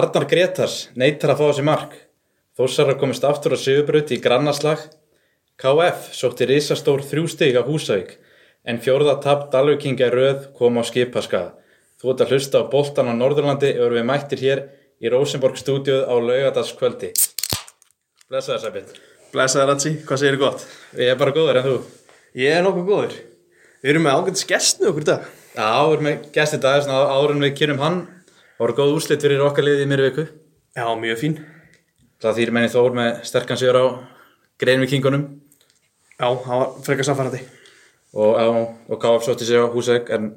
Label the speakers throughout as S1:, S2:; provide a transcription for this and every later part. S1: Arnar Gretars neytar að fá þessi mark. Þósarar komist aftur á sigurbröti í grannaslag. KF sótti risastór þrjú stig af Húsavík en fjórða tap Dalvíkinga í röð kom á skipaskaða. Þú ert að hlusta á boltan á Norðurlandi og við mættir hér í Rosenborg stúdíuð á laugadagskvöldi. Blessaður Sæbjörn.
S2: Blessaður Ratsi, hvað segir þið gott?
S1: Ég er bara góður en þú?
S2: Ég er nokkuð góður. Við erum með ágætt skestnu okkur í dag.
S1: Já, við erum með gæst í dag, svona árun við kynum hann. Það voru góð úslit fyrir okkar liðið í mér viku.
S2: Já, mjög fín.
S1: Það þýr menni Þór með sterkan sigur á Greinvikingunum
S2: Já, það var frekar samfærandi.
S1: og, á- og KF sótti sig á Húsæk en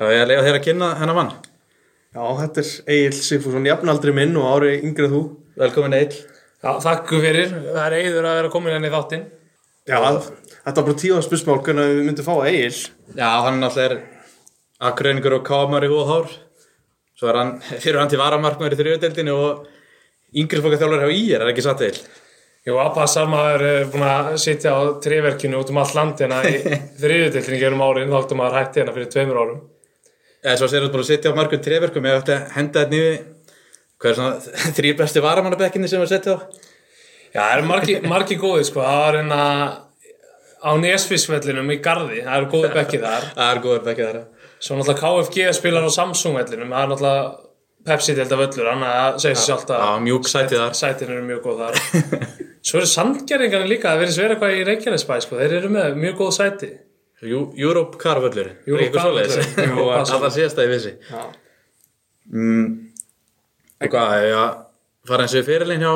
S1: já, ég er að leiða þér að kynna hennar mann.
S2: Já, þetta er Egil Sigfússon, jafnaldri minn og ári yngrið þú.
S1: Velkomin Egil.
S3: Já, þakku fyrir. Það er eigður að vera komin henni í þáttinn.
S2: Já, þetta var bara tíðan spursmál hvernig við myndum fá Egil.
S1: Já, hann náttúrulega er akröningur og KF-mar í húðhár. Svo er hann, fyrir hann til varamarkmaður í þriðudeldinu og yngrilfokka þjálfur hjá IR, er ekki satt Egil?
S3: Jú, Abba Salmaður er eh, búin að sitja á treverkinu út um allt landina í þriðutildinni gerum árin, þá áttum maður hætti hérna fyrir tveimur árum.
S1: Eða svo sér þú búin að sitja á margum treverkum, ég ætti að henda þetta niður. Hvað er svona þrýr bestu varamannabekkinni sem við setja á?
S3: Já, það eru margi, margi góði, sko. Það var hérna á Nesfisvellinum í Garði, það eru góði bekki þar.
S1: Það er góður bekkið þar.
S3: Svo náttúrulega KFG spilar á Samsung-vellinum, það er náttúrulega Pepsi-delta völlur, annað það segir sér sjálft
S1: Já,
S3: að
S1: mjúk sætið þar.
S3: sætin eru mjög góð þar. Svo eru sandgerðingarnir líka, það verðist vera eitthvað í Reykjanesbæ, sko. Þeir eru með mjög góð sæti.
S1: Jú- Europe Car völlur
S3: Europe Car völlurinn. Jú,
S1: Það var síðast að ég vissi
S3: Já.
S1: mm, En hvað, ég að fara eins og í fyrirlin hjá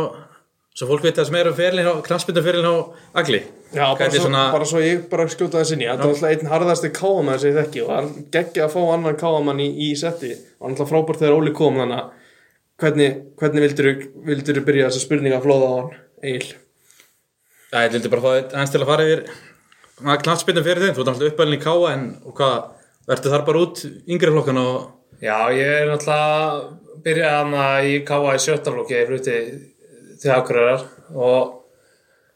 S1: Svo fólk veit það sem er um fyrirlin hjá Knarsbyndum fyrirlin hjá Agli
S2: Já, bara
S1: Hvað er
S2: svo,
S1: svona
S2: bara svo ég bara skjóta þessi nýja. Þetta var alltaf einn harðasti káamann sem ég þekki og það er geggja að fá annan káamann í, í setti. Það var alltaf frábært þegar Óli kom þannig að hvernig, hvernig vildur, vildur byrja þessa spurninga að flóða á hann, Egil?
S1: Já, ég vildi bara fá þig aðeins til að fara yfir Knarsbyndum fyrir þinn, þú ert alltaf uppælinn í Káa En og hvað, verður þar bara út yngri flokkan og
S3: Já, ég er náttúrulega byrjaði hana í K.A. í sjötaflokki ég flutti til Akureyrar og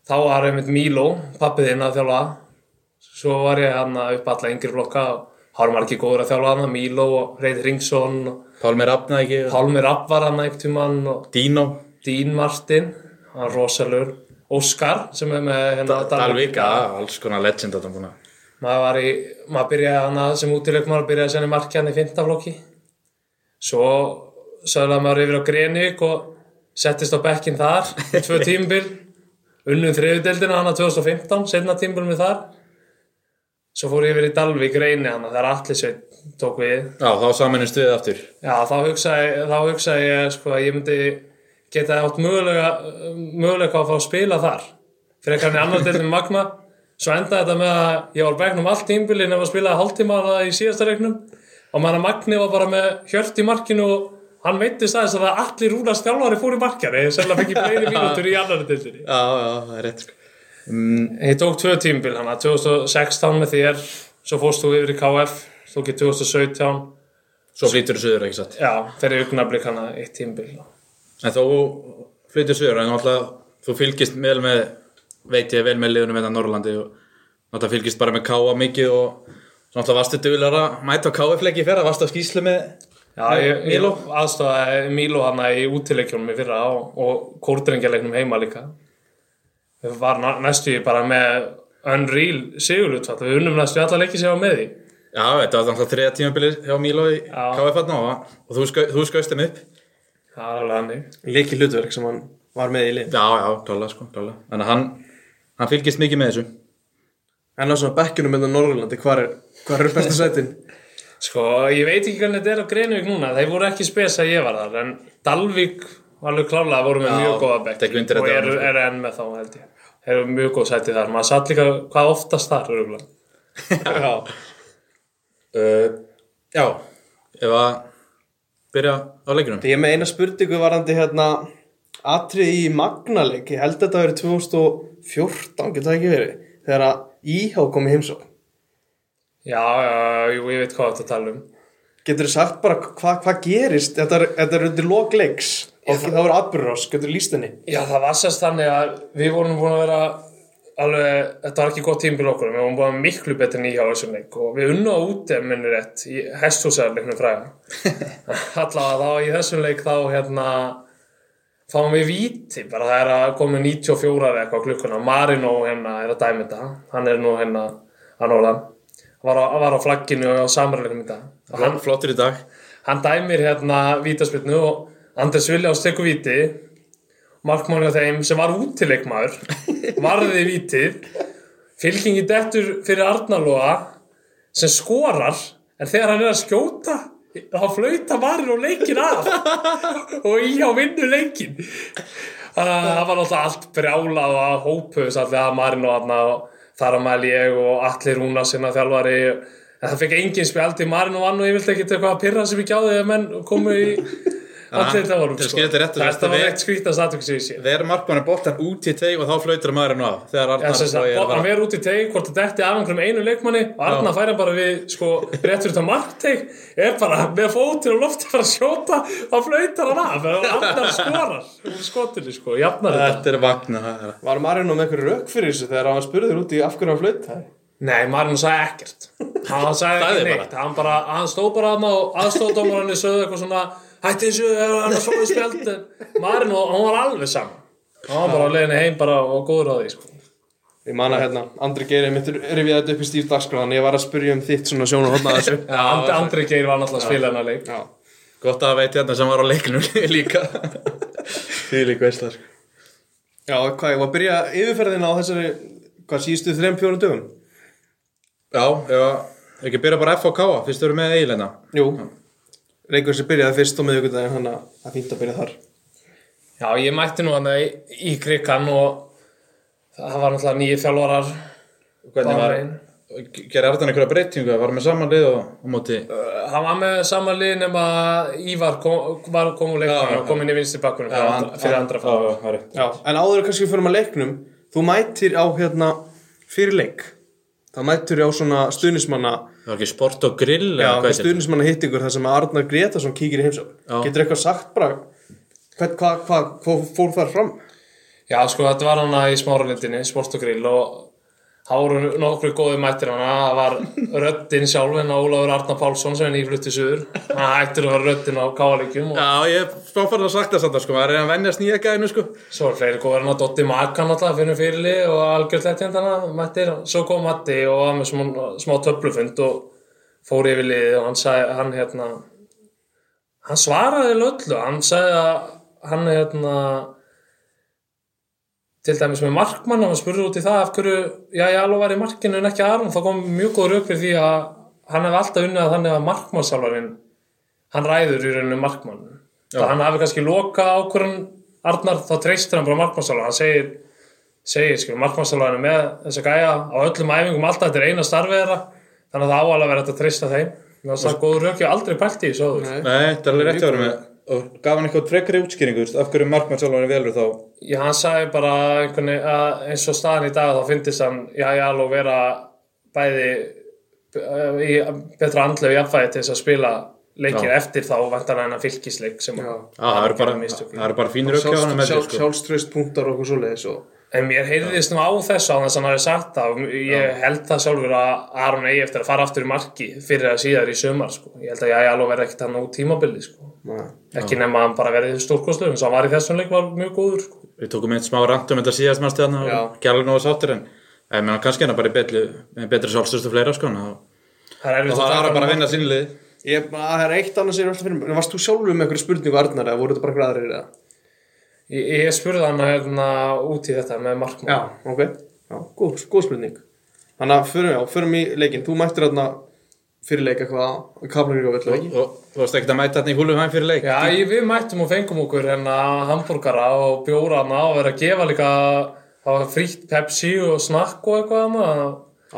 S3: þá var einmitt Míló, pappið þinn að þjálfa svo var ég hana upp alla yngri flokka og hárum ekki góður að þjálfa hana Míló og Reit Ringsson og
S1: Pálmi Rafna ekki og
S3: Pálmi Rapp var hana einhvern tímann og
S1: Dino
S3: Dín Martin, hann er rosalur Óskar sem er með hérna
S1: Dalvík, já, alls konar legend að það búin að
S3: maður var í, maður byrjaði hana sem útilegmaður byrjaði sérna í markjan í fintaflokki svo söglaði maður yfir á Grenik og settist á bekkin þar í tvö tímbil unnum þriðudeldina hana 2015 setna tímbil með þar svo fór ég yfir í Dalvík reyni hana þegar allir sveit tók við
S1: Já, þá saminist við aftur
S3: já þá hugsaði, þá hugsaði ég sko að ég myndi geta átt mögulega, mögulega að fá að spila þar fyrir eitthvað annar deildin Magna svo endaði þetta með að ég var á bekknum allt tímbilin ef að spilaði hálftíma hana í síðasta reiknum og maður að Magni var bara með hjört í markinu og hann veittist aðeins að það allir rúnast þjálfari fór í markjar ég selja fengi fleiri mínútur í annar deildinni
S1: Já, já, það er rétt sko
S3: ég tók tvö tímbil hana 2016 með þér svo fórst þú yfir í KF tók ég 2017
S1: Svo flýtur þú söður, ekki satt?
S3: já fyrir augnablik hana eitt tímbil
S1: En þú flyttir sögur en náttúrulega þú fylgist vel með veit ég vel með liðunum þetta Norrlandi og náttúrulega fylgist bara með K.A. mikið og svo náttúrulega varstu duglar að mæta á K.F-leiki í fyrra, varstu að skýslu með
S3: Já, ég, ég
S1: Míló?
S3: aðstofaði Míló hana í útileikjónum í fyrra og, og kórdrengjarleiknum heima líka. Við var na- næstu ég bara með unreal sigurlutfall. Við unnum næstu alla leiki sem ég var með í.
S1: Já, þetta var náttúrulega þriða tímabilið hjá Míló í
S3: Já.
S1: K.F. þarna og, og þú, skau, þú skaust þeim upp
S3: Það er alveg hannig.
S2: Liki hlutverk sem hann var með í liðin.
S1: Já, já, klálega sko, klálega Þannig að hann, hann fylgist mikið með þessu
S2: En á svona bekkjunum með Norrlandi, hvar er, hvar er bestu sætin?
S3: Sko, ég veit ekki hvernig þetta er á Greinvík núna. Þeir voru ekki spes að ég var þar, en Dalvík var alveg klálega, voru með
S1: Já,
S3: mjög góða
S1: tek
S3: bekk
S1: undir
S3: og
S1: þetta,
S3: eru
S1: sko.
S3: er enn með þá, held ég. Þeir eru mjög góð sæti þar. Maður satt líka hvað oftast þar, öruglega.
S1: Já uh, Já, ef að byrja á leikunum
S2: Ég er með eina spurningu varandi hérna atrið í Magnalik, ég held að þetta verið 2014, getur það ekki verið, þegar að IH kom í heimsók.
S3: Já, já, jú, ég veit hvað þetta tala um.
S2: Getur þið sagt bara hvað hva gerist, þetta er, þetta er undir lokleiks og það verið atbyrður ás, getur þið líst henni?
S3: Já, það var sérst þannig að við vorum búin að vera alveg, þetta var ekki gott tímbil okkur við varum bara miklu betur en íhjá þessum leik og við unna út ef minni rétt í hesthúsarleiknum fræðum allavega þá í þessum leik þá hérna fáum við víti bara það er að koma 94 eða eitthvað á klukkuna Marino hérna er að dæmi þetta hann er nú hérna hann orðan var á, var á flagginu og á samarleiknum í dag og hann,
S1: Flottur í dag
S3: hann dæmir hérna vítaspilnu og Anders Viljáns tekur víti markmáni á þeim sem var útileikmaður varði vítið fylkingi dettur fyrir Arnalóa sem skorar en þegar hann er að skjóta þá flauta varir og leikin af og íhjá vinnur leikin Þannig að það var náttúrulega allt brjála og að hópuðs allir að Marino þarna og þar að mæli ég og allir Rúna sinna þjálfari en það fekk engin spjaldi Marino vann og ég vildi ekkit eitthvað að pyrra sem ég gjáði ef menn komu í allir þetta vorum
S1: til að skýra þetta rétt, þú veist
S3: þetta
S1: að
S3: var
S1: við-
S3: eitt skrítast aðtökk sem ég sé
S1: Þegar markmann er boltan út í teig og þá flautur maðurinn af Þegar
S3: Já,
S1: Arnar
S3: sem
S1: Flói
S3: sagt,
S1: er að
S3: hann
S1: fara
S3: verður út í teg hvort það detti af einhverjum einu leikmanni og Arna færa bara við sko rétt fyrir þetta markteg er bara með fótinn og lofti fara að sjóta og flautar hann af og Arna skorar úr skotinu sko, jafnar þetta
S1: Þetta er vagna það er-
S2: Var Marino með einhverju rauk fyrir þessu þegar hann spurður út í af hverju hann flöyt það?
S3: Nei, Marino sagði ekkert hann sagði
S1: Sagði
S3: ekki
S1: bara.
S3: neitt, hann bara hann stóð bara aðna og aðstóðdómarinni sögðu eitthvað svona hætti þessu, er hann að fóðu spjald En Marino, hann var alveg saman hann var bara á leiðinni heim bara og góður á því sko.
S2: Ég man að hérna, Andri Geiri mitt rifið þetta upp í stíf dagskráðan, ég var að spurja um þitt svona sjónu hodna þessu.
S3: Já, Andri, Andri Geir var náttúrulega að spila hennar leik
S2: Já.
S1: Gott að veit hérna sem var á leiknum líka Því líka sko. veistlar
S2: Já, hvað, ég var að byrja yfirferðina á þessari, hvað, síðustu þrem, fjórum dögum?
S1: Já, já, ekki byrja bara F og K Fyrst eru með eiginleina
S2: Jú. Reykjavík sem byrjaði fyrst á miðvikudaginn, hann að það er fínt að byrja þar.
S3: Já, ég mætti nú hann í, í krikan og það var náttúrulega nýju þjálfarar
S1: Hvernig var,
S3: Bahrein.
S1: gerir Arnar einhverja breytingu Var með saman lið og á móti
S3: Uh, Hann var með sama lið nema Ívar kom, var kom úr
S1: Já, já,
S3: leikmann
S1: já.
S3: og kom inn í vinstri bakkunum fyrir,
S1: hann-
S3: andra- fyrir
S1: hann-
S3: andra
S1: Já,
S3: fara.
S1: já, það er rétt.
S2: Já, en áður kannski fyrir maður leiknum þú mætir á hérna fyrir leik þá mætir á svona stuðnismanna
S1: Það var ekki sport og grill eða
S2: já,
S1: hvað heitir
S2: stuðnismanna hittingur þar sem að Arnar Gretarsson kíkir í heimsókn
S1: Já.
S2: getur eitthvað sagt bara hvað hva, hva, hva fór þar fram
S3: Já, sko, þetta var hann í smáralindinni, sport og grill og það voru nokkru góði mættir hann það var röddinn sjálfinn á Ólafur Arnar Pálsson sem er nýfluttið suður hann hættur að vera röddinn á káaleikjum og
S1: Já, ég er spáfarn að sagt það samt sko, maður er að venja snýja gæðinu sko
S3: Svo er fleiri góðar hann að Dotti Maka náttúrulega finnum fyrirli og algjörð leggjand hann mættir. Svo kom Matti og var með smá, smá töflufund og fór yfir liðið og hann sagði, hann hérna, hann svaraði eiginlega öllu, hann sagði að hann hérna, til dæmis með markmann, hann var spurður út í það af hverju, já, ég alveg var í markinu en ekki Aron, þá kom mjög góð rauk fyrir því að hann hefði alltaf unnið að þannig að markmannsálvarinn hann ræður í rauninu markmann það hann hafi kannski loka ákvörðan Arnar þá treystir hann bara markmannsálvar hann segir, segir skil, markmannsálvarinn er með þessa gæja á öllum æfingum alltaf þetta er eina starfið þeirra þannig að það áalega verið að treysta þeim þannig að það góður rökja aldrei pælt í þessu áður
S2: Nei.
S1: Nei, þetta er alveg rétt að vera með Og gaf hann eitthvað frekari útskýringu, þú veist, af hverju markmann sjálfan velur þá
S3: Já, hann sagði bara einhvernig, að eins og staðan í dag þá fyndist hann já, já, alveg vera bæði eh, í betra andlegu jafnfæði til þess að spila leikir
S1: Já.
S3: eftir þá vantar hann að fylgisleik sem hann
S1: Já, það eru bara,
S3: gerði mistök í.
S1: það eru bara fínir aukja á hann með því sko
S2: sjálfströst punktar og okkur svoleiðis og
S3: En mér heyrðist nú á þessu á þess að hann hafi sagt það og ég held það sjálfur að Aron eigi eftir að fara aftur í marki fyrir að síðar í sömar sko. Ég held að ég alveg verði ekkert hann á tímabili sko.
S2: na,
S3: Ekki nema að hann bara verði stórkostlegu eins og hann var í þessum leik var mjög góður sko.
S1: Við tókum eitt smá randum þetta síðast mannstu hann
S2: Já.
S1: og gæla nógu sáttir en Ég meina, kannski hann bara í betri, betri sjálfstöðstu fleira sko en þá-
S3: Það er erfitt
S1: Og það er
S3: taka
S1: hann bara að
S3: hann-
S1: vinna sínlið
S2: ég, það er eitt annars sem ég er alltaf fyrir mér varst þú sjálfur með einhverju spurningu Arnar eða voru þetta bara einhverju aðrir eða
S3: Ég, ég spurði hann hérna út í þetta með markmann.
S2: Já, ok. Já, góð, góð spurning. Þannig að förum, já, förum í leikinn. Þú mættir þarna fyrir leik eitthvað kaflangir og öllu ekki.
S1: Og þú varst ekkert að mæta hann í húlu hann fyrir leik
S3: Já, ég, við mættum og fengum okkur hérna hambúrgara og bjóra hana og verið að gefa líka það var frítt Pepsi og snakk og eitthvað hana.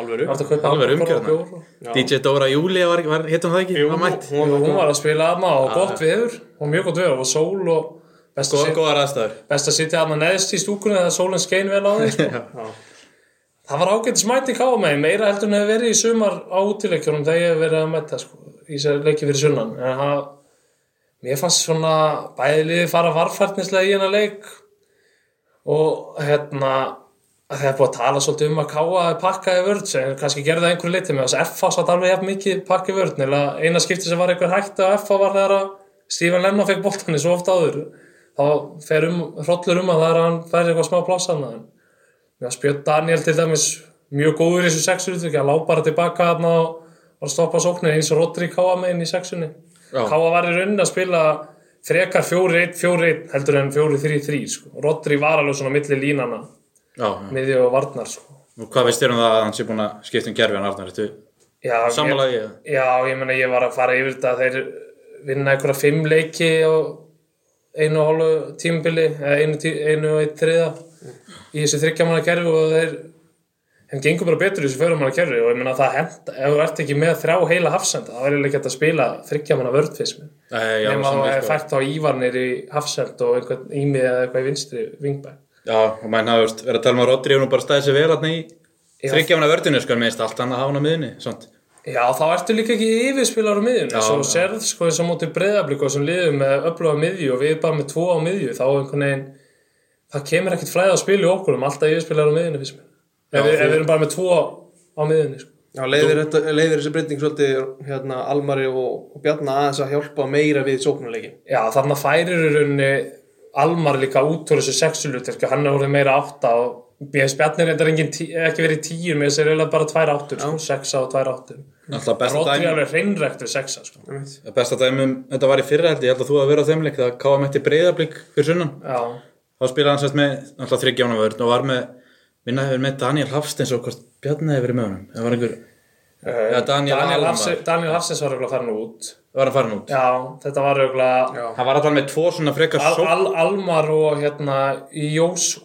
S2: Alvöru.
S3: Það var
S1: Alveg umgjörðna.
S3: bjór. og-
S1: DJ Dóra Júlia var, var hittum það ekki? Jú, var mætt
S2: Hún
S3: Og
S2: var
S3: Hún var að spila hana og gott veður og mjög gott veður og sól og best að,
S1: Góð-
S3: sit,
S1: Góðar aðstæður
S3: best að sitja hana neðst í stúkunni þegar sólinn skein vel á þig. Sko. það var ágætis mæti káa með meira heldur en hefur verið í sumar á útileikjunum þegar ég hef verið að mæta sko, í sér leiki fyrir sunnan en það, mér fannst svona bæði liði fara varfærtnislega í hennar leik og hérna að það er búið að tala svolítið um að káa pakkaði vörð sem kannski gerði það að einhverju liti með þess að FH satt alveg jafn mikið pakkaði vörð nema eina skipti sem var einhver hægt að FH var þegar að Stephen Lennon fekk boltanni svo ofta áður þá fer um, hrollur um að það er að hann færi eitthvað smá pláss annað en það spjöld Daniel til dæmis mjög góður í þessu sexuðu hann lá bara tilbaka hann og var að stoppa sóknir eins og Rodri káa með inn í sexunni
S1: Já.
S3: káa var í raunin að spila frekar 4-1, 4-1 heldur en 4-3-3 sko. Rodri var alveg svona milli línana
S1: Já, já.
S3: miði og varnar sko.
S1: Og hvað veist þér um það að hann sé búin að skipta um gerfi hann aftan þetta?
S3: já,
S1: Sammála
S3: ég,
S1: ég.
S3: já, ég meina ég var að fara yfir þetta að þeir vinna einhverja fimm leiki á einu og hálfu tímabili eða einu, tí, einu og einn þriða í þessu þryggjamanna kerfi og þeir þeim gengur bara betur í þessu fjóramanna kerfi og ég meina það hend ef þú ert ekki með þrjá heila hafsenda þá er ég ekki hægt að spila þryggjamanna vördfismi
S1: Nei, já,
S3: sko. nema þú
S1: sammála ég,
S3: er
S1: sko.
S3: fært á ívarnir í hafsend og einhvern ímið eða eitthvað í vinstri vingbæk
S1: Já, og maður hafði veist, verið að tala um að Rodri hefur nú bara staðið sér vel hann í
S3: Já.
S1: þryggjafna vördinu, sko, en minnst allt hann að hafa hann á miðinni, svont.
S3: Já, þá ertu líka ekki yfirspilar á miðjunni,
S1: Já,
S3: svo
S1: já.
S3: sérð sko eins og móti breyðablíku sem liðum með öfluga miðju og við bara með tvo á miðju, þá einhvern veginn það kemur ekkert flæða að spila í okkur um alltaf yfirspilar á miðjunni, finnst mér
S1: Já,
S3: ef, við,
S1: þú-
S3: ef við erum bara með tvo á miðjunni sko.
S2: Já, leiðir, þetta, leiðir þessi breyting svolítið hérna, Almari og, og Bjarna aðeins að hjálpa meira við sóknuleikin
S3: Já, þarna færir í rauninni Almar líka út úr þessu sexulutirku hann er orðið meira átta og mér spjarnir þetta engin tí, ekki verið tíur með þessi reyla bara tvær áttur, sko, sexa og tvær áttur
S1: Alltaf besta
S3: Rodri
S1: dæmi,
S3: alveg hreinræktur sexa sko.
S1: besta dæmi um þetta var í fyrra held, ég held að þú hafi verið á þeim leik, það káða mætti breyðablík fyrir sunnan.
S3: Já,
S1: Þá spilaði hann sérst með, alltaf þryggjafna vörn og var með, minna hefur með Daniel Hafsteins og hvort Bjarni hefur verið með honum. Það var einhver,
S3: Eh,
S1: Eða Daniel
S3: Daniel,
S1: Almar.
S3: Hafsi, Daniel Hafsins var auðvitað farin út
S1: var hann farin út.
S3: Já, þetta var auðvitað
S1: Hann var alltaf með tvo svona frekar
S3: al,
S1: sók.
S3: al, Almar og hérna Jósu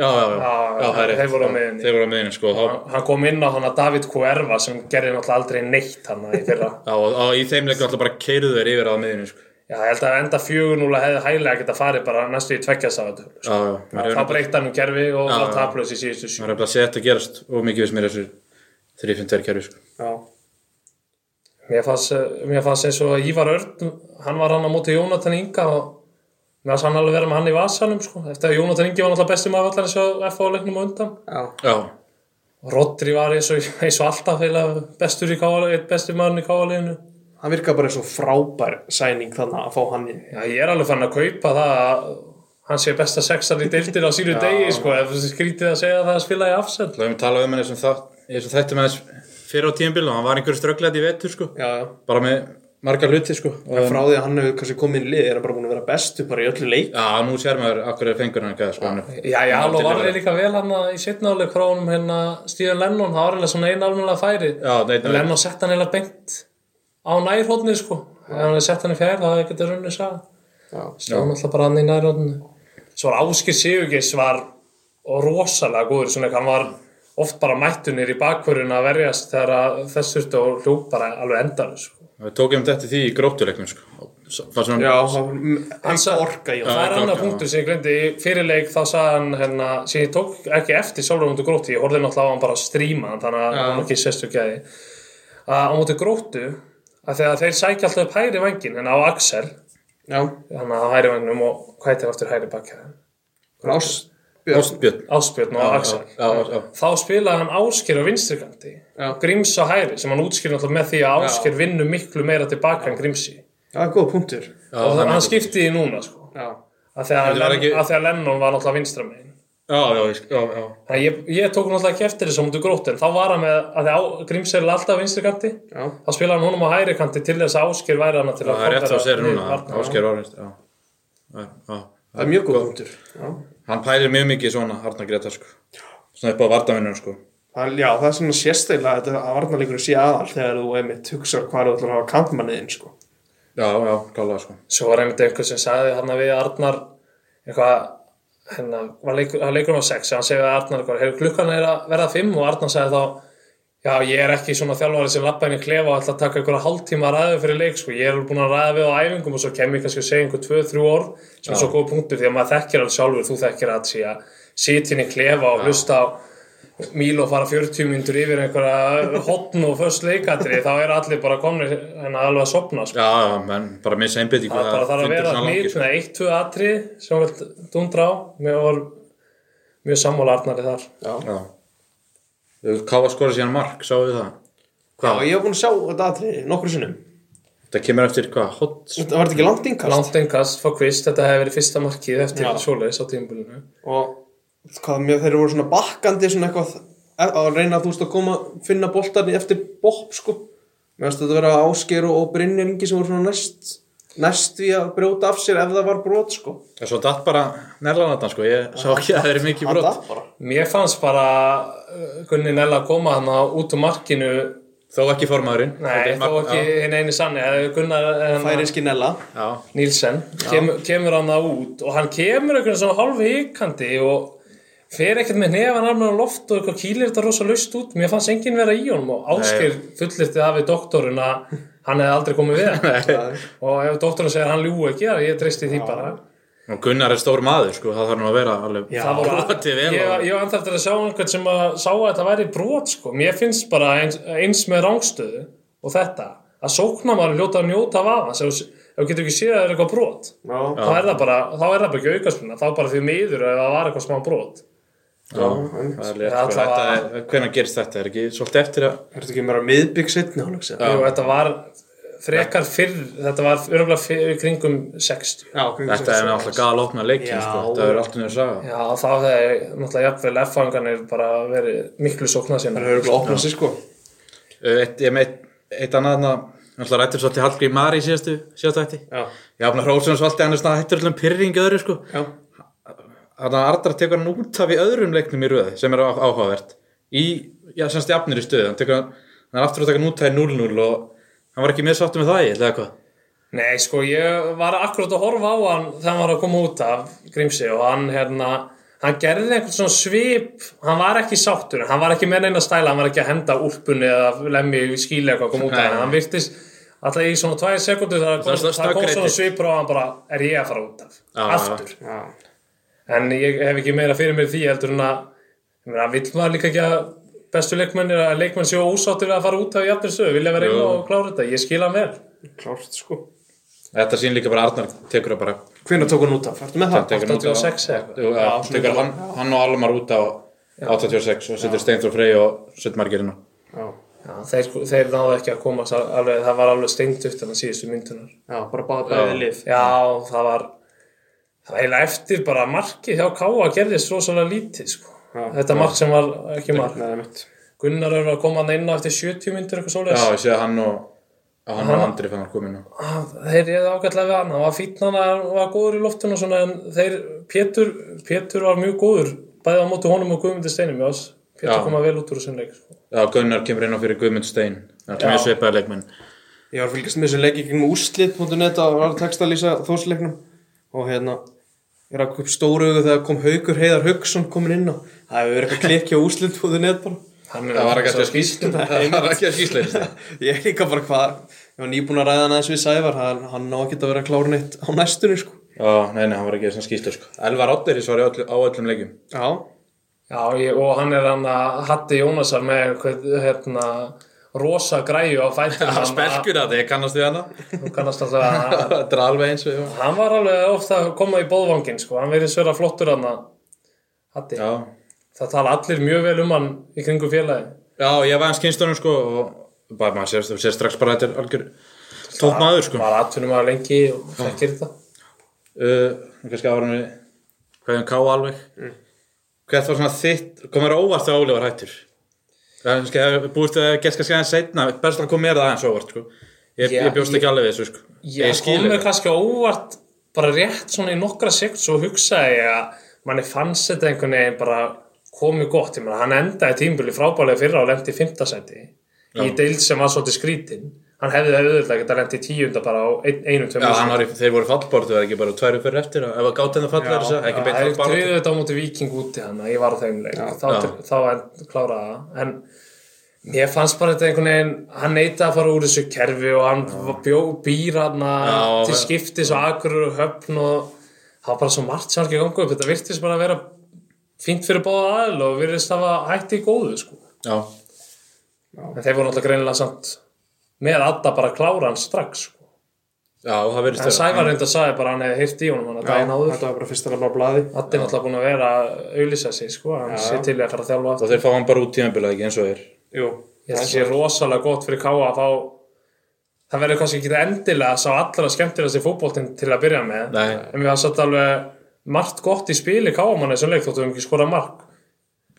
S1: Já, já, já,
S3: Já,
S1: já, það er
S3: þeir
S1: rétt.
S3: voru á miðjunni.
S1: Þeir voru á miðinni, sko. þá-
S3: Hann kom inn á hann að David Kuerva sem gerði náttúrulega aldrei neitt hann í fyrra
S1: Já, og, og í þeim leikum alltaf bara keiruðu þeir yfir á miðinni, sko.
S3: Já, ég held að enda 4-0 hefði hæglega geta farið bara næstu í tveggjasáðu
S1: Já, já, maður hefur
S3: sko. Þá breytti hann um gerfi og
S1: Já,
S3: var
S1: já.
S3: taplaus í síðustu sjö
S1: maður hefði að setja að gerast og mikið við sem er þessu 3-5-2 kæru sko.
S2: Já,
S3: Mér fannst, mér fannst eins og að Ívar Örn, hann var hann á móti Jónatan Inga og mér fannst hann alveg vera með hann í vasanum sko eftir að Jónatan Ingi var náttúrulega besti maður allar eins og F.A.-leiknum á undan
S2: já,
S1: Já,
S3: Rodri var eins og, eins og alltaf eiginlega bestur í káaleginu, eitt bestur maðurinn í káaleginu.
S2: hann virkar bara eins og frábær sæning þannig að fá hann í
S3: Já, ég er alveg fann að kaupa það að hann sé besta sexan í deildin á sínu degi, sko, ef þessi skrítið að segja að það að spila í afsend.
S1: þá hefum við talað um hann eins og það eins og þetta með þess fyrir á tímbil og hann var einhverju strögglega í vetur sko.
S2: Já, já
S1: bara með marga hluti sko.
S2: En
S1: og,
S2: frá því að hann hefur kannski komið inn í lið er hann bara búin að vera bestu bara í öllu leik
S1: Já, nú sér maður akkur er fengur hann eitthvað sko. hann er-
S3: Já,
S1: hann
S3: já,
S1: er
S3: alveg var
S1: tilveru.
S3: ég líka vel hann í sittnáleik frá honum hérna Stíðan Lennon, það var eiginlega svona eina almennilega færi.
S1: Já, neitt
S3: En Lennon sett hann eiginlega beint á nærhóttni, sko. Ef hann hefði sett hann í fjær, það hefði getið runnið sá.
S2: Já,
S3: Svo hann alltaf bara hann í nærhóttni. Svo var Áskir Sigurgeis var rosalega góður, svona hann var oft bara mættunir í bakhverjun að verjast þegar að þess þurfti og hljóp bara alveg endan, sko.
S1: við tókum um þetta því í gróptuleiknum sko. Og svo- var svona-
S2: já hann
S3: sa-
S2: orka í
S3: það
S2: hann
S3: er
S1: ekki
S3: annar
S1: orka,
S3: punktur sem ég glemdi í fyrirleik þá sagði hann hérna, sem ég tók ekki eftir sjálfur á mútu gróttu, ég horfði náttúrulega á hann bara að stríma þannig að hann var ekki sestu gæði að á mútu gróttu að þegar þeir sækja alltaf upp hægri vangin en á Axel,
S2: Já,
S3: hann á hægri vanginum og hvað heitir aftur hægri bakkja
S2: Rásbjörn
S1: Ástbjörn
S3: Ásbjörn og Axel
S1: já, já, já.
S3: þá spilaði hann Ásker á vinstrikandi
S2: Já.
S3: Gríms á hægri sem hann útskýr náttúrulega með því að Ásker vinnu miklu meira tilbaka en Grímsi
S2: Já, góð punktur
S1: Já,
S3: og
S1: það er
S3: hann
S1: mikið.
S3: skipti því núna sko.
S2: Já,
S3: að þegar,
S1: Þetta var
S3: Len,
S1: ekki-
S3: að þegar Lennon var náttúrulega vinstramegin
S1: Já, já, ég sk- já, já.
S3: Þannig að ég, ég tók náttúrulega ekki eftir þessu á mútu grótt en þá var hann með að því á Gríms er alltaf vinstri kanti
S2: já,
S3: þá spilaði hann honum á hægri kanti til þess að Ásker væri hann til að
S1: það er rétt
S3: kontera
S1: að segja
S3: við
S1: núna
S3: varnarmann.
S1: Ásker Árnist já. Já, já.
S2: það er mjög góð punktur Já,
S1: hann pælir mjög mikið í svona Arnar Gretar sko. svona upp á vartavinnum sko.
S2: það er, já, það er svona sérsteglega að þetta að varnarleikur sé aðal þegar þú einmitt hugsa hvað þú ætlar að hafa kantmanniðin sko
S1: já, já, klálega sko.
S3: Svo var einmitt einhver sem sagði hann við Arnar eitthvað hérna, var leikur, hann leikur um á sex hann segði að Arnar eitthvað, hefur klukkan er að verða fimm og Arnar sagði þá Já, ég er ekki svona þjálfari sem lappa henni klefa og ætla að taka einhverja hálftíma að ræða fyrir leik, sko. Ég er alveg búin að ræða við á æfingum og svo kem ég kannski að segja einhver tvö, þrjú orð sem er svo góð punktur því að maður þekkir alveg sjálfur, þú þekkir að sé að sitja henni klefa og hlusta á míl og fara 40 myndur yfir einhverja hotn og först leikatri, þá er allir bara komnir henni alveg að sopna, sko.
S1: já, já, menn bara missa einbyttingu sko.
S3: Það bara þarf að vera mitt með eitt, tvö atri sem þú vilt dundra á. Mér var mjög sammála Arnari þar
S2: Já.
S1: Já. Káfa skora síðan mark, sáu þið það?
S2: Já, ég hef búin að sjá þetta atriði nokkru sinnum.
S1: Þetta kemur eftir hvað? Hot?
S2: Þetta var ekki langt innkast.
S3: langt engast, fá kvist, þetta hefði verið fyrsta markið eftir
S2: Já.
S3: svoleiðis á tímabölinu
S2: Og hvað, mér, þeir voru svona bakkandi svona eitthvað að að reyna þú veist að koma, finna boltarni eftir bopp sko. Mér finnst þetta að vera Ásgeir og, og Brynjar Ingi sem voru svona næst, næst við að brjóta af sér ef það var brot sko.
S1: Það er svo datt bara nærlanatan sko, ég sá ekki að það er mikið
S2: Hann
S1: brot.
S2: datt bara.
S3: Mér fannst bara uh, Gunni Nella að koma hann út úr markinu
S1: Þó ekki formaðurinn.
S3: Nei, þó ekki hinn eini sanni eh, Gunnar eh,
S2: Færi skinella.
S1: Já,
S3: Nílsen kemur, kemur hann það út og hann kemur einhvern svona hálf hikandi og fer ekkert með nefan armur á loft og eitthvað kýlir þetta rosa laust út mér fannst enginn vera í honum og áskeir fullirti það við doktorinn að hann hefði aldrei komið við hann og ef doktorinn segir að hann ljúi ekki, já, ég treysti því bara
S1: og Gunnar er stór maður sko, það þarf nú að vera alveg
S3: það
S1: brotið
S3: voru
S1: vel.
S3: ég,
S1: á-
S3: ég var enda eftir að sjá einhvern sem að sá að þetta væri brot sko, mér finnst bara eins, eins með rángstöðu og þetta að sókna maður hljóta að njóta vafa ef þú getur ekki séð að það er eitthvað brot
S2: Já.
S3: þá er það bara, þá er það bara ekki aukaspilna þá bara því miður að það var eitthvað smá brot
S1: Já, það er létt
S3: Já,
S1: sko.
S3: það var-
S1: Þetta er- Hvenær gerist þetta? Er ekki svolítið eftir að...
S2: Er þetta ekki meira miðbygg setni hún ekki?
S3: og þetta var frekar fyrr þetta var örgulega fyrir kringum 60
S2: Já, kringum
S1: Þetta er
S2: sex.
S1: náttúrulega gala opna leikin
S2: Já.
S1: sko, þetta er allt um þér saga.
S3: já þá hefði náttúrulega jafnvel F-fangarnir bara verið miklu sókna sín
S2: Það er örgulega opnað sér sko.
S1: Uh, Eitt, ég meitt, eitt annað þarna, náttúrulega rættum svolítið Hallgrím Mari í síðastu, síðastu hætti.
S2: Já.
S1: Já, hann hrósum svolítið, hann er svona hættur allum pyrring öðru sko.
S2: Já.
S1: Þannig að Ardra tekur hann út af í öðrum leiknum í röð sem er á- áhugavert. Í, já, semst í afnir í stöðu, hann tekur hann, hann er aftur að taka hann út af í 0-0 og hann var ekki meðsáttu með það í, eða hvað.
S3: Nei, sko, ég var akkurat að horfa á hann þegar hann var að koma út af Grímsi og hann, hérna, hann gerði einhvern svona svip, hann var ekki sáttur, hann var ekki með neina stæla, hann var ekki að henda úlpunni eða lemmi í skíli eitthvað að koma út af
S1: Nei.
S3: hann, hann virtist alltaf í svona tvær sekundur það
S1: Það
S3: kom,
S1: er svona
S3: það kom
S1: snöggreitir.
S3: svona svipur á hann bara, er ég að fara út af,
S1: Já,
S3: aftur.
S2: Já.
S3: En ég hef ekki meira fyrir mér því heldur en að, ég meina, vill maður líka ekki að bestu leikmennir að leikmenn séu ósáttur við að fara út af jafnir sög, vilja vera einu
S1: Jú.
S3: og klára þetta, ég skil hann vel.
S2: Klárt sko.
S1: Þetta sín líka bara Arnar tekur að bara
S2: Hvenær tók hann út af? Ertu með það?
S1: tekur hann út af-
S3: 86 eða eitthvað.
S1: Jú, já, tekur hann, hann og Almar út á 86 og setur Steindur Frey og Söldmargerinn
S2: Já.
S3: Já, þeir, þeir náðu ekki að komast al- alveg, það var alveg steint upp þannig síðustu myndunar.
S2: Já, bara báða bæðið lið.
S3: Já, það var, það var eiginlega eftir bara markið hjá Káa gerðist rosalega lítið, sko.
S2: Já.
S3: Þetta mark sem var ekki mark.
S2: Nei, mitt.
S3: Gunnar eru að koma hann inn á eftir 70 myndur eitthvað
S1: Já,
S3: svoleiðis.
S1: ég sé að hann og að hann og Andri fann að koma inn á
S3: Ah, Þeir reyði ágætlega við hann, hann var fínn hann hann var góður í loftinu og svona, en þeir, Pétur, Pétur var mjög góður, bæði á móti honum og Guðmundi Steinum, já, Pétur
S1: Já.
S3: koma vel út úr þessum leik, sko.
S1: Já, Gunnar kemur inn á fyrir Guðmund Stein Það er mjög sveipaði leikmenn
S2: Ég var að fylgjast með þessu leik í gegnum úslit.net að var text að lýsa þórsleiknum og hérna ég rakk upp stóru augu þegar kom Haugur Heiðar Haugsson komin inn og það hefur verið eitthvað klikki á úslit.net bara
S3: Hann er-
S1: Það var ekki að skýsla Það var ekki að skýsla
S2: ég er líka bara hvað ég var nýbúin að ræða hann aðeins við Sævar hann, hann ná ekki að vera klár neitt á næstunni sko
S1: Já, nei, nei, hann var ekki að skýsla sko. Elvar Odderis var í öllu- á öllum leikjum
S2: Já,
S3: Já, ég, og hann er hann að Hatti Jónasar með einhvern, hérna, rosa græju á fættum
S1: Það spelkur að þið kannast við hana
S3: Hún kannast alltaf að
S1: Þetta er alveg eins og ég var
S3: hann var alveg ofta að koma í bóðvangin sko, hann verið sverra flottur hann að Hatti,
S1: Já,
S3: það tala allir mjög vel um hann í kringum félagi
S1: Já ég var hans kynstunum sko og bara maður sér, sér strax bara að þetta er algjör tótt maður sko
S3: var atvinnum að lengi og þekkir þetta
S1: uh, kannski árum við hverjum ká alveg
S3: Mm.
S1: hvert var svona þitt, kom þér á óvart þegar Óli var hættur það er kannski að búist að gert kannski aðeins setna, best að kom mér það aðeins óvart sko. ég,
S3: Já,
S1: ég bjóst ekki alveg við þessu sko.
S3: ég kom mér kannski á óvart bara rétt svona í nokkra sekund svo hugsaði ég að manni fannst þetta einhvern veginn bara komið gott ég meina hann endaði tímbili frábælega fyrra og lendi í fymtasæti í deild sem var svolítið skrítin hann hefði það auðvitað geta lendi í tíunda bara á ein, einum
S1: Já,
S3: tveimur
S1: hann var, í- þeir voru fallbortu eða ekki bara tværu fyrir eftir ef að gáta henni fall er þess að ekki beint
S3: Það er
S1: fallbortu
S3: tríðið þetta á móti viking úti hann ég var á þeim leik þá,
S1: já.
S3: þá en- kláraði það en mér fannst bara þetta einhvern veginn hann neytaði að fara úr þessu kerfi og hann bjó býrana
S1: Já,
S3: til
S1: það-
S3: skiptis og akurur og höfn og það var bara svo margt sem hann ekki gangu upp þetta virtist bara að vera fínt fyrir báða aðil og virðist hafa hætti í góðu sko.
S1: Já,
S3: en þeir voru náttúrulega greinilega samt með Adda bara að klára hann strax sko.
S1: Já, það verður
S3: En Sævar reynda sagði bara að hann hefði heyrt í honum hann að daginn áður.
S2: þetta var bara fyrsta nafn á blaði
S3: Addi er alltaf búin að vera að auðlýsa sig sko, hann sé til í að fara að þjálfa
S1: Það
S3: aftur.
S1: þeir fá hann bara út tíðanbilað ekki eins og er.
S2: Jú,
S3: Ég held að sé rosalega gott fyrir Káa að fá það verður kannski ekki endilega sá allra skemmtilegast í fótboltinn til að byrja með
S1: Nei.
S3: en við hafum satt alveg margt gott í spili Káa manni sem leik þóttum við höfum ekki skora mark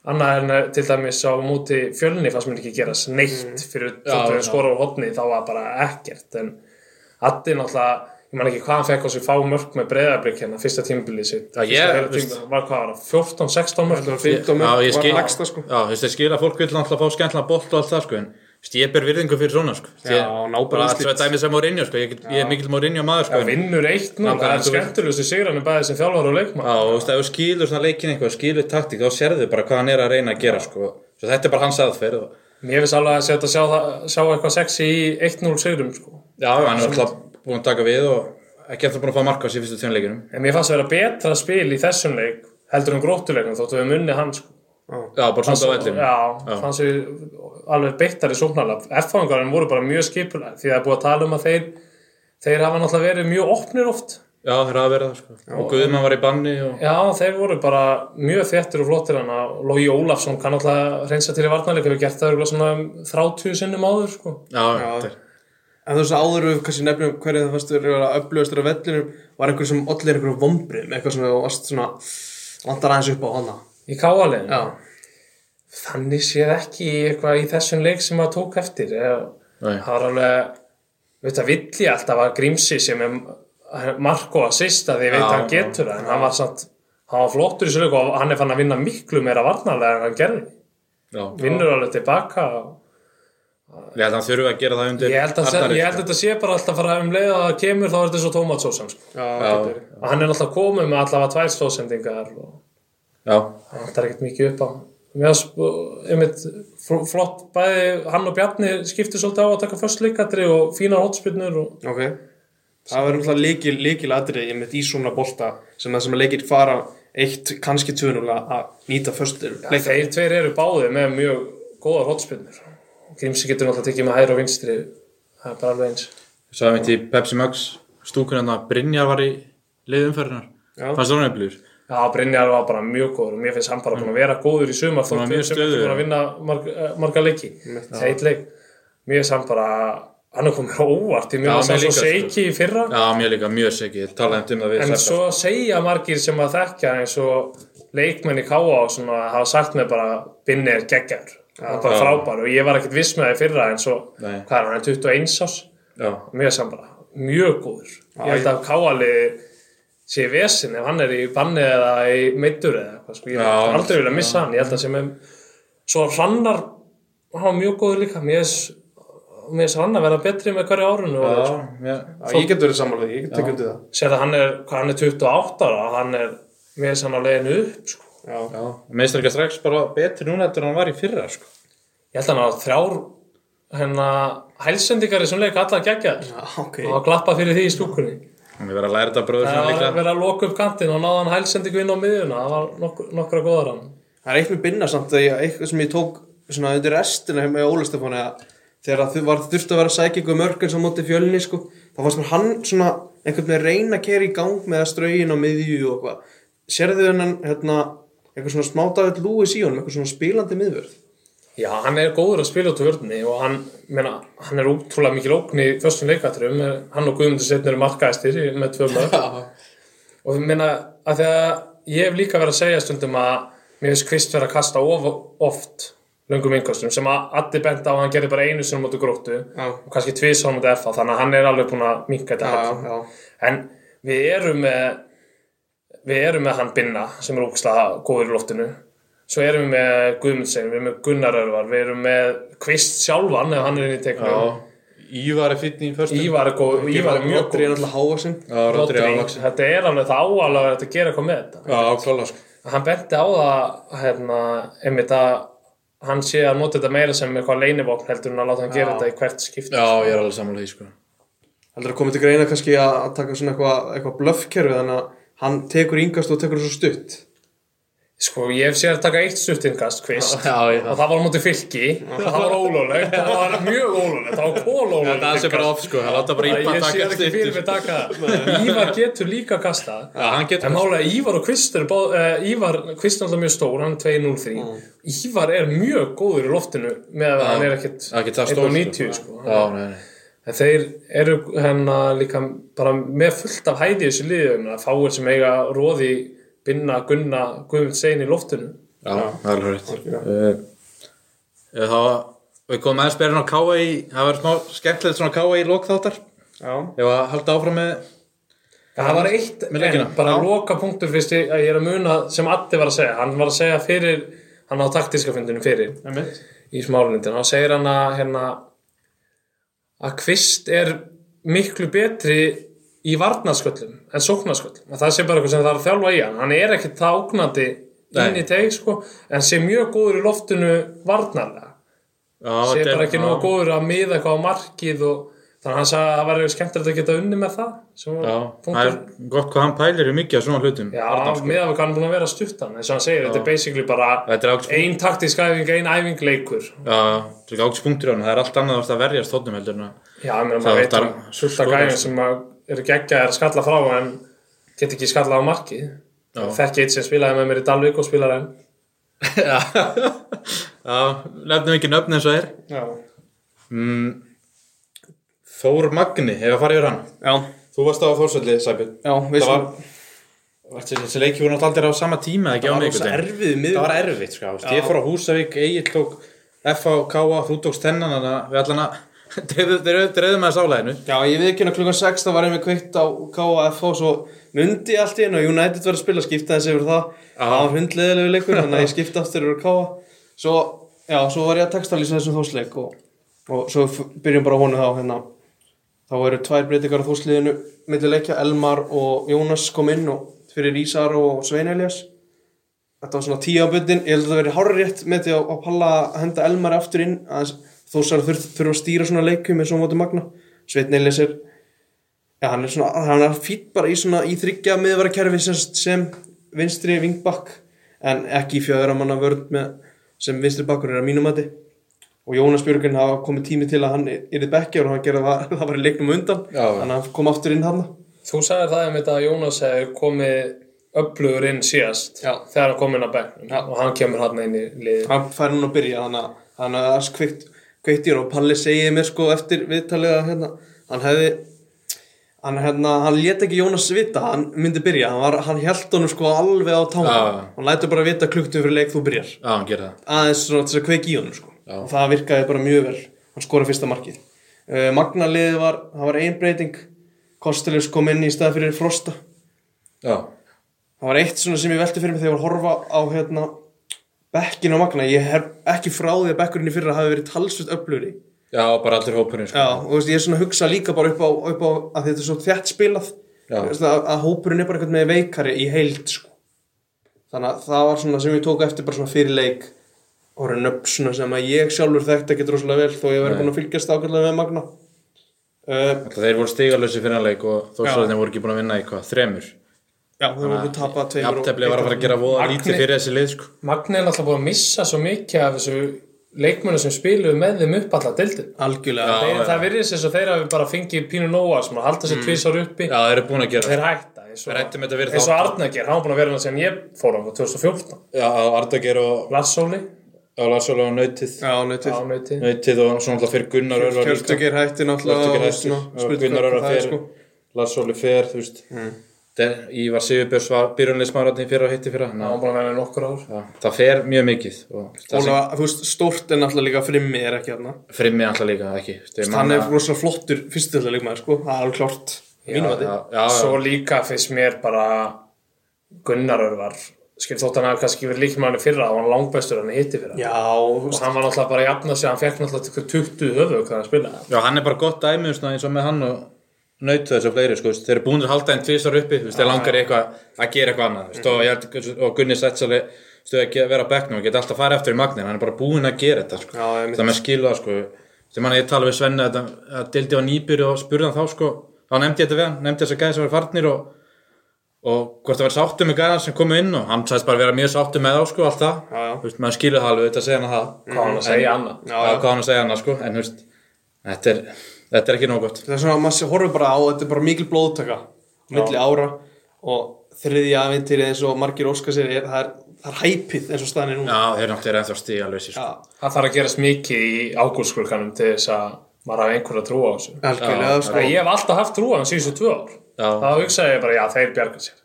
S3: annað en eh, til dæmis á móti fjölni fannst mér ekki gerast neitt fyrir þóttum við
S1: Mm. já.
S3: skora á hotni þá var bara ekkert en Addi náttúrulega ég man ekki hvað hann fekk á sig fá mörk með breyðarblik hérna fyrsta tímbilið sitt
S1: Já, ég-
S3: Fyrsta heila tímabilið. var hvað var það, 14-16 mörk
S2: þetta var 15
S1: Já, ég
S2: mörg,
S1: skil,
S2: var lagsta sko
S1: já, þú veist, ég skil að fólk vil alltaf fá skemmtilega bolt og allt það sko, en þú veist, ég ber virðingu fyrir svona sko.
S2: Já, ná bara
S1: bara
S2: úrslit.
S1: alltaf dæmi sem Mourinho sko, ég, get, ég er mikill Mourinho maður sko,
S3: Það
S1: en-
S3: vinnur eitt nú, það
S1: þú
S3: er
S1: veist.
S3: skemmtilegustu sigranum bæði sem þjálfar og leikmann.
S1: já, þú veist, ef þú skilur svona leikin eitthvað, skilur taktík, þá sérðu bara hvað hann er að reyna að gera sko, svo þetta er bara hans aðferð og,
S3: Mér finnst alveg að setja að sjá, það- sjá eitthvað sexy í 1-0 sigrum, sko.
S1: já, hann er alltaf búin að taka við og ekki alltaf búin að fá marka sér fyrstu tveim leikinum,
S3: En mér fannst að vera betra spil í þessum leik heldur en gróttuleikum þóttu við munni hann, sko.
S1: já, bara svona á vellinu
S3: Já, fannst við alveg beittari sóknarlega. F-fangarinn voru bara mjög skipulega því það er búið að tala um að þeir, þeir hafa náttúrulega verið mjög opnir oft.
S1: já, það er að vera það sko, og Guðmann var í banni og,
S3: Já, þeir voru bara mjög þéttir og flottir hann að Lógi Ólafsson kann alltaf reynsa til í varnarleik hefur gert það örugglega svona 30 sinnum áður, sko.
S1: já, þetta er-
S2: En þú veist að áður við kannski nefnum hverju það fannst verið að upplöðast þér á vellinum var einhver sem allir einhverjum vombriðum eitthvað svona og varst svona vantar aðeins upp á hana
S3: Í káaleginu.
S2: Já,
S3: þannig séð ekki eitthvað í þessum leik sem maður tók eftir Eða-
S1: Nei.
S3: það var alveg auðvitað villi alltaf að grímsi sem er Marko að sista því ég veit
S1: Já,
S3: að hann getur það en hann var samt hann var flottur í sölug og hann er fann að vinna miklu meira varnarlega en hann gerði
S1: já,
S3: vinnur alveg tilbaka og
S1: ég held að hann þurfi að gera það undir
S3: ég held að,
S1: Arnari,
S3: ég held að
S1: sko.
S3: þetta sé bara alltaf fara um leið að það kemur þá er þetta svo tómatsósan sko.
S2: já, já.
S3: og hann er alltaf komið með allavega tvær stóðsendingar og
S1: já,
S3: það vantar ekkert mikið upp á mér var sko, einmitt fl- flott bæði hann og Bjarni skipti svolítið á að taka först líkatri og fínar hotspinnur og
S2: Ok, það verður náttúrulega líkil, líkil atrið ég mitt í svona bolta sem það sem að leikir fara eitt, kannski tvönulega að nýta förstur
S3: Nei, þeir tveir eru báði með mjög góðar hotspinnur Grímsi getur náttúrulega tekið með hægri og vinstri það er bara alveg eins
S1: Svo það mitt í Pepsi Max stúkunum að Brynjar var í leiðumferðinar. Fannst það nefnilegur?
S3: Já, Brynjar var bara mjög góður og mér finnst hann bara búin að vera góður í sumar þótt
S1: Mm. var
S3: við
S1: mjög
S3: sem ekki
S1: stöðugur.
S3: búin að vinna marga, eh, marga leiki eitt leik mér finnst hann bara hann er komið óvart í
S1: Já,
S3: mjög að
S1: mér
S3: það svo
S1: líka, sko.
S3: seiki í fyrra
S1: Já, mér líka mjög segið. Ég talaði um það við
S3: En svo segja margir sem að þekkja eins og leikmenn í K.A. og svona hafa sagt mig bara Binni er geggjar, það er bara
S1: Já.
S3: frábær og ég var ekkert viss með það í fyrra en svo
S1: Nei.
S3: hvað er hann, 21 ás
S1: Já,
S3: mjög saman bara, mjög góður ég held að K.A. liði sé vesin ef hann er í banni eða í meittur eða eitthvað, sko, ég
S1: Já.
S3: hef aldrei vilja missa hann, ég held að sem er svo hrannar, hann var mjög góður líka mér finnst- mér finnst hann að vera betri með hverju árunu
S1: já,
S3: og
S1: já.
S2: Já, ég getur verið sammálaðið, ég getur tekundið það
S3: sér að hann er, hvað hann er 28 ára hann er með þess hann á leiðinu upp sko.
S2: Já,
S1: já. Meistar ekki strax bara betri núna eftir en hann var í fyrra, sko.
S3: ég held að hann á þrjár hennar hælsendingar í svona leik allar gegja
S2: já ok
S3: og að klappa fyrir því í stúkunni
S1: Hann er verið að læra þetta bröður
S3: það
S1: sinna
S3: var að
S1: líka.
S3: vera að loka upp kantinn og náða hann hælsendingu inn á miðjuna það var nokkur, nokkra góðar hann
S2: Það er eitt með binna samt að ég, eitthvað sem ég tók svona undir restina með Óla Stefáni að þegar að þú var þurft að vera sækingu mörgum sem móti fjölni sko, þá fannst mér hann svona einhvern veginn reyna að kera í gang með að strögin á miðju og hvað Sérðu hennan, hérna, eitthvað svona smátaðið lúis í honum, eitthvað svona spilandi miðvörð
S3: já, hann er góður að spila út úr vörðni og hann, meina, hann er útrúlega mikil ógn í föstum leikatrum, hann og Guðmundur setnir eru markaðistir með tvö mörg og ég meina að því að ég hef líka verið að segja stundum að mér finnst Kvist verið að kasta of oft löngum yngostum sem að Addi bent á að hann gerði bara einu sinum mútu gróttu
S2: Já.
S3: og kannski tvið sinum mútu FA þannig að hann er alveg búin að minka þetta helling.
S2: já.
S3: en við erum með við erum með hann Binna sem er ógæslega góður í loftinu svo erum við með Guðmundsson, við erum með Gunnar Örvar við erum með Kvist sjálfan ef hann er inn í teiknum
S1: Já. Ívar er fyrst í fyrstum.
S3: Ívar er, góð, Ívar er mjög
S2: Rodri er
S3: góð
S2: náttúrulega hávaksinn
S1: Já, Rodri
S3: Rodri,
S1: álags.
S3: þetta er alveg það áalega að gera eitthvað með þetta
S1: Já, klála, sko.
S3: hann benti á það hérna, einmitt að hann sé að nota þetta meira sem eitthvað leinivopn heldur en að láta hann gera þetta í hvert skipti
S1: Já, ég er alveg samanlega því, sko.
S2: Heldur að komið til greina kannski að að taka svona eitthvað eitthva blöffkerfi þannig að hann tekur yngast og tekur svo stutt
S3: Sko, ég hef séð að taka eitt suttingast kvist
S4: Já, já, já.
S3: og það var á móti fylki og það var ólólegt, það var mjög ólólegt það var kólólegt
S4: Þetta aðeins er bara off sko, það láta bara ípa
S3: Ég
S4: að
S3: sé
S4: taka
S3: ekki fyrir mig
S4: stýttur.
S3: taka það. Ívar getur líka kastað
S4: Já, hann getur
S3: En málega Ívar og Kvist er báð, uh, Ívar, Kvist er alltaf mjög stór, hann er 2.03
S4: Mm.
S3: Ívar er mjög góður í loftinu með að hann er ekkit
S1: Ekki það stór,
S3: 1.90 sko.
S1: Já, nei, nei.
S3: En þeir eru hérna líka bara með fullt af hæði í þessu liðum að fáir sem eiga róði binna, gunna, guðmund segin í loftinu
S1: Já, það er alveg rétt. Uh, þá, við komum aðeins byrjun á K.A. í, það var smá skemmtilegt svona K.A. í lokþáttar.
S2: Já,
S1: Ég var að halda áfram með,
S3: Það var eitt,
S1: Með leikina.
S3: en bara loka punktur fyrst ég ég er að muna sem Addi var að segja hann var að segja fyrir, hann á taktíska fundinu fyrir
S2: einmitt
S3: í smálundin þá segir hann að hérna, að kvist er miklu betri í varnasköllum en sóknasköllum að það sé bara eitthvað sem það er að þjálfa í hann hann er ekkit það ógnandi inn í teg sko, en sé mjög góður í loftinu varnarlega
S4: Já,
S3: sé
S4: þetta er-
S3: bara ekki
S4: já.
S3: nóg góður að miða eitthvað á markið og þannig að hann sagði að það væri skemmtilegt að geta unni með það sem var
S1: já, það er
S3: punktur.
S1: gott hvað hann pælir í mikið af svona hlutum.
S3: Já, meðan við kannum búin að vera stuttan eins og hann segir, þetta er basically bara
S1: Þetta er ákveðs
S3: ein taktísk æfing, ein æfing leikur
S1: Já, þetta er ákveðs punktur á hann, það er allt annað að það verjast þóttum heldur en að
S3: Já, ég meina,
S1: Það
S3: maður veit
S1: vantar
S3: um sulta
S1: skorar,
S3: gæðin
S1: sko.
S3: sem að eru geggjaðir að skalla frá en get ekki skalla á marki Þekki eitt sem spilaði með mér í Dalvík og spilaði enn
S4: Já.
S1: Já, nefnum ekki nöfn eins og er.
S2: Já,
S1: Mm, Þór Magni, ef að fara yfir hann.
S2: já,
S1: Þú varst á Þórsöldi, Sæbjörn.
S2: já
S1: Það
S2: veist
S1: var, var þessi leiki voru náttúrulega aldrei á sama tíma eða ekki á
S2: Það var
S1: miðvikudaginn?
S2: rosa erfið miður
S1: það var erfitt sko, veist, ég fór á Húsavík, Egil tók F.A. og K.A. þú tókst hennan þannig að við allan að dreifðum dreif, dreif með þess álæðinu
S2: Já, ég við ekki að klukkan 6 þá var ég með kveikt á KF og svo myndi allt í henn og United var að spila skipta þessi yfir það það var hundleðilegu leikur þannig að ég skipta aftur yfir KF svo, já, svo var ég að textalýsa þessum þósleik og, og svo f- byrjum bara á honum þá hérna þá eru tvær breytingar á þósliðinu milli leikja, Elmar og Jónas kom inn og fyrir Ísar og Svein Elias þetta var svona tíu á bundin ég held að það verið hárrétt með því að, að palla að henda Elmar aftur inn að þósar þurf, þurfa að stýra svona leikum eins og móti magna Sveitn Eilis er ja, hann er svona, hann er fýtt bara í svona í þryggja miðvara kerfi sem, sem vinstri vingbakk en ekki í fjöðra manna vörð með sem vinstri bakkur er að mínum mati og Jónas Björgun hafa komið tími til að hann yrði bekkja og hann gerði það, það var í leiknum á undan
S1: Já.
S2: þannig að hann kom aftur inn hann
S3: Þú sagðir það um þetta að Jónas hefur komið upplugur inn síðast
S2: Já.
S3: þegar hann kom inn á bekknum og hann kemur hann inn í liði
S2: hann fær núna að byrja þannig að- þannig að það er kveikt kveikt í hann og Palli segið mér sko eftir viðtalið að hérna, hann hefði hann, hérna, hann lét ekki Jónas vita að hann myndi byrja, hann, var, hann held honum sko alveg á tána,
S1: Já.
S2: hann lætur bara vita klukktum fyrir leik þú byrjar,
S1: Já, hann gerði það
S2: aðeins svona til þess að kveiki í honum sko,
S1: Já.
S2: og það virkaði bara mjög vel hann skoraði fyrsta markið uh, Magnaliðið var, það var einbreyting Kostelus kom inn í stað fyrir Frosta
S1: Já,
S2: það var eitt svona sem ég velti fyrir mig þegar ég var að horfa á hérna bekkin á magna, ég hef ekki frá því að bekkurinn í fyrra hafi verið talsvist öflugri
S1: já og bara allir hópurinn sko.
S2: já, og þú veist, ég er svona að hugsa líka bara upp á, upp á að þetta er svo þjætt spilað
S1: Já.
S2: Þú veist, að, að hópurinn er bara einhvern veginn veikari í heild sko. þannig að það var svona sem ég tók eftir bara svona fyrir leik og reyna upp svona sem að ég sjálfur þekkt ekki droslega vel þó ég verið búin að fylgjast ákveðlega með magna uh,
S1: Alltaf Þeir voru stigalösi finnanleik og
S2: Já.
S1: Þórsöldi voru ekki búin að vinna í hvað, þremur
S2: já, þau voru að tapa tveimur og-
S1: Jafntefli var að fara að gera voða
S3: Magni-
S1: lítið fyrir þessi lið sko.
S3: Magni er alltaf búin að missa svo mikið af þessu leikmennu sem spiluðu með þeim upp alla deildin
S2: algjörlega
S3: þeir, Það virðist eins og þeir hafi bara fengið pínu nóa sem að halda sér mm. tvisar uppi
S1: Já, þeir eru búin að gera
S3: þeir hætta eins og,
S1: Við ræddum þetta fyrir
S3: eins og
S1: þátt.
S3: Arnager, hann var búin að vera hann sem ég fór á 2014,
S1: Já, Ardager og
S3: Lassóli
S1: Lásóla og Nautið
S2: já, nautið
S3: ánöyti,
S1: Nautið og svona alltaf fyrir Gunnar Örvar líka.
S2: Hjörtugir hætti náttúrulega
S1: Lars-Óli
S2: og
S1: hættur,
S2: svona,
S1: og
S2: spurning
S1: Gunnar
S2: hvað
S1: Örvar
S2: það sko. er,
S1: fer, Lars-Óli sko. fer, þú veist
S2: Mm.
S1: Der- Ívar Sigurbjörns var byrjunleismaratni fyrir að hitti fyrir hann
S3: hann var búin að vera í nokkur ár
S1: Það fer mjög mikið og það sem
S2: Óla, þú veist, stórt er náttúrulega líka frimmi er ekki hérna
S1: Frimmi alltaf líka ekki Þú veist, ég
S2: Hann
S1: man
S2: er
S1: að-
S2: rosa flottur fyrstöldarleikmaður sko, það er alveg klart Mínum að
S1: Já,
S2: þið
S1: já, já.
S3: Svo líka finnst mér bara Gunnarörvar skil þótt hann hafi kannski verið líkjum hann í fyrra og hann langbæstur hann í hitti fyrra
S2: Já, þú
S3: og
S2: veist,
S3: hann var náttúrulega bara að jafna sig, hann fekk náttúrulega til 20 höfu hvað hann spilaði
S1: Já, hann er bara gott dæmi um svona eins og með hann og nautu þessu fleiri, sko, þú veist, þeir eru búinir að halda einn tvisar uppi, þú veist, þeir langar í eitthvað að gera eitthvað annað, þú veist, og, ég held- og Gunni Setsali, þú veist, að ge- vera á bekknum og geta alltaf að fara eftir í magnin, hann er bara búinn að gera þetta, sko,
S2: Já, einmitt.
S1: það með skilu það, sko, sem hann ég tala við Svenna, þetta að dildi á nýbyrju og spurði hann þá, sko, þá nefndi ég þetta við hann, nefndi þess að gæði sem var farnir og og hvort það var sáttum með gæðan sem komu inn og hann sæðist bara vera mjög sáttum með þá sko allt það,
S2: Já, já.
S1: Þú veist, maður skilur það alveg þetta segja hann það,
S3: Hvað var hann að segja annað?
S2: Já,
S1: það
S2: já.
S1: er hvað hann að segja hann sko en þú veist, þetta er, þetta er ekki nóg gott
S2: Það er svona að maður sé- horfir bara á, þetta er bara mikil blóðtaka á milli ára og þriðja aventýri eins og margir óskar sér er, það er, það er hæpið eins og staðan er núna
S1: já, þeir náttúrulega ennþá stíga lausi sko.
S2: Já,
S3: Það þarf að gerast mikið í ágúrskurkanum til þess að maður hafa einhverja trú á þessu.
S2: algjörlega
S3: Sko,
S2: sko
S3: ég hef alltaf haft trú á hann síðustu tvö ár.
S1: Já.
S3: Þá hugsaði ég bara, já, þeir bjarga sér.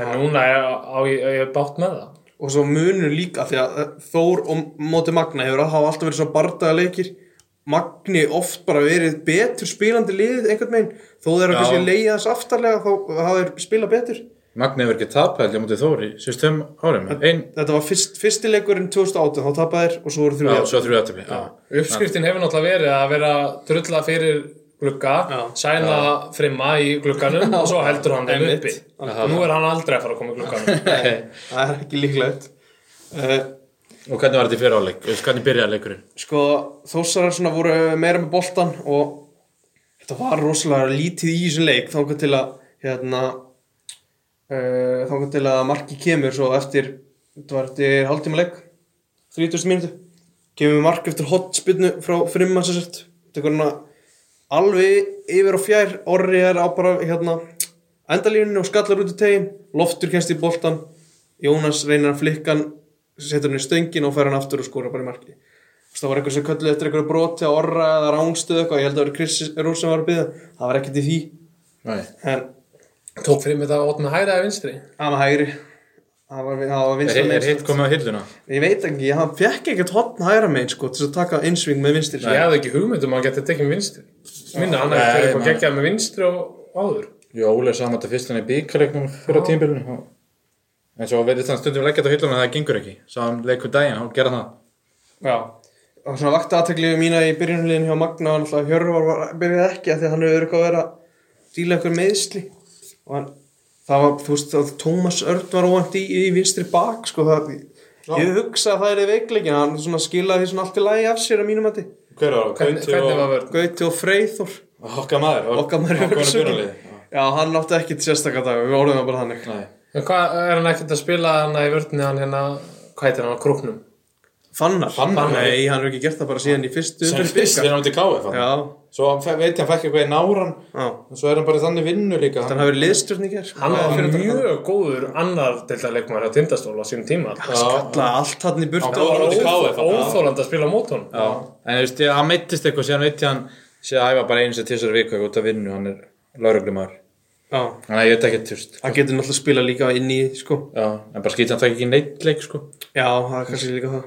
S3: En núna er, á, ég, ég er bátt með það.
S2: og svo munur líka því að eh, Þór og Móti Magna hefur hafa alltaf verið svona bardaða leikir Magni oft bara verið betur spilandi liðið einhvern veginn þó
S1: Já.
S2: þeirra kannski leiða þess aftarlega þá hafa þeir spilað betur
S1: Magni hefur ekki tapað heldur mútið Þóri síðust þeim árum, ein
S2: Þetta var fyrst, fyrsti leikurinn 2008 þá tapaði þeir og svo
S1: já,
S2: voru þrjú jafn.
S1: svo þrjú aðtöfli já.
S3: Uppskriftin hefur náttúrulega verið að vera að drulla fyrir glugga,
S2: Já.
S3: sæna frimma í glugganum og svo heldur hann þeim
S2: Einmitt.
S3: uppi. Og nú er hann aldrei að fara að koma í glugganum.
S2: það er ekki líklegt uh,
S1: og hvernig var þetta í fyrra áleik, hvernig byrjaði leikurinn
S2: sko þósarar svona voru meira með boltan og þetta var rosalega lítið í þessum leik þangað til að hérna, uh, þangað til að marki kemur svo eftir, þetta var eftir hálftíma leik 30. mínútu kemur mark eftir hotspinnu frá frimma sem sett þetta er konar alveg yfir og fjær orri er á bara hérna endalínunni og skallar út í tegin loftur kennst í boltan Jónas reynar að flikkan setur hann í stöngin og fær hann aftur og skora bara í marki Þess, það var eitthvað sem kölluði eftir eitthvað broti á orra eða rángstöð eitthvað, ég held að það var Chris Rúr sem var að byggja það var ekkert í því
S1: Nei.
S2: en
S3: Tók fyrir mig það ótt með hæra eða vinstri.
S2: hann var hægri það var, það var
S1: er,
S2: vinstra
S1: er
S2: megin sko.
S1: hitt komið á hilluna
S2: ég veit ekki, hann fekk ekkert hotn hægra megin sko, til þess að taka innsving með vinstri
S3: Ég hefði ekki hugmynd um að hann geti tekið með vinstri. Minna hann
S1: Nei,
S3: hefði fyrir að
S1: maður-
S3: gegja með vinstri og áður.
S1: Jó, Óli sá hann þetta fyrst hann í bíkaleiknum fyrra tímbilinu en svo verðist hann stundum leggja þetta á hilluna en það gengur ekki sá hann leikur um daginn og gera það
S2: Já. og svona vakti aðtekli mína í byrjunliðin hjá Magna hann alltaf Hjörvar var byrjað ekki af því að hann hefur eitthvað verið að díla eitthvað meðsli og hann, það var, þú veist, að Tómas Örd var óvænt í, í vinstri bak sko, það, ég hugsa að það er veikleikin hann svona skilaði því svona allt í lagi af sér að mínum hætti,
S1: Hver var
S3: Hvernig, hvernig var vörn?
S2: Gauti og Freyþór
S1: Okkar maður
S2: okkar maður
S1: Okkar maður
S2: Hauksson.
S1: björnulegði
S2: já, hann átti ekki til sérstakar dag við orðum það bara þannig
S1: Nei
S3: En hvað er hann ekkert að spila hann í vörnni hann hérna, hvað heitir hann á krúknum?
S2: Fannar,
S1: Fannar?
S2: nei, hann hefur ekki gert það bara síðan í fyrstu
S1: Sem
S2: umferð
S1: fyrst
S2: bikar.
S1: er hann til KF
S2: já,
S1: Svo hann fe- veit ég hann fekk eitthvað í náran
S2: já,
S1: en svo er hann bara í þannig vinnu líka
S2: þannig hafi liðstjórn í sko. gerð
S3: Hann var mjög góður annar delta leikmæri á tindastól á sínum tíma.
S2: skallaði allt hann í burt
S1: Hann var
S2: og
S1: orðinn-
S3: Óþólandi að spila á mót honum.
S1: Já En þú veist, ég- hann meittist eitthvað síðan veit ég hann sé að æfa bara eins og tísar viku eitthvað út af vinnu hann er lauruglumar
S2: Já,
S1: Þannig að ég veit ekki þú veist
S2: hann getur náttúrulega spila líka inn í sko.
S1: Já En bara skýt hann það ekki í neitt leik sko
S2: Já, það er kannski líka það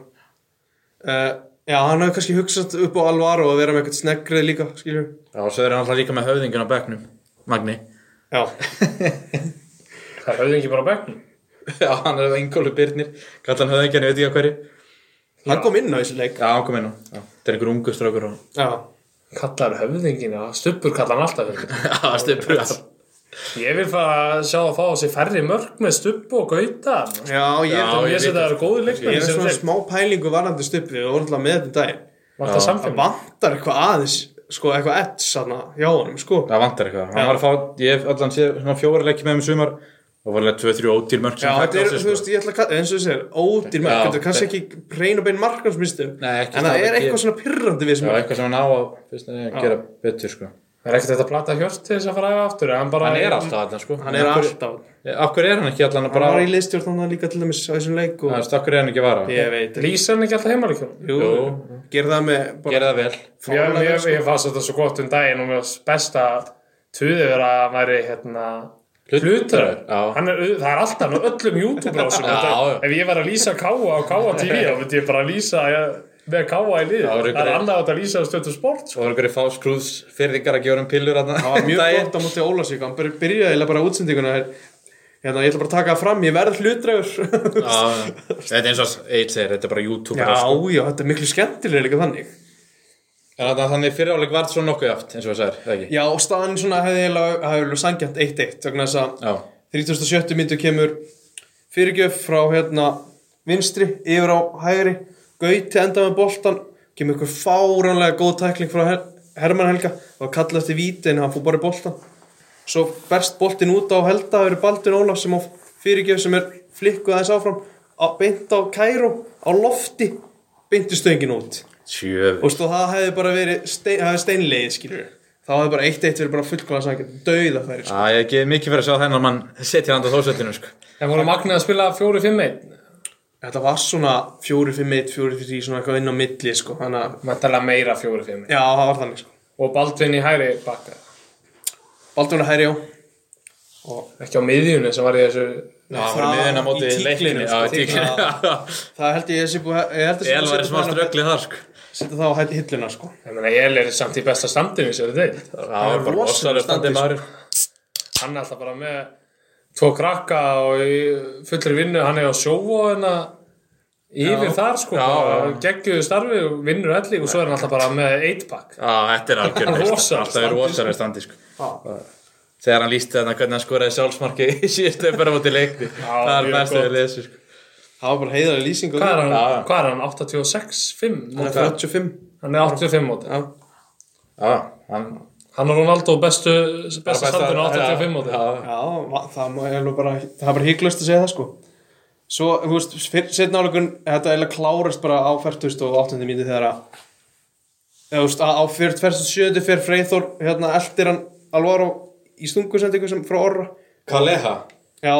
S2: uh, Já, hann hefur kannski hugsað upp á Alvaro að vera með eitthvað snegrið líka skiljum
S1: Já, og svo er hann alltaf líka með höfðingin á bekknum Magni
S2: Já,
S3: Það höfðu ekki bara á bekknum.
S1: Já, hann er engólu byrnir Kallar hann höfðingin, ég veit ekki að hverju
S2: hann kom inn á þessu leik
S1: Já, hann kom inn á Já, Þetta er einhver ungu strákur og
S2: Já,
S3: Kallar höfðingina, stuppur kallar hann alltaf höfðingina.
S1: Já, stupur Já,
S3: Ég vil fara að sjá að fá þessi færri mörg með stupp og gauta.
S2: já ég,
S1: Já,
S3: Ég sé
S1: líka.
S3: það eru góði
S2: ég
S3: leikmæri
S2: er
S3: sem
S2: svona
S3: þeim.
S2: smá pælingu varandi stuppi og orðinlega með þetta um daginn
S3: Vart það
S2: Það
S3: samfélg.
S2: vantar eitthvað aðeins sko, eitthvað edds hann hjá honum sko.
S1: Það vantar eitthvað, hann var að fá, ég hef allan séð svona fjóra leikki með um sumar og var alveg 2-3 ódýr mörg
S2: Já,
S1: sem sko. hann
S2: þetta er,
S1: á sig,
S2: þú veist, ég ætla að kalla, eins og þessi er ódýr mörg,
S1: Já,
S2: þetta er kannski ekki reyn og bein markansmýstum,
S1: Nei, ekki
S2: en það
S1: það ekki-
S2: er eitthvað svona pyrrandi við sem
S1: Já, eitthvað sem hann á að fyrst að gera betur sko
S3: Er ekkert þetta að plata hjört til þess að fara að æfa aftur? Hann, bara,
S1: Hann er alltaf þarna sko
S2: hann er
S1: Af hverju-
S2: alltaf
S1: Af hverju er hann ekki allan að
S2: hann
S1: bara
S2: var í liðstjórn þannig líka til dæmis á þessum leik
S1: Það
S2: og
S1: er stakkur er hann ekki að vara
S2: ég veit ekki
S3: Lýsa hann ekki alltaf heimalíkjum?
S2: Jú,
S1: Jú.
S2: gerði það með bara,
S1: Gerði það vel
S3: Ég,
S2: fáránlega,
S3: ég,
S2: sko.
S3: ég fannst þetta svo gott um daginn og mér varst besta tuðið verið að hann væri hérna
S1: Hlutræður, já.
S3: Hann er, það er alltaf hann á öllum YouTube-brásum
S1: Já, já.
S3: ef ég var að lýsa Káa á Káa TV þá myndi ég bara lýsa ég- með Káa í liði
S1: Já,
S3: það
S1: ruggur
S3: er
S1: í.
S3: annað átt að lýsa á stötu sport sko.
S1: Og var einhverju fáskrúðs fyrringar að gefa hann pillur hann
S2: það var mjög gott á móti Ólasík hann byr- byrjaði eiginlega bara útsendinguna þær- hérna, ég ætla bara að taka það fram, ég verð hlutræður
S1: Þetta er eins og Eil segir, þetta er bara YouTube
S2: já, já, þetta er miklu skemmtilega líka þannig
S1: En þarna- þannig fyrir áleik var svo nokkuð aft eins og það sagðir, eða ekki
S2: já, og staðan svona hefði eiginlega hefði eiginlega sangjant 1-1 vegna þess að
S1: Já
S2: 37. myndu kemur fyrirgjöf frá hérna vinstri yfir á hægri gauti enda með boltan kemur ykkur fáránlega góð tækling frá Her Herman Helga og kallast í víti en hann fór bara í boltan svo berst boltin út á Helda eru Baldur Ólaf sem á fyrirgjöf sem er flikkuð aðeins áfram á, beint á Kæró á lofti beinti stöngin út
S4: Sjöf
S2: og stu, það hefði bara verið stein, það hefði steinlegið skilur þá hefði bara eitt eitt verið bara fullkvæða sækja dauða færi sko.
S1: Æ, ég gefið mikið fyrir að sjá þennan mann setja hann á þósettinu, sko.
S3: En voru magnað að spila 4-5-1
S2: þetta var svona 4-5-1, 4-4-3 svona eitthvað inn á milli sko. þannig að
S3: Mæntalega meira 4-5-1
S2: já það var þannig sko.
S3: Og Baldvin í hæri bakka
S2: Baldur Hæri á
S3: Ekki á miðjunni sem var í þessu
S4: Já, hann var í miðjuna
S2: í
S4: mótið
S2: tíglinu,
S4: leikinu Já,
S2: sko.
S4: í tíklinu
S2: það held ég að sé búið ég held að sé
S4: Ég
S2: búið
S4: var
S2: að
S4: smá
S2: setja það
S4: ströggli þar sko
S2: setja það á hætti hilluna sko
S3: Ég meina, Ég er samt í besta standinu sér þetta
S4: Það var bara
S2: rosalega
S4: rosalega
S2: standi,
S4: standið
S2: sko.
S4: maður
S3: Hann er alltaf bara með tvo krakka og í fullri vinnu hann er á sjóvóðina yfir þar sko
S4: Já,
S3: bara geggjuðu starfi og vinnur elli og svo er hann alltaf bara með 8-pack
S4: Já, þetta er algjör veist. Alltaf
S3: Rosalega
S4: er
S3: standið,
S4: rosalega standið sko Þegar hann lísti þarna hvernig hann skoraði sjálfsmarki í síðustu bara mótið leikni Það er
S3: mjög
S4: best að
S3: gott.
S4: við lesi sko
S2: það var bara heiðarlega lýsing
S3: Hvað er hann?
S4: Já, já.
S3: Hvað er hann? 86-5
S2: hann er
S3: móti?
S2: 35
S3: Hann er 85 móti
S2: já.
S4: Já, hann
S3: Hann og Ronaldo bestu, bestu standinu á 85 móti
S4: Já, já.
S2: já va- það má- er nú bara það er bara hygglust að segja það sko svo þú veist setna álegun þetta eiginlega klárast bara á 48. mínu þegar að eða, þú veist, að á 47. fer Freyþór hérna eldir hann Alvaro í stungusendingu sem frá Orra
S1: Kaleha.
S2: Já,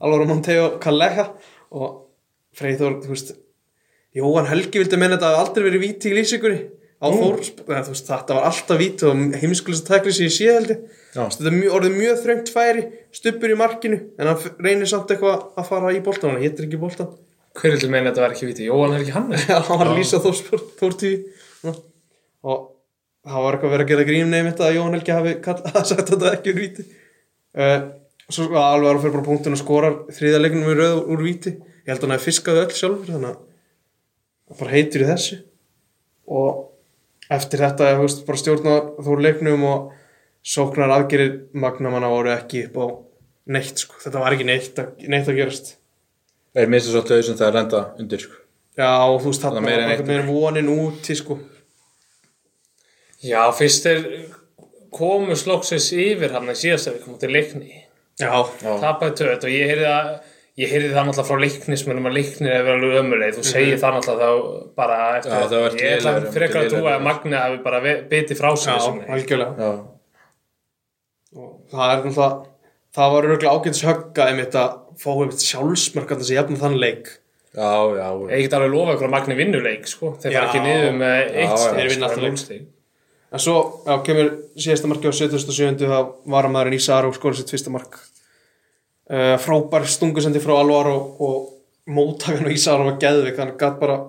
S2: Alvaro Monteo Calleja og Freyþór, þú veist Jóhann Helgi vildi menna þetta að aldrei verið víti í lýsingunni á Þór, eða, þú veist, þetta var alltaf víti og heimskulist að tekla sér í síðaldi þetta er mjög, orðið mjög þröngt færi stuppur í markinu, en hann f- reynir samt eitthvað að fara í boltan, hann hittir ekki boltan
S3: Hver vil meina þetta var ekki viti? Jóhann er ekki hann
S2: Já, hann var að lýsa Þór, Þór tíu og það var eitthvað verið að gera grín nefn þetta að Jón Helgi hafi kall, sagt að þetta ekki úr víti uh, svo sko alveg að fyrir bara punktun og skorar þriðja leiknum í röð úr víti ég held að hann hafi fiskað öll sjálfur þannig að hann bara heitir í þessu og eftir þetta þú veist, bara stjórnar Þór leiknum og sóknar aðgerir magnamanna voru ekki upp á neitt sko. þetta var ekki neitt að, neitt að gerast
S1: Þeir missa svolítið auðvitað það er lenda undir, sko.
S2: Já, og þú veist,
S1: Það
S2: þarna
S1: er meira
S2: var
S1: en eitt.
S2: einhvern veginn vonin úti, sko.
S3: Já, fyrst er komu slóksins yfir hann í síðasta við komum til leikni
S2: Já,
S3: tapaði töð og ég heyrði að ég heyrði það náttúrulega frá leiknismunum að leiknir er verið alveg ömuleg, þú segir það náttúrulega þá bara eftir
S1: Já, það var
S3: ég ætla
S1: lélegur,
S3: frekar að
S1: lélegur.
S3: trúa að Magni hafi bara ve- bitið frá sig
S2: já,
S3: þessum leik.
S2: algjörlega.
S1: Já.
S2: Og það er náttúrulega, það var örgulega ágætis högga einmitt að fá einmitt sjálfsmörk að þessi jafna þann leik.
S1: Já, já, já.
S3: ég get alveg lofa ykkur að Magni vinnuleik sko. þeir
S2: Já.
S3: fara ekki niður með
S1: Já,
S3: eitt
S1: já.
S3: stig,
S2: Þeir vinna
S3: sko,
S2: alltaf
S3: en
S2: leik.
S3: núll stig.
S2: En svo, já, kemur síðasta marki á 77. þá var maðurinn Ísa Aró skorið sitt fyrsta mark. Uh, frábær stungusendi frá Alvar og, og móttakan á Ísa Aró var geðvik, hann gatt bara,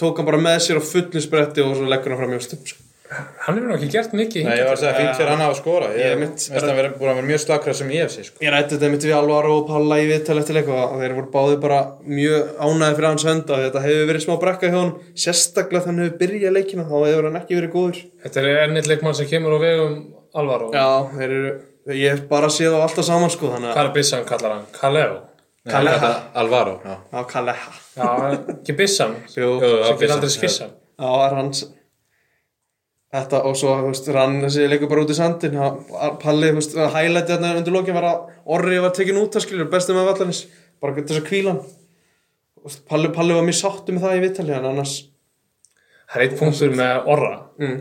S2: tók hann bara með sér á fullu spretti og svo leggur hann fram mjóstum, sko.
S3: hann hefur nú ekki gert mikið
S1: Nei, ég var að segja fínt fyrir hann að hafa skora. Ég
S2: Ég mitt-
S1: minnst að hann verið búin að vera mjög slakra sem ég hef sér, sko.
S2: Ég rætti þetta mitt við Alvar og Palla í viðtal eftir leik og þeir voru báði bara mjög ánæði fyrir hans hönd að þetta hefur verið smá brekka hjá hann sérstaklega þannig hefur byrjað leikina þá hefur hann ekki verið góður
S3: þetta er ennill leikmann sem kemur á vegum Alvaro,
S2: Já, þeir eru, ég hef bara séð á alltaf saman sko þannig
S3: hvað er Bissan kallar hann? Kaleo?
S1: Nei,
S2: Kaleha.
S1: þetta- Alvaro, já.
S2: Já, Kaleha
S3: Já, ekki Bissan sem
S2: Jú,
S1: Jú, já,
S3: getur
S1: Bissan,
S3: aldrei
S1: já.
S3: skissan
S2: já, er hans Þetta og svo, þú veist, rann þessi leikur bara út í sandin hann- Palli, þú veist, hælæti þarna undir lokin var að orri var tekin út að skilur bestum af allanis, bara til þess að kvíla hann Þú veist, Palli, Palli var mjög sáttu með það í viðtali en annars
S3: Það er eitt punktur með Orra.
S2: Mm.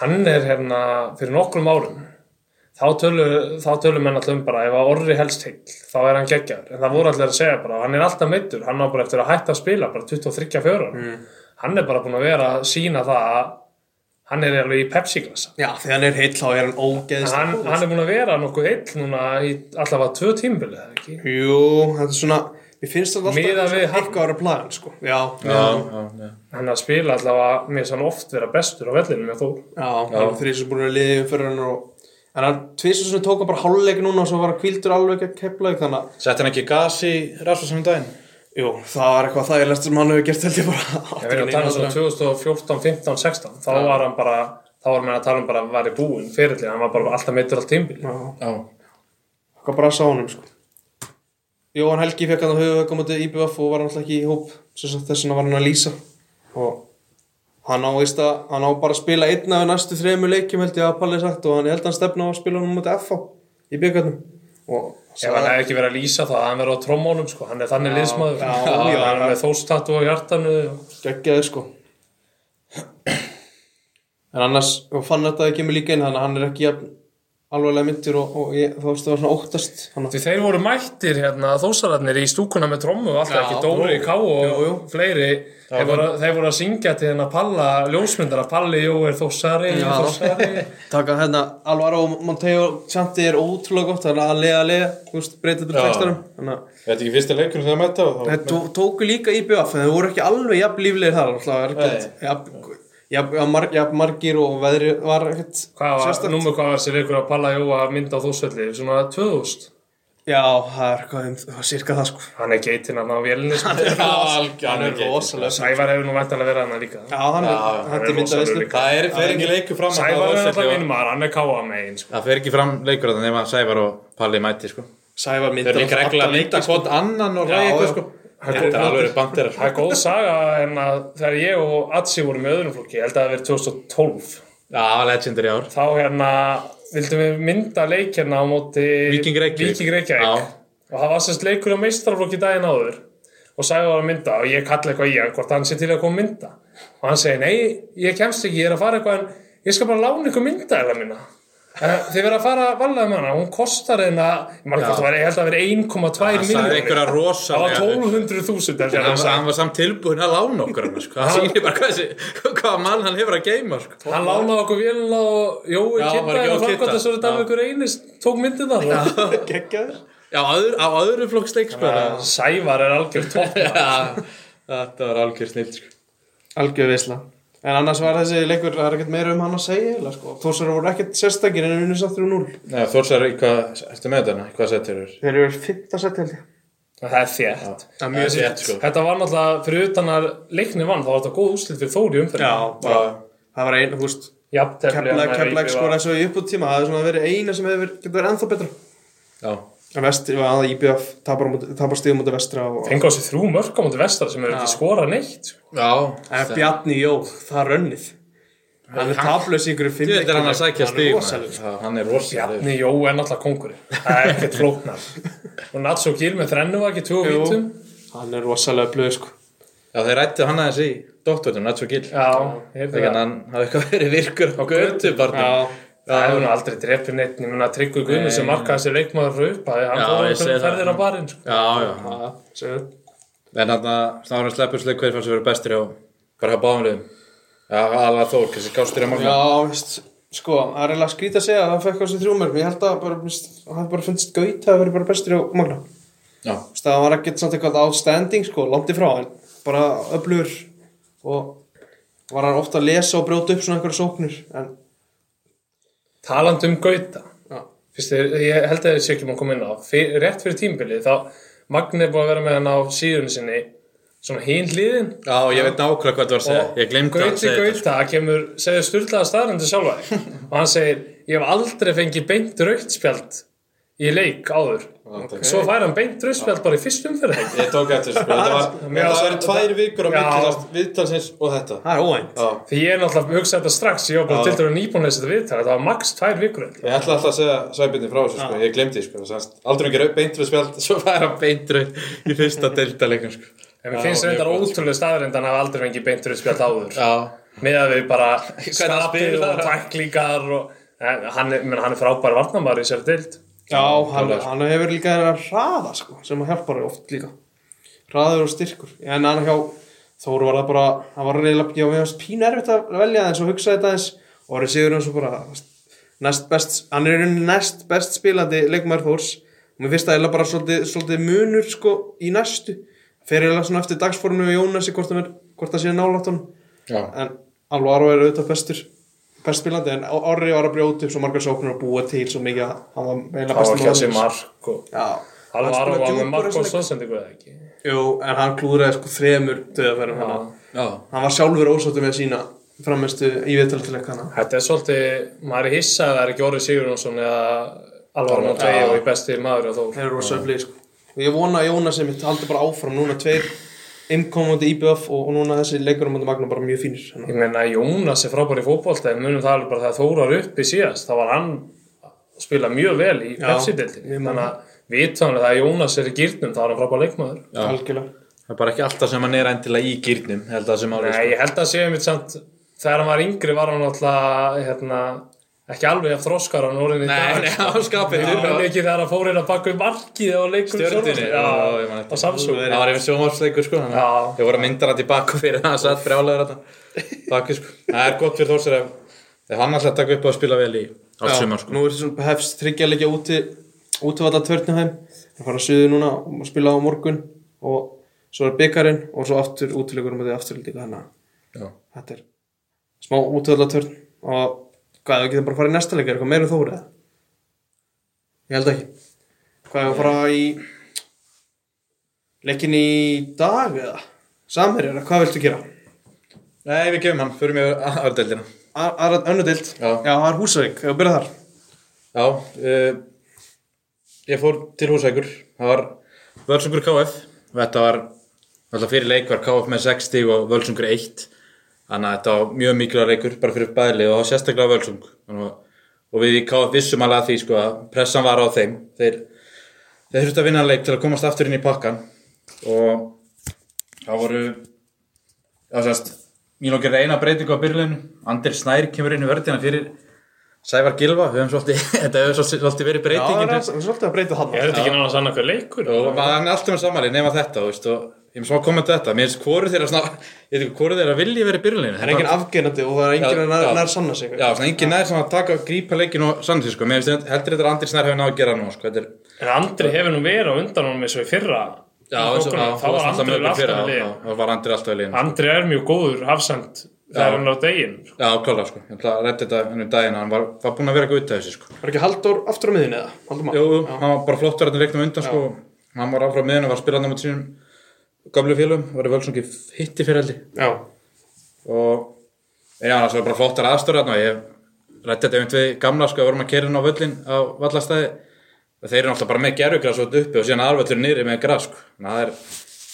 S3: Hann er hérna fyrir nokkrum árum. Þá tölum, þá tölum menn allum bara ef að Orri helst heill, þá er hann geggjar. En það voru allir að segja bara, hann er alltaf meittur, hann á bara eftir að hætta að spila, bara 23-4. Mm. Hann er bara búin að vera að sína það að hann er alveg í Pepsi-glasa.
S2: Já, þegar hann er heill þá er hann ógeðist
S3: Hann, hann er búin að vera nokkuð heill núna í allavega tvö tímbilið, eða ekki?
S2: Jú, þetta er svona Ég finnst þetta alltaf
S3: Miðað við hann.
S2: eitthvað ára plan sko. Já, já,
S1: Já, já, já.
S3: Hann er að spila allavega, mér sann oft vera bestur á vellinu með Þór.
S2: já. Þrýs er búin að liði um fyrir hann og En hann tvisur sem tók hann bara hálfleik núna og svo var hann kvildur alveg ekki að kepla þannig að,
S1: Sett hann ekki gas í Rasmusson um daginn?
S2: jú, það var eitthvað þægilegst sem hann hefur gert held ég bara
S3: Ég verið að tala um svo 2014, 15, 16 þá var hann bara, þá var hann að tala um bara að væri búinn fyrirlið, hann var bara alltaf meittur allt tímbil
S2: Já,
S1: Já.
S2: hvað bara sá honum sko Jóhann Helgi fekk hann á höfuðu komandi í BF og var hann alltaf ekki í hóp sem sagt þess vegna var hann að lýsa og hann á, veist að, hann á bara að spila einn af næstu þremur leikjum held ég að Palli sagt og hann ég held að hann stefna á að spila hann mútið FH í byggarnum og
S3: Ef hann hefði ekki verið að lýsa það, hann verið á trommónum sko, hann er þannig liðsmaður.
S2: já, já.
S3: hann er með þóstatú á hjartanu. og-
S2: geggjaði sko en annars og fann þetta ekki með líka inn þannig að hann er ekki jafn, alvarlega myndir og, og ég, þá veistu að svona óttast hann
S3: Því þeir voru mættir hérna þósararnir í stúkuna með trommu og alltaf ekki Dóri, Ká og fleiri. Þeir voru, þeir voru að syngja til hérna Palla, ljósmyndara, Palli, jú, er þósari,
S2: Já.
S3: þósari.
S2: taka hérna Alvaro Monteo Chanti er ótrúlega gott þannig að lega lega þú veist breytið til textarum þannig að
S1: Þetta er ekki fyrsta leikunum sem það mæta og þá
S2: Þetta tó- tóku líka í BF en þau voru ekki alveg jafn líflegir þar alltaf er ekkert jafn- jafn- jafn mar- jafn margir og veðri var ekkert
S3: Hvað var,
S2: sérstakt.
S3: númur hvað var sér ykkur að Palla, jú, að mynda á þósvelli, svona 2000.
S2: Já, það er hvað um, það var cirka það sko
S3: Hann er geitinn hann á vélinni, sko.
S1: Hann
S2: Hann er rosalega
S3: Sævar hefur nú vantanlega verið hann líka.
S2: Já, hann er, hann
S3: hann
S2: er
S3: er
S2: mynda
S3: rosalegur
S2: veislu
S3: líka.
S1: Það er fer ekki leikur fram að það
S3: Sævar er alltaf
S1: Þórshölli og-
S3: mínum maður, hann er káa megin, sko.
S4: Það fer ekki fram leikur að það nema Sævar og Palli mæti sko.
S2: Sæfa
S1: Þeir
S2: mynda
S1: eru líka regla að leika hvort annan og ræða eitthvað
S2: já.
S1: sko Þetta er alveg bandir
S3: Það er góð saga en að þegar ég og Atsi vorum í öðrum flokki, ég held að það verið 2012,
S4: Já, legendary ár
S3: þá hérna vildum við mynda leik hérna á móti
S4: Víking Reykjavík.
S3: Víking Reykjavík.
S4: Já.
S3: og það var sérst leikur á meistraflokki daginn áður og Sævar var að mynda og ég kalla eitthvað í hann hvort hann sé til að koma að mynda og hann segi nei, ég kemst ekki, ég er að fara eitthvað en ég skal bara lána ykkur mynda eða minna þið verða að fara varlega með hana hún kostar hérna, ég man ekki hvort það væri- ég held að vera 1,2
S4: Það sagði
S3: miljónir
S4: einhverja
S3: það var
S4: rosalega
S3: 1200.000 held ég að
S4: Hann
S3: hann
S4: var,
S3: sagði.
S4: hann var samt tilbúin að lána okkur hann sko. Það sýnir bara hvað, þessi- hvaða mann hann hefur að geima sko.
S3: Hann lánaði okkur vélina og Jói
S4: Já,
S3: Kitta
S4: bara
S3: er
S4: Jói
S3: að framkvæmt
S4: Kidda.
S3: þess að Dalvíkur Einis tók myndið það
S2: Gekkjaður
S4: Já, öðru, á öðru flokks sko. leikspöðar
S3: Sævar er algjör topp
S4: Þetta var algjör snill sko.
S2: Algjör veisla En annars var þessi leikur, það er ekkert meira um hann að segja eða sko Þórsar voru ekkert sérstakir en unni sattur úr núl
S1: Nei, Þórsar, í hvað, ertu með þetta? Hvað settir þér?
S2: Þeir eru fyrta sett held ég
S3: Það er þétt
S2: Það er
S1: Það
S2: mjög
S1: er rétt sko
S3: Þetta var náttúrulega fyrir utan að leikni vann þá var þetta góð úslit fyrir Þóri umfyrir
S2: Já, bara, það var eina, þú veist
S3: Jafntefli
S2: Keflæk, keflæk skora svo í uppbútt tíma Það hefði svona verið eina sem hefur getur verið ennþá betra
S4: Já,
S2: En vestri var að IBF tapar, á móti- tapar stíðum út af vestra og
S3: Fengi á sig þrjú mörg á móti vestar sem er ekki skora neitt sko.
S4: já
S2: En Eh, Bjarni Jó, það er rönnið Hann er taplaus í einhverju fimm
S4: Þetta er hann að sækja stíg
S2: rosalur
S1: sko. Já, Hann er rosalega
S3: Bjarni Jó er náttúrulega kongurinn Það er ekkert flóknar Og Natsó Gil með þrennu var ekki tvö
S2: Jú.
S3: vítum
S2: Hann er rosalega blöð sko
S4: Já, þeir rættu hann aðeins í doktornum, Nacho Gill
S3: Já, ég heyrði
S4: Þegar
S3: það
S4: hann hafði eitthvað verið virkur á götu
S2: Já,
S3: Það hefur nú aldrei drefið neitt Ég mun að Tryggvi Guðmund sem markaði sér leikmaður frá upphafi, hann
S4: Já,
S3: fór á
S4: ég segi
S3: einhverjum
S4: það.
S3: ferðir á barinn sko.
S4: Já, já,
S2: segðu
S4: En hann að snáðurinn sleppur sleik hverjir fannst að vera bestir hjá bara hjá báðum liðum Já, alveg Þór, hversi gástur að magna
S2: Já, veist, sko, það er eiginlega skrítið að segja að hann fekk á sig þrjú mörg Ég held að bara, veist, hann hafði bara fundist gauta að vera bara bestur á magna Þú
S4: Já,
S2: veist, það var ekkert samt eitthvað outstanding, sko, langt í frá en bara öflugur og var hann ofta að lesa og brjóta upp svona einhverja sóknir en,
S3: Taland um Gauta
S2: já,
S3: Fyrst, ég- ég held að þið sé ekki maður að koma inn á Fyr, rétt fyrir tímbilið þá Magni er búið að vera með hann á síðun sinni svona hinn hliðin
S4: já ég veit nákvæmlega hvað þú var að segja Ég glemt að hann
S3: Gauti
S4: segja þetta sko.
S3: Gauta kemur, segir sturlaða staðarindu sjálfa þig. og hann segir ég hef aldrei fengið beint rautspjald í leik áður svo fær hann beint rautspjald bara í fyrst umferð held ég.
S1: Ég tók eftir sko Þetta var,
S3: mér
S1: það
S3: var-
S1: eru tvær vikur á
S3: Já.
S1: mikilast viðtalsins og þetta
S2: það er óænt
S1: Já
S3: því ég er náttúrulega hugsað þetta strax ég var bara til dæru nýbúin að lesa þetta viðtala það var max tvær vikur held ég.
S1: Ég ætla alltaf að segja sæbjörni frá þessu sko, ég glemdi því, sko, sannst, aldrei ekki beint við spjald, svo
S4: Það er hann beintur í fyrsta deildaleikum sko.
S3: en mér finnst
S1: Já,
S3: reyndar
S1: mjög gott.
S3: ótrúlega staðarind hann hafa aldrei fengið beint rautspjald áður
S4: Já,
S3: með að við bara
S4: hann
S3: skapir
S4: spilar.
S3: og tæklingar og en, hann, er, menn, hann er frábær varnamæður í sér dild
S2: Já, hann, hann hefur líka þennan hraða sko, sem að hjálpar oft líka hraður og styrkur en hann hjá Þóru var það bara hann var reyðilega, já, mér varst pín erfitt að velja eins og hugsa þetta eins og Ari Sigur eins og bara næst best, hann er í rauninni næst best spilandi leikmaður Þórs og mér finnst það eiginlega bara svolítið, svolítið munur sko í næstu fer eiginlega svona eftir dagsforminu og Jónasi hvort hann er- hvort það sé nálátt hann
S1: Já.
S2: en Alvaro er auðvitað bestur best spilandi en Á- Orri var að brjóta upp svo margar sóknur og búa til svo mikið að hann var eiginlega
S3: það var
S2: bestur
S3: ekki að
S2: móðins.
S3: sé mark og
S2: Já,
S3: hann var
S2: spilaði
S3: að var
S2: djúpur
S3: með mark
S2: þessu
S3: og
S2: leik.
S3: stóðsendingu eða ekki
S2: Jú, en hann klúðraði sko þremur döðafærum hann
S4: já
S2: Hann var sjálfur ósáttu með sína framistu í viðtaltileikana
S3: þetta er svolítið, maður er hissað að það er ekki Orri Sigurjónsson eða Alvar Montvei og í besti maður og þó
S2: Þeir eru rosa öflið sko Og ég vona að Jónas sem mitt haldi bara áfram núna tveir innkomandi IBF og, og núna þessi leikur um Magna bara mjög fínir þannig
S3: Ég meina Jónas er frábær í fótbolta en munum það alveg bara þegar Þórar uppi síðast þá var hann að spila mjög vel í Pepsi-deltinni
S2: ég man
S3: þannig að vitanlega þegar Jónas er í gýrnum þá er hann frábær leikmaður
S2: að algjörlega
S1: Það er bara ekki alltaf sem hann er endilega í gýrnum, held að sem
S3: Nei,
S1: álið.
S3: ég held að séu mitt samt þegar hann var yngri var hann alltaf hérna, ekki alveg af þróskar hann orðin í dag
S4: Nei, hann skapið
S3: Það var ekki þegar að fór hérna að baka upp markið og leikur
S1: Stjörnunni, já, ég man
S3: Já,
S1: eftir.
S3: á Samsung
S1: Það var yfir sjónvarsleikur sko þannig að
S3: Já.
S1: Ég voru að mynda hann til baku fyrir það Satt brjálæður þetta Baku sko Það er gott fyrir Þórsir ef Ef hann alltaf taka upp á að spila vel í Allt sumar sko
S2: nú er þessum hefst þryggja leikja úti útvölda tvörnihæm það fara suðu núna og spila á morgun og svo er byggarinn og svo aftur útilegur um því afturlíka þannig
S1: Já.
S2: að þetta er smá útvölda tvörn og hvað, við getum bara að fara í næsta leika er eitthvað meira þórið ég held ekki hvað, við að fara í leikin í dag eða samir eða hvað viltu gera?
S1: Nei, við gefum hann Förum við aðardeldina
S2: aðra önnudild
S1: Já.
S2: það er Húsavík, hefur byrjað þar
S1: Já uh, Ég fór til húsækur Það var Völsungur KF Þetta var Alltaf fyrir leik var KF með 60 og Völsungur 1 Þannig að þetta var mjög mikilvæg leikur Bara fyrir bæðli og þá sérstaklega Völsung Þannig að- Og við í KF vissum alveg að því sko að Pressan var á þeim Þeir þeir þurftu að vinna leik til að komast aftur inn í pakkan og það voru það sést Míló gerði eina breytingu á byrjun Andri Snær kemur inn í vörðina fyrir Sævar Gilva, við höfum svolítið þetta hefur svolítið- svolítið verið
S2: Já, það
S1: breytingin
S2: er að- svolítið að breyta hann
S3: Er þetta ekki náttúrulega annað hver leikur?
S1: og maður er alltaf með samanlega nema þetta þú veist, og ég með smá kommentu þetta mér finnst hvoru þeirra svona, ég veit ekki hvoru þeirra vilji verið byrjunlegin
S2: Það er enginn afgerandi og það er enginn að nær,
S1: Já, já.
S2: nær sanna sig
S1: Já, svona enginn næður sem að taka grípa leikin og sannsins sko, mér finnst heldur þetta að Andri Snær hefur náðu að gera nú sko, þetta er
S3: En Andri hefur nú verið á undan honum eins og í fyrra
S1: Já,
S3: eins og
S1: það
S3: Þá var Andri
S1: alltaf með
S3: alltaf með
S1: liðin.
S3: liðin
S1: Já, þá var Andri alltaf í liðin.
S3: Andri er mjög góður hafsend þegar hann er á deginn sko.
S1: Já, klálega sko. Ég ætla að rætti þetta ennum daginn að hann var, var búinn að vera gauta þessi sko.
S2: Var ekki Halldór aftur á miðinni eða?
S1: Jú,
S2: Halldór maður?
S1: jú, hann var bara flottur að leiknum undan sko. Hann var áfram meðin og var spilandi á mót sínum gamlu félum, var í völsungi hitti fyrir heldi.
S2: Já,
S1: Og en já, það var bara flottar aðstöru þarna og ég rætti þetta einmitt við gamla sko, við vorum að kera inn á völlin á vallastæði. Og Þeir eru náttúrulega bara með gerugras út uppi og síðan aðvöllur niðri með gras sko. Þannig að það er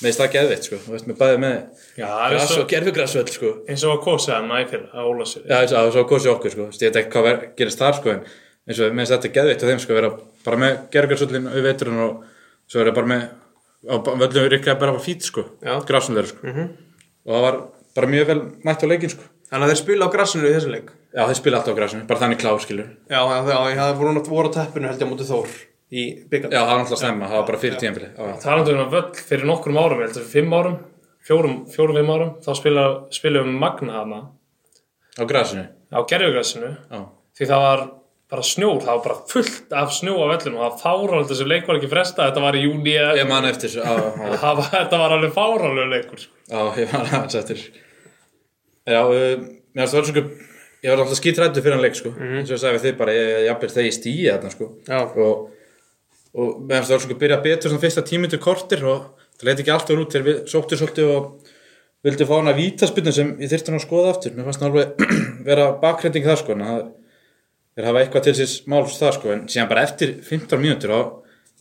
S1: meðist það geðvitt sko. Þú veist, með bæði með
S3: Já, það er
S1: gras
S3: svo
S1: og gerfugrasvöll sko.
S3: eins og að kosa hann í fyrra á Ólasir
S1: Já, þess að það svo kosið okkur sko, Þess, ég veit ekki hvað ver, gerist þar sko en eins og minnst þetta geðveitt á þeim sko vera bara með gergarsöllin við veiturinn og svo vera bara með á ba- völlum ríklega bara á fít sko grásum þeirra sko
S3: Mhm.
S1: og það var bara mjög vel mætt á leikin sko
S2: þannig að þeir spila á grassinu í þessum leik
S1: Já, þeir spila alltaf á grásinu, bara þannig klá skilur
S2: Já, já, já, já, það voru náttúrulega voru á teppinu held ég á móti Þór í byggarn
S1: Já, það var alltaf snemma, það var bara fyrir tíðanfili Já,
S3: Talandi um að völl fyrir nokkrum árum, heldur fyrir fimm árum, fjórum, fjórum, fimm árum, þá spila, spilum við Magna hana
S1: á grásinu
S3: á gerðugrassinu
S1: Já,
S3: því það var bara snjór, það var bara fullt af snjó á vellinu og það fáránlega þessu leik var ekki fresta, þetta var í júni
S1: ég man eftir þessu, já, já,
S3: það var, þetta var alveg fáránlega leikur sko.
S1: já, ég man aðeins eftir þessu. Já, um, mér finnst það var svo ég var alltaf skítrættu fyrir hann leik sko eins og ég sagði við þið bara, ég, ég, ég, þegar ég stíði þarna sko
S2: Já,
S1: og, og meðan það var svona byrjað betur svona fyrsta tímyndu kortir og það leit ekki alltaf út þegar við sóttum svolítið og vildi fá hana vítaspilnu sem ég þyrfti hann að skoða aftur mér fannst hann alveg vera bakrending það sko en það er að hafa eitthvað til sér máls það sko en síðan bara eftir 15 mínútur þá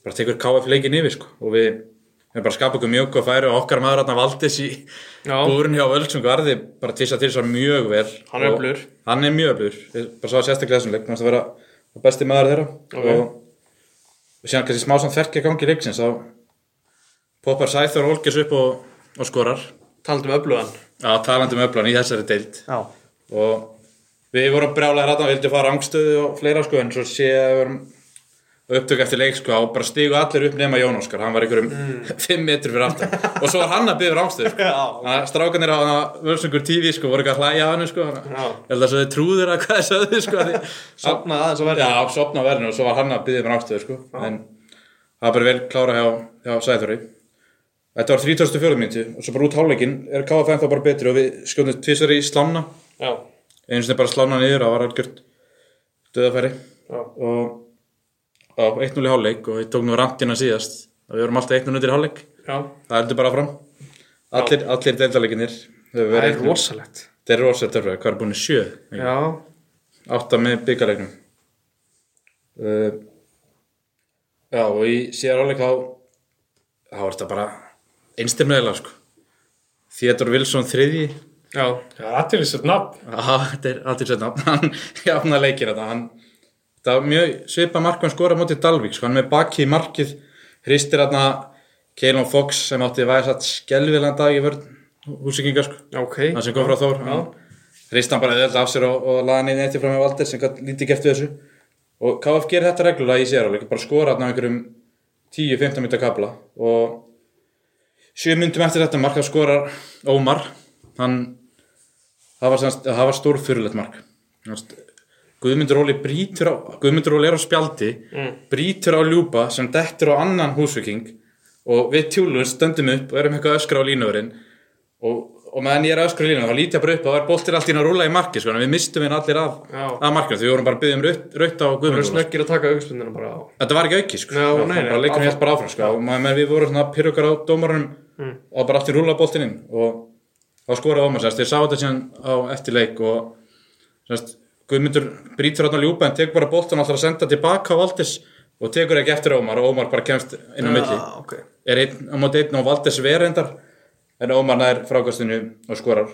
S1: bara tekur KF leikin yfir sko og við við bara skapa okkur mjög og færi og okkar maður hann valdis í
S2: Já.
S1: búrun hjá Völsung varði bara tvisa til svo mjög vel
S2: Hann er
S1: Og
S2: öflugur.
S1: hann er mjög öflur, bara svo sérstaklega þessum leik mér fannst það vera besti maður þeirra og og síðan kannski smá samt ferkja gangi leiksins þá poppar Sæþór Olgers upp og, og skorar
S2: talandi um öflugan
S1: að talandi um öflan í þessari deild
S2: Já,
S1: og við vorum brjálega ræðan vildum fara rangstöðu og fleira sko en svo sé að við vorum upptök eftir leik sko og bara stígu allir upp nema Jón Óskar hann var einhverjum 5 metri fyrir aftan og svo var hann að byggja rangstöðu sko.
S2: Mm. Já.
S1: Þannig að strákanir á hana völsungur TV sko voru eitthvað að hlæja að hann sko þannig
S2: Já.
S1: að- ég held að svo þið trúðir að hvað þið sögðu sko að því-
S2: sopnaði aðeins að verða
S1: Já, sopna verðinu og svo var hann að byggja mér ástöðu sko. en það er bara vel klára hjá, hjá Sæþóri Þetta var 34. minúti og svo bara út hálfleikin er KFM þá bara betri og við skjóðum tvisar í slána
S2: Já,
S1: einu sinni bara slána niður og var algjört döðafæri
S2: Já.
S1: og á 1-0 í hálfleik og við tók nú rantina síðast og við vorum alltaf 1-0 undir í hálfleik
S2: já,
S1: það heldur bara fram allir, allir deildaleginir
S2: það er rosalegt
S1: það er rosa törfæri, hvað er búin í sjö ekki?
S2: Já,
S1: átta með byggarleiknum uh, já og í síðar áleik þá þá var þetta bara einstirmiðilega sko Theodor Wilson þriðji
S2: Já,
S5: Það er aðtilísett nafn.
S1: ah, þetta er aldrei setna hann jafna leikir þetta hann, það var mjög svipa markmann skora á móti Dalvík sko, hann er með baki í markið hristir hann að Keilon Fox sem átti væðisat skelvilegan dag í vörn húsíkingar sko,
S2: ok
S1: hann sem kom frá Þór hann hristi hann bara eða af sér og, og laði hann inn eftir fram með Valdir sem gæti lítið gert við þessu og KF gerir þetta reglulega í sér bara skora hann á einhverjum 10-15 minnta kapla og 7 myndum eftir þetta marka skorar Ómar hann það var, semast, það var stór fyrirlegt mark Semast, Guðmundur Óli brýtur á Guðmundur Óli er á spjaldi brýtur á ljúpa sem dettur á annan húsviking og við tjúlum stöndum upp og erum eitthvað að öskra á línuverinn og, og meðan ég er að öskra á línuverinn þá lítið bara upp og það er boltir allt í að rúla í marki sko, en við mistum hinn allir af,
S2: Já.
S1: af markinu því við vorum bara að byggja um raut, raut á
S2: Það
S1: Guðmundur
S2: er
S1: Óla, sko.
S2: snöggir að taka augspundina bara á
S1: Þetta var ekki auki, sko.
S2: Já,
S1: Það var
S2: nei, nei,
S1: bara leikurinn
S2: áfram.
S1: hélt bara áfram, sko. Og maður, við vorum svona pyrrukar á dómarunum
S2: Mm.
S1: og bara aftur rúla boltinn inn og þá skoraði Ómar, sérst. Ég sá þetta síðan á eftir leik og sérst, Guðmundur brýtur hann á ljúpa en tekur bara boltinn alltaf að senda tilbaka á Valdis og tekur ekki eftir Ómar og Ómar bara kemst inn á milli.
S2: Já, ok
S1: Er einn á móti einn og Valdis verendar en Ómar nær frákastinu og skorar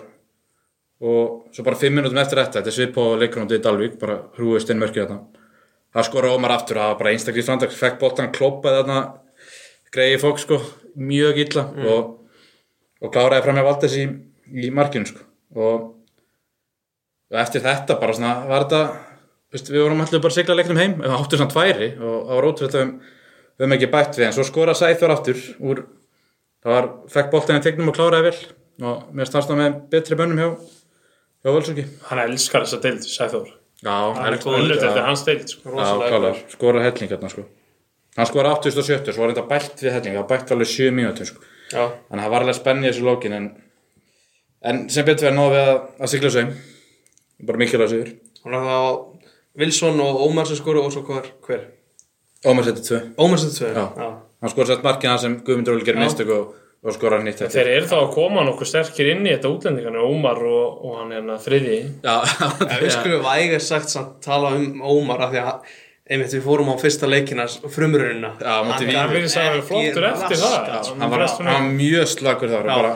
S1: og svo bara fimm minútum eftir þetta, þetta er svip á leikunum til Dalvík, bara hrúist inn mörkið þarna það skora Ómar aftur, það var bara einstaklega framtak fekk boltan kloppaði þarna greiði fólk sko, mjög illa og, og kláraði fram hjá Valdes í, í markinu sko og, og eftir þetta bara svona, var þetta veist, við vorum allir bara að sigla leiknum heim við áttum svona tværi og það var ótrúlega um, við höfum ekki bætt við, en svo skoraði Sæþór aftur úr, það var, fekk boltan í tegnum og kláraði vel og mér stannst það með betri mönnum hjá Já, Völsungi.
S3: Hann elskar þessa deild, Sæþór.
S1: Já,
S3: Hann er góður, þetta er hans deild. Sko.
S1: Já, klálega, skora helling hérna sko Hann skora 8070, svo var þetta bælt við helling það var bælt alveg 7 mínútur sko
S2: Já,
S1: Þannig að það var alveg spennið þessu lókin en, en sem betur verið náðum við að, að sigla þessu heim bara mikilvæg sigur
S2: hann er þá Wilson og Ómar sem skoru og svo hver, hver?
S1: Ómar setið 2
S2: Ómar sem tvö
S1: Já. Hann skora sett markina sem Guðmundur Óli gerir mistök og, og skora nýtt þetta
S3: Þeir eru þá að koma nokkuð sterkir inn í þetta útlendingan, Ómar og, og hann hérna þriði.
S1: Já,
S2: Já, við skulum vægir sagt samt tala um Ómar af því að einmitt við fórum á fyrsta leikina frumrunina
S1: já, móti vín
S3: Það verður sá að vera flottur
S2: Ekki
S3: eftir
S2: rask,
S3: það.
S1: Hann var, hann var mjög slagur þar og bara,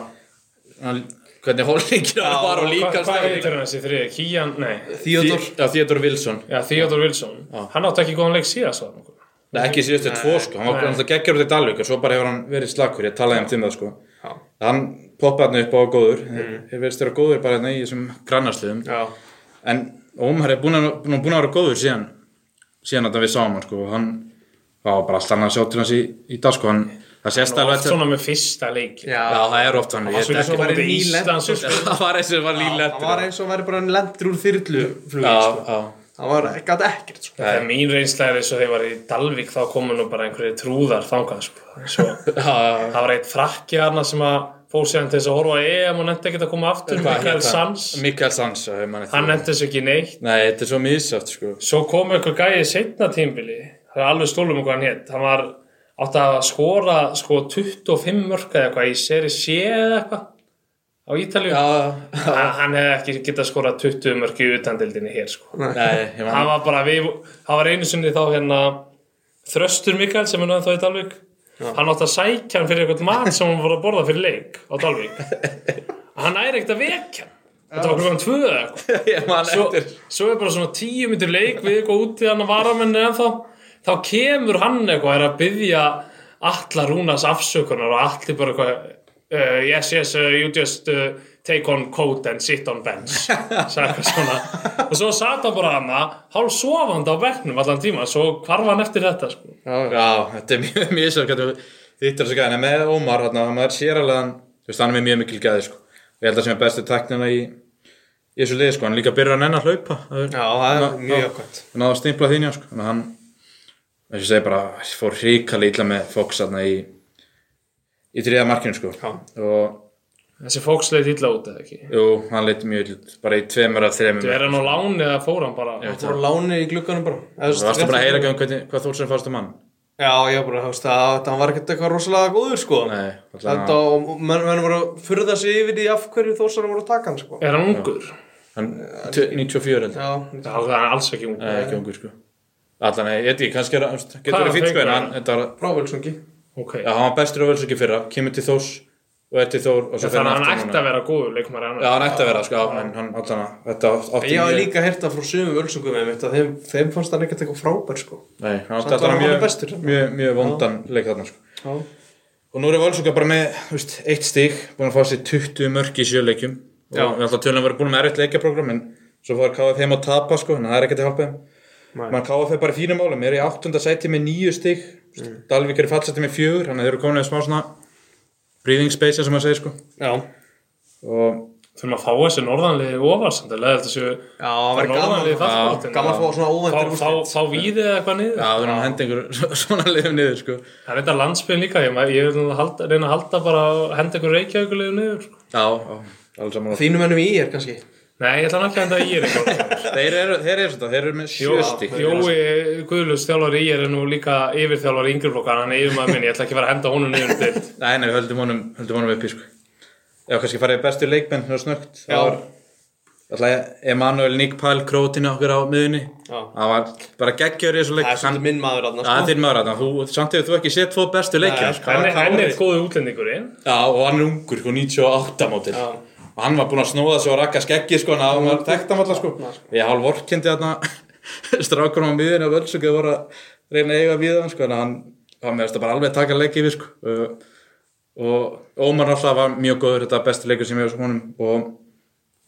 S1: hann, hvernig hólingir hann var og líka sko.
S3: Hvað heitir hann þessi þriði? Kían, nei.
S2: Theodor
S1: Já, Theodor Wilson
S3: Já, Theodor Wilson. Hann átti ekki góðan leik síðast var nokkuð.
S1: Nei, ekki síðustu tvo sko, hann var alltaf geggjur út í Dalvík og svo bara hefur hann verið slakur, ég talaði um tím það sko
S2: Já. Mm.
S1: Hann poppaði hann upp á góður, hefur verið störa góður bara hérna í þessum grannarsliðum
S2: Já,
S1: En Ómar er búin að, búinn að- búinn að vera góður síðan, síðan að við sáum hann sko og Hann það var bara alltaf hann að sjá til hans í, í dag sko, hann, það sést
S3: Það
S1: alveg
S3: var
S1: eftir-
S3: svona með fyrsta leik.
S2: já,
S1: Já, það er oft hann, ég
S3: Svo
S1: veit
S3: svona
S1: ekki sko.
S2: bara
S3: bara í
S2: ný
S3: Íslands sko. og
S1: Já, Það var eins og var
S2: hann var
S1: lílega
S2: eins og væri bara hann lendur úr þyrlu
S1: Já,
S2: flugin, sko.
S1: já,
S2: hann var gæti ekkert sko.
S3: Það er mín reynsla er eins og þeir var í Dalvík þá komu nú bara einhverju trúðar þangað sko. Svo, það var eitt frakki hana sem að fór síðan til þess að horfa á EM og nefndi ekkert að koma aftur
S1: Hvað
S3: Mikael
S1: hét hann?
S3: Sands,
S1: Mikael Sands, já, ég man eftir
S3: hann
S1: honum.
S3: nefndi þessu ekki neitt
S1: Nei, þetta er svo misaft sko
S3: Svo kom einhver gæði setna tímbili það er alveg stólum hvað hann hétt hann var átt að skora sko 25 mörka eða eitthvað í seri C eða eitthvað á Ítalju
S1: Já,
S3: Hann- hann hefði ekki getað skorað 20 mörki í utandildinni hér sko
S1: nei, ég man
S3: hann var bara við, hann var einu sinni þá hérna Þröstur Mikael sem er náðan þá í Dalvík hann átti að sækja hann fyrir eitthvað mat sem hann voru að borða fyrir leik á Dalvík hann næri ekkert að vekja hann þetta var klokkan tvö eða eitthvað
S1: Ég man
S3: svo,
S1: eftir
S3: svo er bara svona tíu myndir leik við eitthvað út í hann að varamenni en þá þá kemur hann eitthvað er að byggja alla rúnas afsökunar og allir bara eitthvað uh, yes yes uh, you just uh, take on coat and sit on bench sagði eitthvað svona og svo satt hann bara hann hálf sofandi á bekknum allan tíma svo hvarf hann eftir þetta sko.
S1: Já, þetta er mjög mjög sér hvernig þýttir þessu gæðin, en með Ómar hann, hann er sér alveg hann, þú veist, hann er með mjög mikil gæði sko. og ég held að sem er bestu teknina í í þessu liði, sko, hann er líka byrjar að nenn að hlaupa það er-
S2: Já, það er
S1: Ná-
S2: mjög
S1: ná-
S2: jákvæmt.
S1: hann náði að stimpla þín, já, sko, þannig að hann þess að segja bara, fór hrikalega illa með Fox hann í í þriða markinu, sko
S2: Já.
S1: og,
S3: þessi fólks leit illa út eða ekki
S1: jú, hann leitt mjög illa bara í tveimur af þreimur
S3: er hann á láni eða fór hann bara
S2: hann fór að láni í glugganum bara Eða, þú veist,
S1: varstu bara að heyra
S2: rétt-
S1: ekki um hvernig, hvað þú sem fórstu mann
S2: Já, ég bara, þú veist, að það var ekkert eitthvað rosalega góður sko
S1: nei, alltaf
S2: Þetta og menn, menn voru að furða sig yfir því af hverju þósar voru að taka hann sko
S3: er hann ungur?
S1: hann, 94 held ég.
S2: Já,
S3: Já, það er alls ekki ungur
S1: Nei, ekki ungur sko Allan, ég veit ekki, kannski er hann getur
S3: Hvað
S1: verið fínt sko
S3: fengur
S1: en
S3: hann?
S1: hann, þetta var,
S2: frávölsungi
S3: okay.
S1: já, hann var bestur á völsöki fyrra kemur til þós og Eddi Þór og svo
S3: Þannig að hann
S1: aftur
S3: ætti
S1: núna.
S3: að vera góður leikmæri annar.
S1: Já, hann ætti að vera, sko, á, en hann allan að þetta átti
S2: Ég hafði líka hérta frá sömu völsungum með mitt að þeim, þeim fannst hann ekkert eitthvað frábær sko
S1: Nei, hann átti
S2: Samt var
S1: allan að
S2: hann
S1: mjög,
S2: bestur.
S1: mjög, mjög vondan leik þarna, sko.
S2: Já.
S1: Og nú eru Valsóka bara með, þú veist, eitt stík, búin að fá sér 20 mörg í sjöleikjum. Og
S2: Já.
S1: við alltaf tölum að vera búin með erfitt leikjaprogram, en svo fór KF heim að tapa, sko, en það er ekkert að hjálpa þeim. Man KF er bara í fínum álum, er í áttunda sæti með nýju stík, mm. Dalvík er í fallseti með fjögur, þannig að þeir eru komin eða smá svona breathing space, sem maður segir, sko.
S2: Já,
S1: Og
S3: Þurfum að fá þessi norðanlið ofar samt að leða þetta séu
S2: já, það var gaman
S3: norðanlið í fallbaráttunni.
S2: Gaman að fá svona
S3: Fá-
S2: óvendur
S3: fá- Fá víðið eða eitthvað niður.
S1: já, það er hann hendi einhver svona liðum niður, sko.
S3: Það er þetta landsbyrðin líka, ég, ég vil nú halda, reyna að halda bara að henda ykkur reykjavíkulegu niður. sko.
S1: Já, já, alveg saman að
S2: Þínum ennum í er kannski
S3: Nei, ég ætla hann ekki að henda í sko. er
S1: Þeir eru, þeir eru svona, þeir eru með sjö stík.
S3: eitthvað. Jói Guðlust þjálfari í er nú líka yfirþjálfari yngri flokka, hann er yfirmaður minn, ég ætla ekki að fara að henda honum niður um dild.
S1: Nei, nei, við höldum honum, höldum honum upp í sko. Já, kannski farið bestu leikmenn hérna snögt.
S2: Já.
S1: Það var alltaf Emanuel Nikpal krótina okkur á miðunni.
S2: Já.
S1: Það var bara geggjör í þessu leik.
S2: Það er svolítið minn maður sko.
S1: Það er
S2: aðna
S1: þinn maður þarna. Þú- Samt hefur þú ekki sett tvo bestu leikja.
S2: Nei,
S1: sko.
S3: Hann er-
S2: Kári.
S3: hann er góðu útlendingurinn.
S1: Já, og hann er ungur, sko, 98 mótil. Og hann var búinn að snóða sig og rakka skeggi, sko, en hann var þekkt hann alltaf, sko. Ég hálf vorkindi þarna strákunum á miðunni á völsöku og voru að reyna að eiga við hann, sko, en hann var með þetta bara alveg taka leik yfir, sko. Uh, og Ómar alltaf var mjög góður, þetta er besti leikur sem ég hef sko honum. Og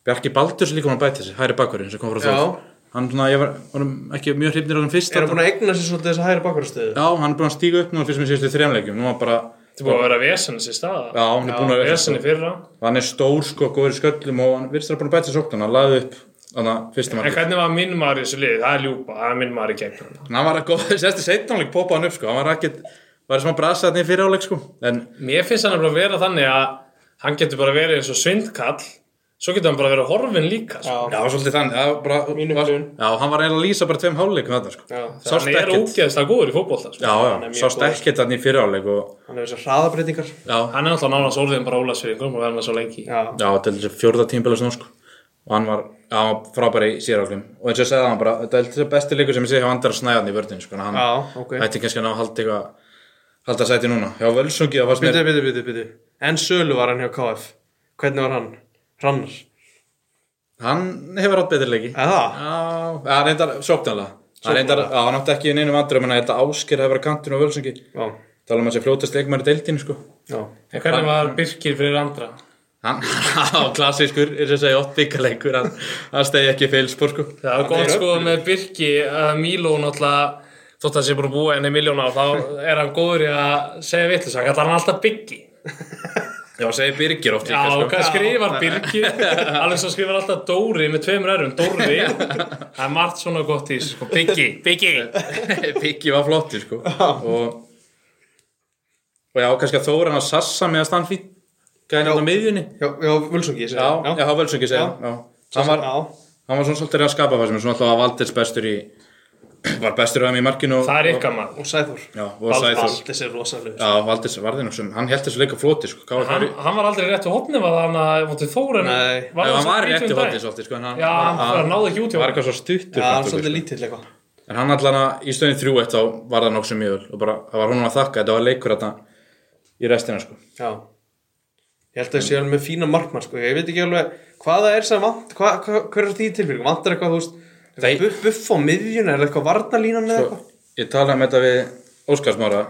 S1: Bjarki Baldurs líka hann bæti sig, hæri bakkurinn sem kom frá
S2: Já.
S1: þóð. Hann, svona, ég var honum ekki mjög hrifnir á hann fyrst.
S2: Er hann
S1: þarna.
S2: búin að eigna sér svolítið þessa hægri bakvarastöðu?
S1: Já, hann er búinn að stíga upp núna fyrst með síðustu þremleikjum. Nú var bara,
S3: Þetta er búið að vera vesenis í staða.
S1: já, hann er búinn að
S3: Vesenið fyrra.
S1: og hann er stór sko, góður í sköllum og hann virðist að búin að bæta sér sóknuna, hann laði upp þannig að fyrsta
S3: En
S1: markið.
S3: hvernig var minn maður í þessu lið? Það er ljúpa, það er minn maður í gegn.
S1: En hann var að góða, sérstu seittánleik poppa hann upp sko, hann var ekkert, var smá brasa þarna í fyrir áleik sko, en
S3: Mér finnst hann að bara vera þannig að hann getur bara verið eins og svindkall, svo getur hann bara verið horfin líka. Sko.
S1: já, var svolítið þannig, það var bara,
S2: Mín
S1: var,
S2: upplifun.
S1: já, hann var eiginlega að lýsa bara tveim háluleikum þarna sko,
S2: Já,
S1: sást
S3: Hann er
S1: ekkert,
S3: ógeðslega góður í fótbolta. Sko.
S1: já,
S2: er
S1: já,
S2: mjög
S1: sást
S2: góður.
S1: ekkert þarna í fyrir áleik og,
S2: Hann hefur þessar hraðabreitingar
S1: já,
S3: Hann er alltaf nánast orðin bara ólagsfyringum og verður með svo lengi.
S2: Já,
S1: já, þetta er þessi fjórða tímbilis nú sko, og hann var, já, hann var frábæri í síðar áleikum, og eins og ég segði hann bara, þetta er þessi besti leikur sem ég sé hjá Andra Snæðan í vördin sko, en hann
S2: já, ok
S1: ætti kannski að ná að halda eitthvað, halda sæti núna, hjá Völsungi, það fannst mér-
S2: Bítu, bítu, bítu, bítu En Sölu var hann hjá KF Hvernig var hann? Hrannar
S1: Hann hefur átt betri leiki Já,
S2: Eða?
S1: hann reyndar sóknarlega Hann reyndar, já, hann átti ekki í neinum andrum en þetta ásker hefur verið á kantinu og völsengi
S2: Já,
S1: tala um að sé fljótast leikmæri deildin sko
S2: já
S3: En hvernig var Birkir fyrir andra?
S1: Hann, á klassískur, er þess að segja oft byggaleikur hann, hann stegi ekki feilspor sko
S3: Það var góð sko með Birki að Míló náttúrulega, þótt að sé búin að búa henni miljónar, þá er hann góður í að segja vitlis. Hann kallar hann alltaf Biggi.
S1: Já, segi Birgir oft
S3: Já,
S1: líka
S3: og
S1: sko
S3: hvað skrifar Birki? Alveg svo skrifar alltaf Dóri með tveimur erum, Dóri. Það er margt svona gott í þessu, sko. Biggi, Biggi.
S1: Byggi var flotti sko og, og já, kannski að Þóra hann að Sassa með að stann fín gæði hann á miðjunni
S2: Já, já, Völsungi, ég segi
S1: Já, já, já völsengi segja
S2: Já.
S1: já. Hann var,
S2: Já,
S1: hann var svona svolítið að skapa það sem er svona alltaf að Valdes bestur í var bestur á þeim í markinu og-
S3: Það er ykkar maður.
S2: og Sæþór
S1: Já, og Sæþór
S2: Allt þessi er rosalegur
S1: Já, Valdís Varðinarsson, hann held þessu leik á floti sko, hvað
S3: Hann,
S1: var
S3: hann var aldrei rétt í hotni, var það hann að móti Þóren?
S2: Nei.
S1: það? Hann var
S3: svo
S1: rétt í hotið
S3: um daginn?
S1: svolítið sko, en hann
S3: Já, hann hann náði ekki út hjá
S1: var
S3: honum.
S1: eitthvað svo stuttur
S2: Já, hann er
S1: fannst okkur, sko.
S2: svolítið lítill eitthvað
S1: En hann allan að í stöðin þrjú eitt þá var það nokk sem mjög vel og bara, það var honum að þakka, þetta var leikur þarna í restina sko
S2: Já Ég held að þessi alveg með fína markmann, sko Ég veit ekki alveg hvað það er sem vant Hvað hva, hver er því tilbyrgum? Vantar eitthvað, þú veist
S1: Þeir-
S2: Buff, buff á miðjun, er það eitthvað varnalínan eða
S1: Sko,
S2: eitthvað?
S1: Ég talaði um þetta við Óskarsmára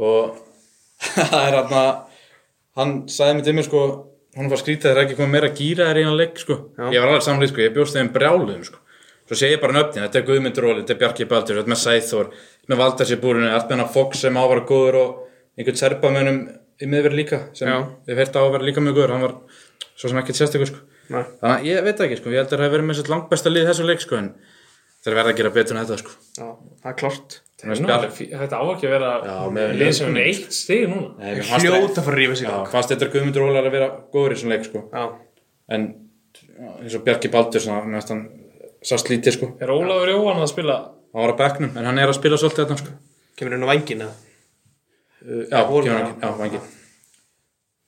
S1: og það er hann hann sagði mér til mér sko hún var skrítið þegar ekki komið meira gýra þér í hann leik sko,
S2: Já.
S1: ég var alveg samlið sko, ég bjóst þeim brjáluðum sko, svo segi ég bara nöfnin þetta er Guðmundur Óli, þetta er Bjarki Baldur, þetta er með Sæþór þetta er með Valdars í búrinu, allt með hann Fox sem ávara góður og einhvern serpamönum í miðverð líka, sem
S2: Já.
S1: við fyrta ávara líka mjög góður, hann var svo sem ekkert sérstakur sko
S2: Nei.
S1: þannig að ég veit ekki sko, ég held að það hef verið með sér langbesta lið í þessum leik sko, en þeir verða að gera betur en þetta sko
S2: Já, það er klart
S1: Þannig að
S3: Nú,
S1: spjall-
S3: Þetta á ekki að vera
S1: með-
S3: lið sem er eitt stig núna.
S1: Nei, mér fannst
S2: Hljóta að fara að rífa sig í
S1: Já,
S2: gang.
S1: fannst þetta Guðmundur Ólar að vera góður í svona leik sko.
S2: Já,
S1: en eins og Bjarki Baldur svona, mér fannst hann sást lítið sko.
S3: Er Ólafur Jóhann að spila?
S1: hann var á bekknum, en hann er að spila svolítið þetta sko.
S2: kemur inn á vængin eða?
S1: Uh, já,
S2: voru
S1: kemur
S2: það.
S1: hann- já, vangi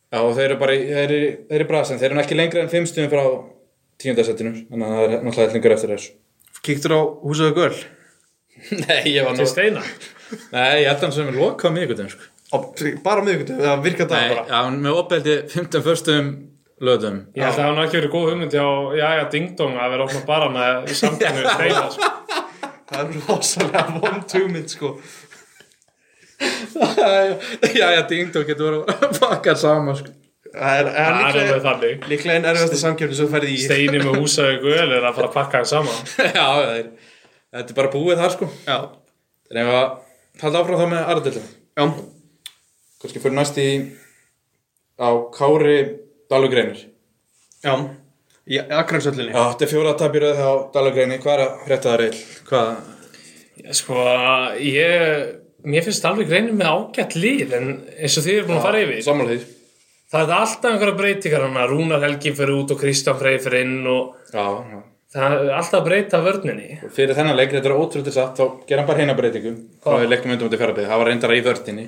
S1: já, og þeir eru bara í- þeir eru, þeir eru brasin, þeir eru ekki lengri en fimm stundum frá tíundasettinu þannig að það er náttúrulega hellingur eftir þessu
S2: Kíktur á húsaðu göl?
S1: nei, ég var
S3: Til Steina?
S1: nei, ég held að hann sem er lokað miðvikudaginn sko.
S2: Á, bara miðvikudöfum, það virka dag
S1: Nei,
S2: bara
S1: já, með opeldi 15 förstum löðum
S3: Ég held að hann ekki verið góð hugmynd hjá Jæja Dingdong að vera opna bara með samtími við þeirra sko.
S2: það er rosalega vond hugmynd sko
S1: Já, já, dingdó getur verið að pakka saman sko.
S2: það er, er
S3: Það er alveg
S2: líklega,
S3: þannig
S2: líklega einn erfiðasta samkjöfni sem þú ferði í
S3: Steini með húsavík öl er að fara að pakka hann saman
S1: Já, það er, þetta er bara búið þar sko
S2: já,
S1: Þannig að halda áfram þá með aðradildina
S2: já,
S1: Kanski fyrir næst í á Kári Dalugreinir
S2: já í Akransöllinni
S1: Já, þetta er fjóra tapjur á Dalugreinir Hvað er að hrætta það reyl? Hvað?
S3: Sko, ég Mér finnst alveg reynir með ágætt líð en eins og þið er búin að fara yfir
S1: Sammála því
S3: Það er alltaf einhverja breytingar hann að Rúnar Helgi fyrir út og Kristján Frey fyrir inn og
S1: Já, já
S3: það er alltaf að breyta vörninni
S1: Og Fyrir þennan leik, þetta er ótrúlega satt þá gera hann bara heina breytingu frá við leikum undan út í fjarlabið það var reyndar í vördinni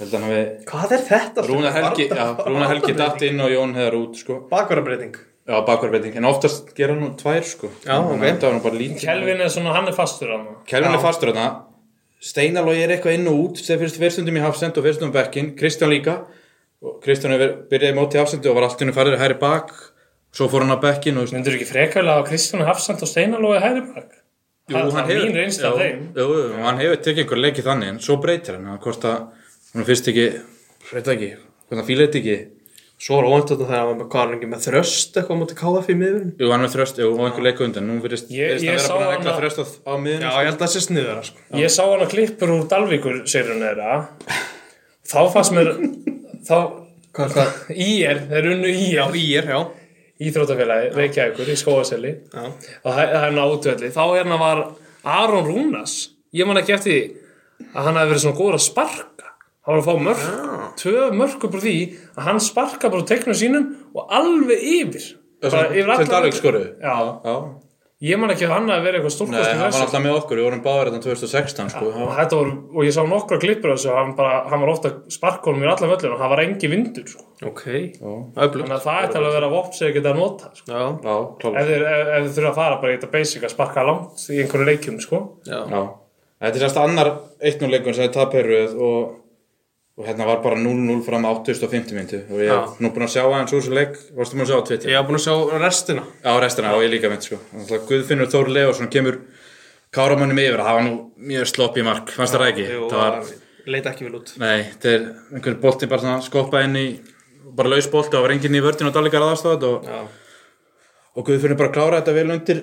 S1: held að hann við
S2: hvað er þetta?
S1: Rúna Helgi, já, Rúna Helgi datt inn og Jón hefur út sko
S2: bakvarabreiting
S1: Já, bakvarbreyting, en oftast gera hann nú tvær sko
S2: Já, ok.
S1: Þetta var nú bara lítið
S3: Kelvin er svona, hann er fastur á hann
S1: Kelvin er fastur þarna Steinalogi er eitthvað inn og út þegar fyrst fyrstundum í hafsend og fyrstundum bekkin Kristján líka og Kristján hefur byrjaði móti í hafsendu og var allt í hennu farið hæri bak svo fór hann á bekkin og
S3: Myndur ekki frekarlega á Kristján Hafsand og Steinalói hægri bak? það það er mín reynsla
S1: já,
S3: af þeim
S1: jú, jú, hann hefur tekið einhver leikið þannig en svo breytir hann að hvort að hann fyrst ekki breyta ekki, hvort hann fíla þetta ekki
S2: svo er óvænt þetta þegar hvað er hann ekki með þröst eitthvað á móti KF í miðurinn
S1: Jú, hann er með þröst, jú, og einhver leika undan Nú virðist
S3: Ég-
S1: virðist
S3: ég
S1: hann
S3: sá
S1: vera bara að regla
S3: hann að-
S1: þröst á- á miðun
S2: já, ég held að það sé sniður sko.
S3: Ég sá hann að klippur úr Dalvíkur sérun þeirra þá fannst mér þá
S2: hvað er það?
S3: í er, þeir unnu í er
S2: Ír, já,
S3: íþróttafélagi, Reykjavíkur í skóaseli
S2: já.
S3: og það það er hann á útvelli þá hérna var Aron Rúnas ég man ekki eftir því að hann hafi verið svona góður að sparka hann var að fá mörg, tvö mörg upp úr því að hann sparka bara úr teiknum sínum og alveg yfir Bara
S1: Til
S3: yfir allan sko.
S1: Dalvik
S3: völlinn.
S1: skoru
S3: Já,
S1: Já,
S3: ég man ekki að hann hafi verið eitthvað
S1: Nei, hann var
S3: stórkosti
S1: alltaf með okkur, við vorum báðir þetta 2016 sko.
S3: og þetta voru, og ég sá nokkra klippur af þessu, hann, bara, hann var ofta sparkunum í alla völlinu og hann var engi vindur sko.
S2: ok, öflugt
S3: þannig að það ætti alveg að vera vopt sem ég geta að nota sko.
S2: já,
S1: Já, klálega
S3: ef þeir, ef, ef þeir þurfa að fara bara í þetta basic að sparka langt í einhverju leikjum sko.
S2: já,
S1: Já, þetta er sérst annar 1-0 leikun sem er taperuð og, og hérna var bara 0-0 fram á 8.50 myndu og ég er
S2: Já.
S1: nú búin að sjá aðeins úr þessu leik varstu búin að sjá á Twitter?
S2: ég hafa búin að sjá restina
S1: Á restina og ég líka mynd sko Þannig að Guðfinnur Þór Leósson kemur Káramannum yfir, það var nú mjög slopp í mark fannst það ekki?
S2: Jú,
S1: það var,
S2: leita ekki vel út
S1: nei, þetta er einhver bolti bara svona skoppa inn í bara laus bolti, það var enginn í vördin og dalíkar aðastóð og,
S2: Já.
S1: og Guðfinnur bara klára þetta vel undir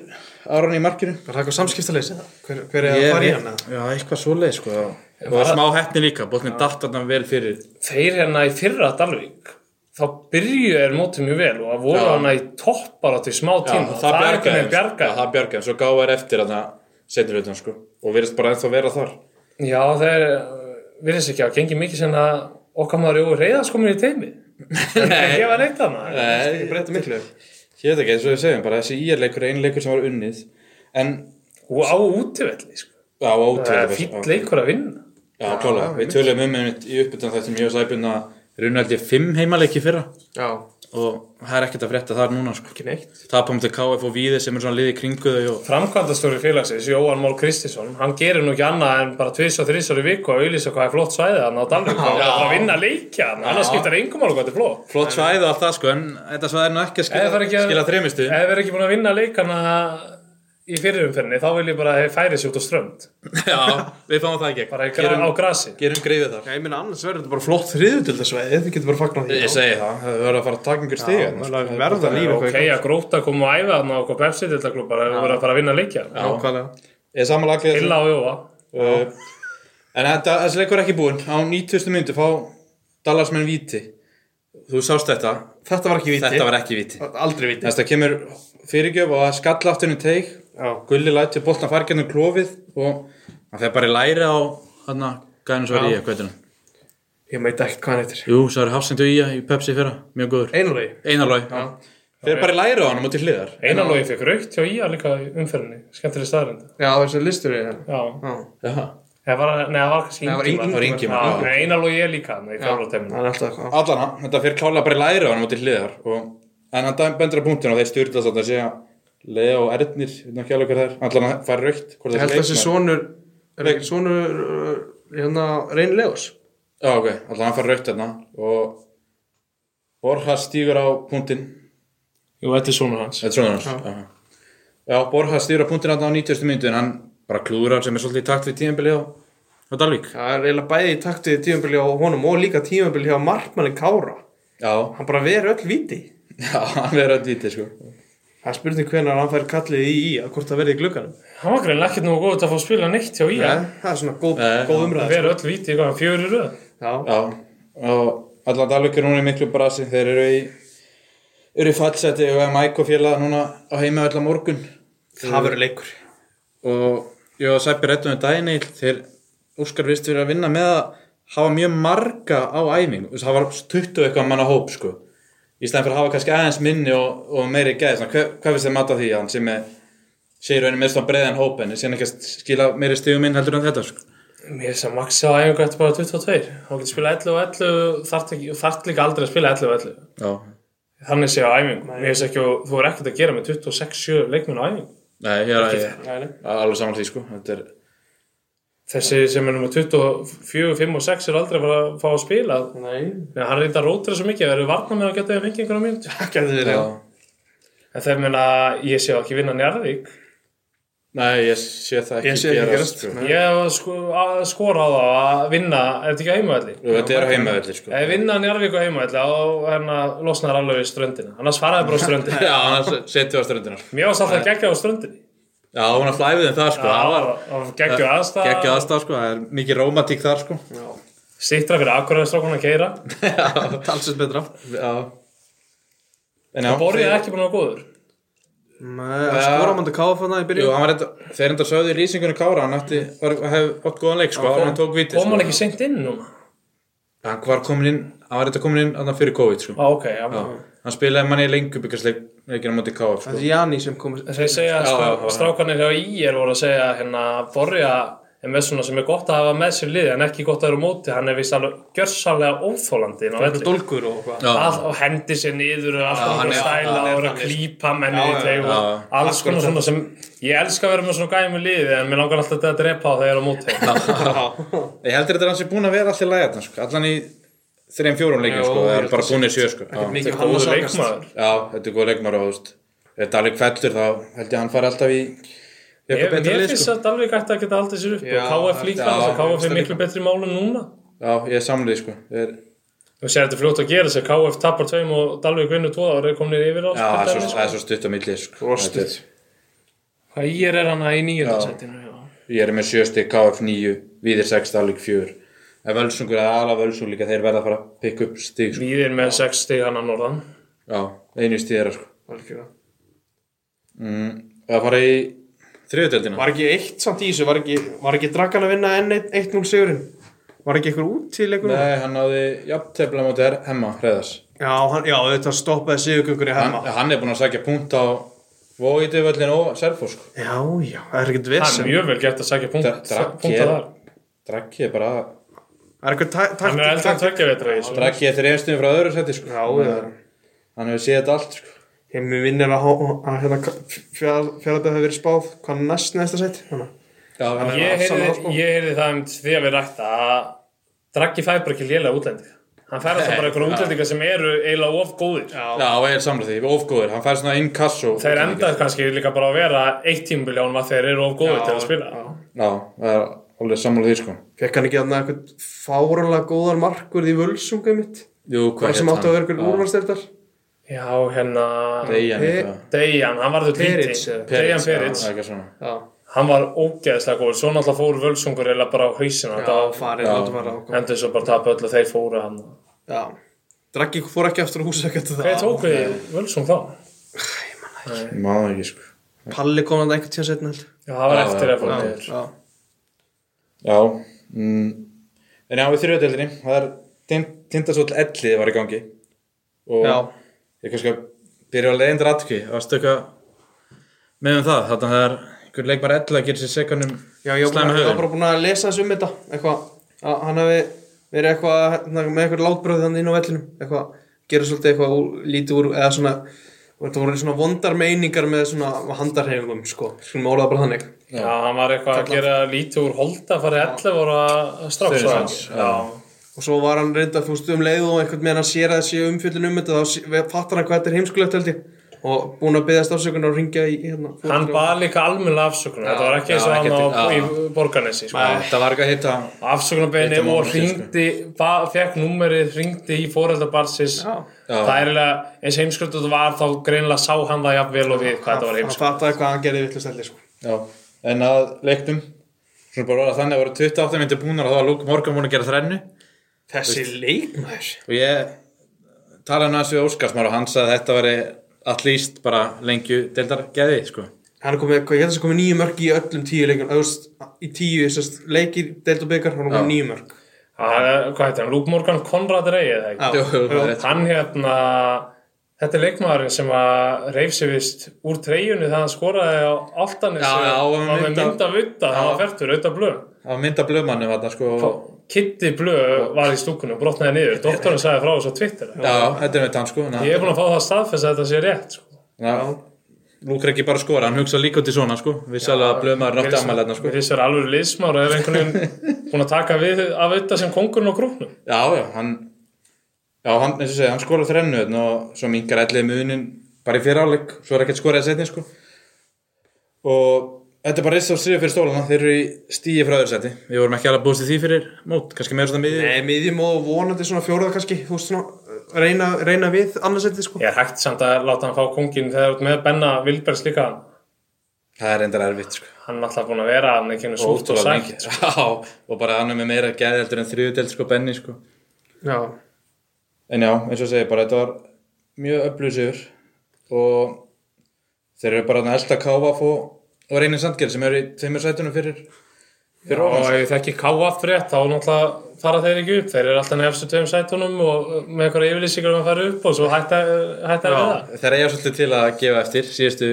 S1: Aron í markinu
S2: Var það eitthvað samskiptaleysi það? Hver, hver er að
S1: Ég
S2: fara í
S1: veit-
S2: hana?
S1: Já, eitthvað svoleið sko og það var smá heppni líka, bóttin datt þarna vel fyrir
S3: þeir hérna í fyrra Dalvík þá byrjuðu er mótið mjög vel og það voru
S1: Já.
S3: hann í topparátt í smá tíma og það er einhvern veginn
S1: Já,
S3: bjargaði
S1: það bjargaði, svo gáði er eftir þarna setjum hlutum sko og virðist bara ennþá vera þar
S3: já þeir eh, virðist ekki að gengi mikið sem að okkar maður Jói Reyðars komin í teimi en gefa neitt hana
S1: Nei,
S2: Breyta miklu
S1: ég veit ekki, eins og við segjum bara þessi íjarleikur er einu leikur sem var unnið en
S3: og á útivelli sko.
S1: á
S3: það
S1: átöðu
S3: er fýtt leikur að vinna
S1: Já, klálega, við töluðum um einmitt í uppbytun þessum ég og sæbun að runnaldi fimm heimaleiki í fyrra
S2: Já,
S1: og það er ekkert að frétta þar núna sko
S2: ekki neitt
S1: Tapum til KF og Víði sem er svona liði kringuðu og...
S3: framkvæmdastóri félagsins Jóhann Mól Kristinsson hann gerir nú ekki annað en bara tvis og þrís ári viku að auðlýsa hvað er flott svæðið hann á Dalvík og bara að vinna leikja hann annars skiptar engum mál hvað þetta er flott
S1: Flott svæð og allt það sko en þetta svæð er nú ekki að
S3: Ef það
S1: skila,
S3: er ekki að-
S1: skila þremistu
S3: Ef við erum ekki búin að vinna leikana í fyrirumferðinni þá vil ég bara að þeir færi sér út á strönd
S1: Já, við fáum það í gegn
S3: bara í gra
S1: gerum,
S3: á grasi
S1: gerum greiðu þar
S2: Já, ég meina annars verður þetta bara flott þriðutildasvæði Við getum bara fagnað því
S1: Ég segi það, það verður að fara að taka einhver hérna, sko. stíð
S2: segi Verða líf
S3: ok, að gróta koma og æfa þannig á okkur pepsi til þetta klubbar að vera að fara að vinna leikja
S2: Nákvæmlega
S1: Ég samanlega
S3: illa og jóa
S1: uh, En þetta, þessi leikur er ekki búinn Á 90. myndu fá Dallarsmenn víti Þú sást þetta,
S2: Þetta var ekki viti
S1: þetta var ekki víti
S2: Aldrei viti
S1: Þetta kemur fyrirgjöf og það skall afturinn í teig
S2: Já.
S1: Gulli lætur boltan fargjörnum klófið og hann fer bara í læri á hann að gæðinu svo er í að hvað er hann
S2: Ég meit ekkert hvað hann heitir
S1: Jú, svo er Hafsendu í að í Pepsi fyrra, mjög góður
S2: Einulegi
S1: Einarlói, fer bara í læri á hann á móti hliðar
S3: einanlogi fekk raukt hjá ía líka í umferðinni skemmtileg staðrind
S2: Já, þessi listur er hérna
S3: já,
S2: Já,
S1: Já.
S3: það var, nei, það var kannski
S2: það var
S3: Ingimar.
S2: engin
S1: Það var Ingimar, já.
S3: Já, einanlogi er líka þarna í
S2: Það
S3: fjárlóteiminu
S2: er alltaf eitthvað
S1: allana, þetta fyrir klála bara í læri á hann mútið hliðar og, en hann dæm- bendir að punktinu og þeir styrla þannig að segja Lea og Ernir, hérna ekki alveg hver það er allan að fara raukt, hvort
S2: Ég held
S1: þetta
S2: að þessi sonur Er ekki sonur uh, Hérna, Reyn Leos
S1: Já, ok, alltaf hann fær raut þarna hérna og Borja stígur á punktinn
S3: Jú, þetta er svona hans
S1: Þetta er svona hans Já, Já Borja stígur á punktinn þarna á 90. myndu en hann bara klúrar sem er svolítið í takt við tíðanbili á, á Dalvík
S2: það er eiginlega bæði í takt við tímabili á honum og líka tímabili hjá markmanni Kára
S1: Já,
S2: hann bara veri öll viti
S1: já, hann verður að dýti sko
S2: það er spurning hvenar hann fær kallið í í að hvort það verði í glugganum
S3: Hann var greinlega ekkert nú góð til að fá að spila neitt hjá ég
S2: Nei, það er svona góð,
S1: Nei,
S2: góð umræð
S3: Við erum öll vitið hvað hann fjögur í röð
S2: já,
S1: Já, og allan Dalvík er núna í miklu brasi þeir eru í eru í fallseti og Mæko félaga núna á heima öll á morgun
S2: það verður leikur
S1: og ég var að sæpi réttum við daginn eitt þegar Óskar vist verið að vinna með að hafa mjög marga á æfingu Þú veist, það var 20 eitthvað manna hóp sko í stæðan fyrir að hafa kannski aðeins minni og, og meiri gæði, svona, hvað, hvað finnst þið mata því að hann sem er sé í rauninni meðst á breiðan hóp en sem ekki að skila meiri stigum inn heldur en þetta sko.
S3: Mér er sem maxi á æfingu eftir bara 22 Hann getur spila 11 og 11 þarft, ekki, þarft líka aldrei að spila 11 og 11
S1: Já,
S3: Þannig sé á æfingu Mér er ekki, og þú er ekkert að gera með 26-7 leikmenn á æfingu
S1: nei, ég er, ég,
S2: Nei, nei.
S1: er alveg saman því sko þetta er
S3: Þessi sem er nummer 24, 5 og 6 er aldrei að fara að fá að spila
S2: Nei,
S3: Nei, hann reynda að rótra svo mikið, það eru varna með að geta þeim ekki einhverja mínútur.
S2: það getur verið
S1: Já.
S3: En þegar meina, ég sé ekki vinna Njarðvík.
S1: Nei, ég sé það ekki
S2: Ég sé ekki
S1: gerast,
S2: gerast,
S1: sko.
S2: nei.
S3: Ég hef sko, að skora á það að vinna, ef þetta ekki á heimavalli.
S1: Jú, Þetta er heimavelli sko.
S3: Ef vinna Njarðvík á heimavalli, þá hérna losnar alveg við ströndina. Annars faraði bara á ströndina.
S1: Já, annars setjum við á ströndunar
S3: Mér var satt að gegja á ströndinni.
S1: Já, hún er flæfið en það sko
S3: Það var geggju aðstæða.
S1: Gekkið aðstæð sko, það er mikið rómatík þar sko
S3: Sittra fyrir akkuræðistrákun að keira.
S2: talsins betra
S1: Já En já,
S3: Borrið er ekki búin að vera góður.
S2: Nei, að skora mann til KF hann í
S1: Jú,
S2: byrjun
S1: hann var reynda, þeir enda sögðu í lýsingunni Kára hann ætti, var, hef átt góðan leik sko, hann tók viti
S3: Kom
S1: sko.
S3: hann ekki seint inn núna?
S1: Hann var komin inn, hann var reynda komin inn andan fyrir COVID sko
S3: Á, ok, já.
S1: Hann spilaði manni í lengjubikarsleik, ekki hann móti Kára
S2: Það
S1: sko
S2: er Jani sem kom
S3: Þeir segja
S1: Já, já,
S3: að sko,
S1: já.
S3: strákanir hjá IR voru að segja hérna Borja er með svona sem er gott að hafa með sér liði en ekki gott að vera á móti, hann er vist alveg gjörsamlega óþólandi inn á velli
S2: Dólkur og hvað
S3: All, og hendi sér niður og alltaf
S1: hann
S3: hann
S1: er-
S2: hann er
S3: stæla og er að
S2: þannig.
S3: klípa menni
S2: Já,
S3: í
S2: já,
S3: teg
S1: já,
S3: og
S1: já.
S3: alls konar svona sem ég elska að vera með svona gæmi liði en mér langar alltaf að drepa á þegar ég er á móti
S1: Ég heldur þetta er hann sem búin að vera allir lægja sko, allan í þreim fjórum leikin
S2: Já,
S1: sko,
S2: ég
S1: það
S2: held
S1: er bara búin
S2: að
S1: í sjö sko Já.
S3: Þetta er
S1: Já, þetta
S3: góður leikmaður
S1: er góð leikmar og þú veist Ef Dalík fellur þá held ég að hann fari alltaf í í
S3: Ég,
S1: eitthvað betra
S3: mér
S1: lið
S3: finnst
S1: sko.
S3: að Dalvik ætti að geta haldið sér upp
S2: Já,
S3: og KF líka,
S1: já,
S3: þess að
S1: ég
S3: KF er miklu betri málum núna
S1: Já, ég er samlið sko er,
S3: Þú sér þetta er fljótt að gera þess að KF tapar tveim og Dalvik vinnur tvo og er komin yfir á
S1: Já, það er
S3: spildarinn,
S1: svo,
S3: sko.
S1: það er svo stutt á milli sko. Þetta er-
S3: Hvað ég er hann að í nýjöldarsættinu, já.
S1: Ég er með sjösti KF 9 Víðir 6, Dalík 4 En Völsungur, eða ala Völsung líka Þeir verða að fara að pikka upp stík sko.
S3: Víðir með 6 stig hann að norðan.
S1: Já, einu stíðara sko.
S2: Var
S1: mm, Það fara í þriðutöldina
S2: ekki eitt samt í þessu Var ekki, var ekki drakkan að vinna enn 1-0 sigurinn Var ekki eitthvað út til eitthvað
S1: Nei, hann náði jafntefla móti her- hemma hreðas
S2: Já, hann, já, þetta stoppaði sigurgöngur í
S1: hann,
S2: hefma
S1: hann er búin að sækja punkt á Vóiði völlin og Selfos sko.
S2: Já, já, það er ekkert
S3: Það er
S2: vesen
S3: mjög vel gert að sækja punkt,
S1: Drakk
S3: punkta
S1: er-
S3: þar.
S1: Drakki er bara
S2: Það er eitthvað
S3: Hann er eldra en
S2: taktik
S3: tveggja veitra í þessu.
S1: Drakki er þrjastum frá öðru seti sko.
S2: Já, já
S1: Hann hefur séð þetta allt sko.
S2: Himmi vinnir að, há- að hérna, fjallabæð hefur verið spáð hvað næst næsta sett Þannig
S1: Já, hann er,
S3: Ég
S2: afsalar,
S3: heyrði-
S2: sko.
S3: ég heyrði það um því að við rækta að Draggi fær bara ekki lélega útlendinga. Hann fær alltaf bara einhverja útlendinga sem eru eiginlega of góðir.
S1: já ég er samlega því, ofgóður Hann fær svona inn kass og
S3: Þeir endað kannski líka bara að vera eitt tímbil hjá hann að þeir eru of góðir til að spila.
S1: Já, það er alveg samlega því sko.
S2: Fekk hann ekki þarna eitthvað fáralega góðar markur í völsunga mitt
S1: Jú,
S2: Hvað
S1: hét
S2: sem áttu að vera
S1: hann?
S2: eitthvað úrvarsteltar
S3: Já, hérna...
S1: Dejan
S2: Pe-
S1: eitthvað.
S3: Dejan, hann var þau
S2: Peric,
S3: týndi.
S2: eða?
S3: Dejan Perits.
S1: Já, eitthvað svona.
S2: Já,
S3: Hann var ógeðslega góður. Svo náttúrulega fór völsungur eiginlega bara á hausina.
S2: já,
S3: Þetta var
S2: farið,
S1: já.
S2: látum að ráka
S3: endur svo bara tapa öll og þeir fóru hann
S2: Já Draggi fór ekki aftur á húsæk eftir það
S3: Þeir tóku því Völsung þá
S1: Ég man það ekki sko.
S2: Palli kom hann einhvern tíðan setna held
S3: Já, það var
S1: Já,
S3: eftir
S1: já,
S3: að fóru
S1: já.
S3: niður
S2: Já,
S1: Já mm. En já, við þrjóðdeldinni Það er tind- tindasóll ellið var í gangi Og
S2: Já.
S1: ég kannski að byrja að leiðindra atkvi að stöka með um það Þannig að það er einhver leik bara ellið að gera sér sekan um
S2: já ég var
S1: slæma
S2: bara- ég var
S1: höfðin
S2: bara búin að lesa þessu um þetta Eitthvað, að hann hafi verið eitthvað hérna, með eitthvað látbröð þannig inn á vellinum Eitthvað, gera svolítið eitthvað úr, lítið úr Eða svona, þetta voru svona vondar meiningar með svona handarhefingum sko Skulum orða það bara þannig
S3: Já, hann var eitthvað að gera lítið úr holda að fara í 11 ára
S1: Þau eru
S3: strafsvæðan
S1: sans, já.
S3: Já,
S2: og svo var hann reynda, þú veist, um leið og einhvern meðan hann sér að þessi umfjöldin um þetta þá sé- fattar hann hvað þetta er heimskulegt held ég og búin að beðast afsökunar og ringja í hérna
S3: Hann
S2: fóreldra.
S3: bað líka almennilega afsökunar, þetta var ekki eins og
S1: já,
S3: hann á
S1: ekkert-
S3: í borgarnesi, sko.
S1: Það var ekki að hitta
S3: Afsökunarbeginni
S1: Þetta má
S3: og
S1: ekki,
S3: ringdi, fekk númerið, ringdi í fóreldabarsins. Það er eiginlega, eins heimskulegt og það var, þá greinilega sá hann það jafnvel og við hvað þetta var
S2: hann
S3: heimskulegt.
S2: fattaði hvað hann gerði vittlust held ég sko
S1: Já, en að leiknum Svona bara að þannig að voru 28 myndir búnar og það var Luke Morgan búin að gera þrennu
S2: þessi leikmaður
S1: og ég talaði nú aðeins við Óskarsmar og hann sagði að þetta veri allíst bara lengju deildar geði, sko
S2: hann er komið, hvað- ég held að það komið nýju mörg í öllum tíu leikjum þú veist, í tíu sest, leikir, deild og byggar, hann er komið nýju mörg
S3: Það er- Hvað heitir hann? Luke Morgan Conrad Rey eða ekki?
S1: Jú, jú, það er rétt.
S3: Hann hérna, þetta er leikmaðurinn sem að reyf sig vist úr treyjunni þegar hann skoraði á áltanis
S1: Já, já, og
S3: og með
S1: mynd af-
S3: mynda vutta, hann var færtur, auðvitað blöð.
S1: Það var mynd af blöðmannum þarna, sko og,
S3: Kitty Blö var í stúkunum, brotnaði niður Doktorinn sagði frá þessu á Twitter
S1: Já, þetta er með tann, sko
S3: Ég er búin að fá það staðfess að þetta sé rétt sko.
S1: Lúk er ekki bara að skora, hann hugsa líka út í svona, sko Við sælega að blöðmann nátti ammælæðna, sko
S3: Mér finnst það alveg liðsmár og er einhvern veginn búin að taka við af þetta sem kongurinn á grúknum
S1: Já, já, hann Já, hann, eins og segja, hann skoraði þrennu þarna og svo mingar ellið munin bara í fyrir áleik, svo er ekkert skoraði setni, sko og þetta er bara reist á stríðu fyrir stólana, þeir eru í stíi frá öðru seti við vorum ekki alveg búist í því fyrir mót, kannski meira svona miðið
S2: Nei, miðjum og vonandi svona fjóruða kannski, þú veist svona, reyna, reyna við annarsetti sko.
S3: Ég er hægt samt að láta hann fá kongin þegar þú ert með Benna Vilbergs líka
S1: það er reyndar erfitt, sko
S3: hann er alltaf búin að vera hann ekki henni súrt og
S1: Ótrúlega
S3: sætt sko.
S1: mikið, já, og bara hann er með meira geðeldur en þriðudeld, sko, Benny, sko
S2: Já.
S1: en já, eins og segja, bara þetta var mjög öflugur og þeir eru bara að elda káfa og reynir sandgjel sem eru í tveimur sætunum fyrir
S3: Já, og ef það ekki káaf rétt þá náttúrulega fara þeir ekki upp þeir eru alltaf nefnstu tveim sætunum og uh, með einhverja yfirlýsingar um að fara upp og svo hætta, hætta við það
S1: Þeir eiga svolítið til að gefa eftir síðustu,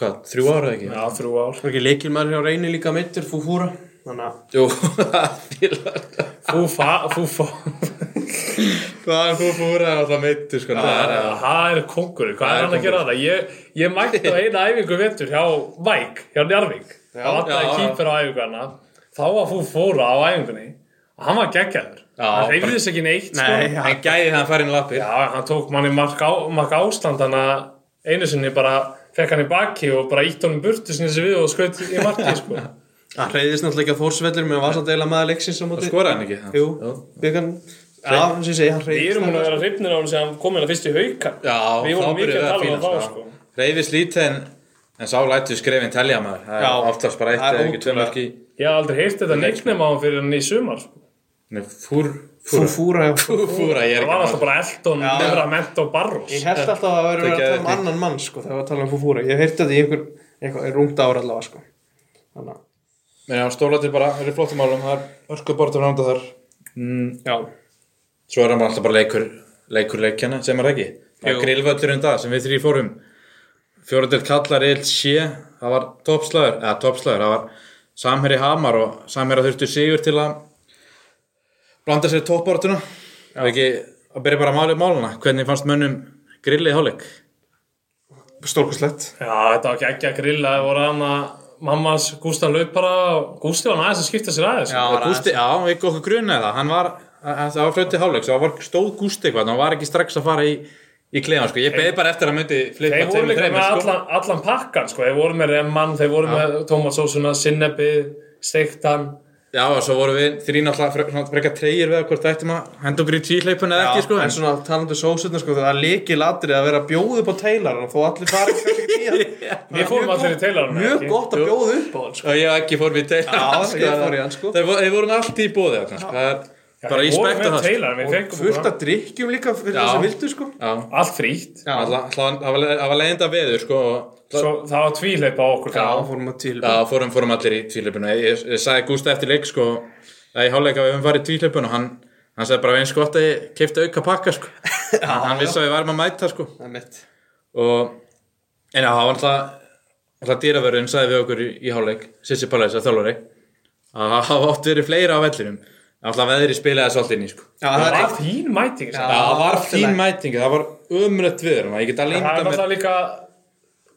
S1: hvað, þrjú ára ekki?
S3: Já, þrjú ár
S2: Var ekki leikilmaður hjá reyni líka meittur, fúfúra, þannig að
S1: Jú, það
S3: Fú, fa, fú, fá
S1: er þú fúra alltaf meittur sko það er að-
S3: Það er kókur, hvað er hann að gera það? Ég, ég mætti á eina æfingu vettur hjá Væk, hjá Njarvík Það var
S1: já,
S3: alltaf
S1: já.
S3: kýpur á æfinguna Þá var fú fóra á æfingunni og hann var geggjaður Hann reyfði þess ekki neitt
S2: Nei,
S3: sko.
S1: Hann gæði það að fara inn í lappir
S3: Já, hann tók manni mark, á, mark ástand hann að einu sinni bara fekk hann í baki og bara ítt honum burtu sinni þessi við og skaut í marki sko.
S2: hann reyðist náttúrulega ekki að þórsvellir með var samt eiginlega maður leiksins á móti.
S1: Skoraði hann ekki það?
S2: Jú, byggan, já, hann sé segi, hann
S3: Við erum hún að
S2: reyðist.
S3: vera hrifnir á hann sem kom hérna fyrst í hauka
S1: Já,
S3: Við vorum
S1: þá
S3: mikið
S1: byrjuðu
S3: að
S1: það
S3: tala um
S1: fína
S3: það
S1: sko
S3: sko.
S1: Reyfis lítið en, en sá lættu skrefin telja maður Það
S2: Já.
S1: er alltaf bara eitt
S2: Það er
S1: eða ekki tvö
S2: ótrúlega.
S1: mörki
S3: Ég hef aldrei heyrt þetta
S1: sko.
S3: neiknum á hann fyrir hann í sumar sko.
S1: Nei, fúr, fúra
S2: Fúfúra, já.
S1: Fúra, ég er
S3: Það var alltaf
S1: ekki um.
S3: bara Elton,
S2: Já.
S3: Neverament og Barros
S2: Ég held alltaf að það verið
S1: Þetta er
S2: að tala um
S1: geðveikt.
S2: annan mann, sko, þegar við tala um fúfúra. Ég hef heyrt þetta í einhver, einhver rúmda ára allavega, sko. Þannig að,
S1: Nei, hann stólatir bara, það eru flottum álum um, Það er örkuð bortum ránda þar Mm,
S2: já.
S1: Svo er hann alltaf bara leikur, leikur leikjana sem er ekki. Það er grillvöllurinn dag sem við þrý fórum. Fjóradelt kallar eilt sé, það var toppslagur, eða toppslagur, það var samherri hamar og samherra þurftu sigur til að blanda sér toppbortuna. Það er ekki að byrja bara að mála upp máluna. Hvernig fannst mönnum grillið í hálfleik?
S2: Stórkostlegt.
S3: Já, þetta var ekki að grilla, það voru hann að mamma hans Gústa laupara og Gústi var aðeins að skipta sér aðeins.
S2: Já,
S1: Og Gústi, já, ekki okkur grunaði það. Hann var, hann- það var flötið hálfleik, svo það var stóð Gústi eitthvað, hann var ekki strax að fara í, í kleðan, sko. Ég beði bara eftir að hann myndi flipa
S3: Þeir voru
S1: tveimur,
S3: líka með
S1: þreimur, sko.
S3: allan, allan pakkan, sko. Þeir voru með remman, þeir voru með tómatsósuna, sinnebið, steiktan.
S1: Já, og svo vorum við þrín alltaf fre- svona frekar treyir við að hvort ættum að henda okkur í tíhleipun eða ekki, sko.
S2: en svona talandu sósutna sko það er leikil atrið að vera að bjóða upp á teilaran þó allir fara kannski ekki í hann
S3: Við fórum allir í teilarunum,
S2: mjög
S3: ekki?
S2: gott að bjóða upp á hann sko.
S1: Og ég og ekki fór við teilar.
S2: Já, ég fór í hann, sko.
S1: Þeir voru, þeir voru allt í bóði, sko. Það er bara
S3: Þeir
S1: ég
S3: voru
S1: spekta
S3: með
S1: það, sko.
S3: teilarunum, við fekkum
S2: fullt
S3: bara
S2: að drikkjum líka fyrir
S1: Já.
S2: það sem vildu sko
S1: Já,
S3: allt frýtt.
S1: alltaf, það var- það var leiðinda veður, sko. og-
S3: Svo það var tvíleipa á okkur.
S2: þá
S3: Já.
S2: fórum að til
S1: Já, fórum, fórum allir í tíhleipun. Ég, ég, ég sagði Gústa eftir leik, sko, að í háleika við höfum farið í tíhleipun og hann, hann sagði bara eins gott að ég keipti auka pakka, sko. hann vissi að við varum að mæta, sko.
S2: það er mitt
S1: og en já, það var alltaf alltaf dýravörðin sagði við okkur í, í hálfleik Sissi Palais að þjálfari að það hafa oft verið fleira á vellinum En alltaf veðri spilaði þessu alltaf inn í sko
S2: já það er
S3: Það var
S2: rétt.
S3: fín mæting, sko.
S1: það var
S2: allt í
S1: fín
S2: lagi.
S1: mæting, það var umrætt viður ég get að
S3: Það
S1: linda
S3: er
S1: mér
S3: alltaf líka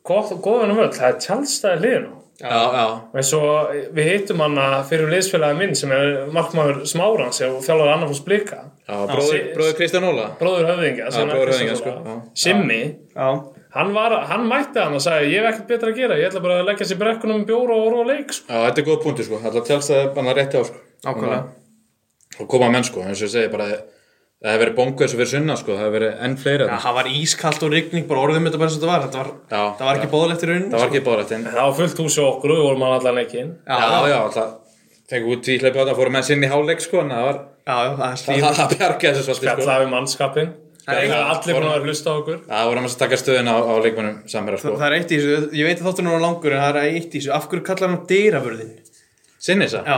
S3: góðan völl, það er tjálstæði liðinu
S1: já, já,
S3: En svo eh, við hittum hann að fyrir um liðsfélagi minn sem er markmaður Smárans og þjálfur annar fórst blika
S1: já bróður,
S3: sí-
S1: bróður Kristján Óla
S3: bróður höfðingja sem er
S1: bróðir
S3: Kristján
S1: höfðingja, sko,
S3: Óla.
S1: já.
S3: Simmi,
S2: já,
S3: hann, var, hann mætti hann og sagði ég hef ekkert betra að gera, ég ætla bara að leggja sér brekkunum um bjóra og orða leik sko.
S1: Já, þetta er góð punktu sko, alltaf tjálstaði bara rétti á sko
S2: ákvæmlega
S1: og koma menn sko, eins og ég segi bara það hefur verið bongu eins og fyrir sunna sko, það hefur verið enn fleiri
S2: Já,
S1: þarna.
S2: það var ískalt og rigning, bara orðum þetta bara eins og þetta var Þetta var,
S1: Já.
S2: það var ekki bóðlegt í rauninni sko.
S1: það var ekki báðrætt en
S3: Það var fullt hús hjá okkur og við vorum hann allan leikinn
S2: Já,
S1: já, já, alltaf fengið út tvíhleipi á þetta, fórum menn sinni í hálfleik sko, en það var
S2: já, já, það er slíf
S1: það það bjargaði þessu svolítið sko
S3: Fjallaði við mannskapin Það er allir búin að vera að hlusta á okkur
S1: Það voru annars að taka stöðin á, á leikmennum samherra sko
S2: Það er eitt í þessu, ég veit að þáttur núna langur en það er eitt í þessu, af hverju kallar hann dýravörðin?
S1: Sinni þess
S2: Já,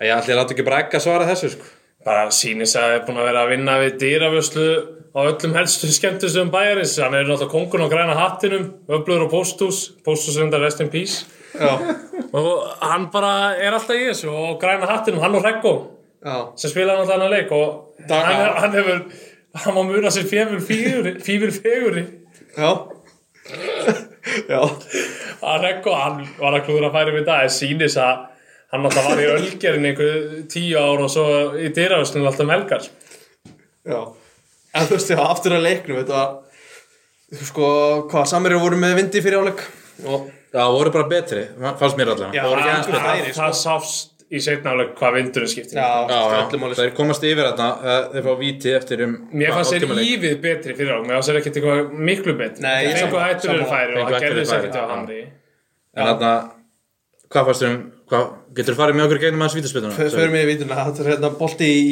S1: að ég ætli að láta ekki bara ekka svara þessu sko
S3: bara sýnis að það er búin að vera að vinna við dýravöslu á öllum helstu skemmtustum bæjarins hann er náttúrulega kongun á græna hattinum öflugur á pósthús, pósthús reyndar rest in peace
S2: já,
S3: og hann bara er alltaf í þessu og á græna hattinum, hann og Rekko
S2: já,
S3: sem spilaði náttúrulega hann að leik og hann, hann hefur, hann má muna sér fífur fífur, fífur feguri
S2: já Já,
S3: að Rekko, hann var að klúra að færi við það en sýnis að hann náttúrulega var í ölgerin einhver tíu ár og svo í dýravöslunum alltaf um helgar
S2: já En þú veist, já, aftur að leiknum, þetta var Sko, hvað, samverju voru með vindi fyrir áleik og,
S1: Já, voru bara betri, fannst mér allavega
S2: Já, það voru ekki aðeins
S3: það,
S2: með færi, sko
S3: það sást í setnálega hvað vindurinn skiptir
S2: Já,
S1: Já,
S2: öllum sko.
S1: já,
S2: áleik
S1: þeir komast yfir þarna, uh, þeir fá víti eftir um
S3: Mér fannst
S1: hálftíma
S3: þeir
S1: leik.
S3: ívið betri fyrir á, mér fannst þeir ekkert eitthvað miklu betri.
S2: Nei, ég
S3: ég fengu
S2: sammála,
S3: hættur fyrir
S2: sammála.
S3: færi og
S1: Fengu
S3: það
S1: hættur
S3: gerði
S1: fyrir
S3: sér
S1: færi,
S3: ekkert á
S1: já.
S3: Hamri.
S1: En þarna, hvað fannst þeir um, hvað, getur þú farið með okkur í gegnum hans
S2: Förum
S1: vítaspiluna?
S2: förum við í vítuna, þetta er hérna bolti í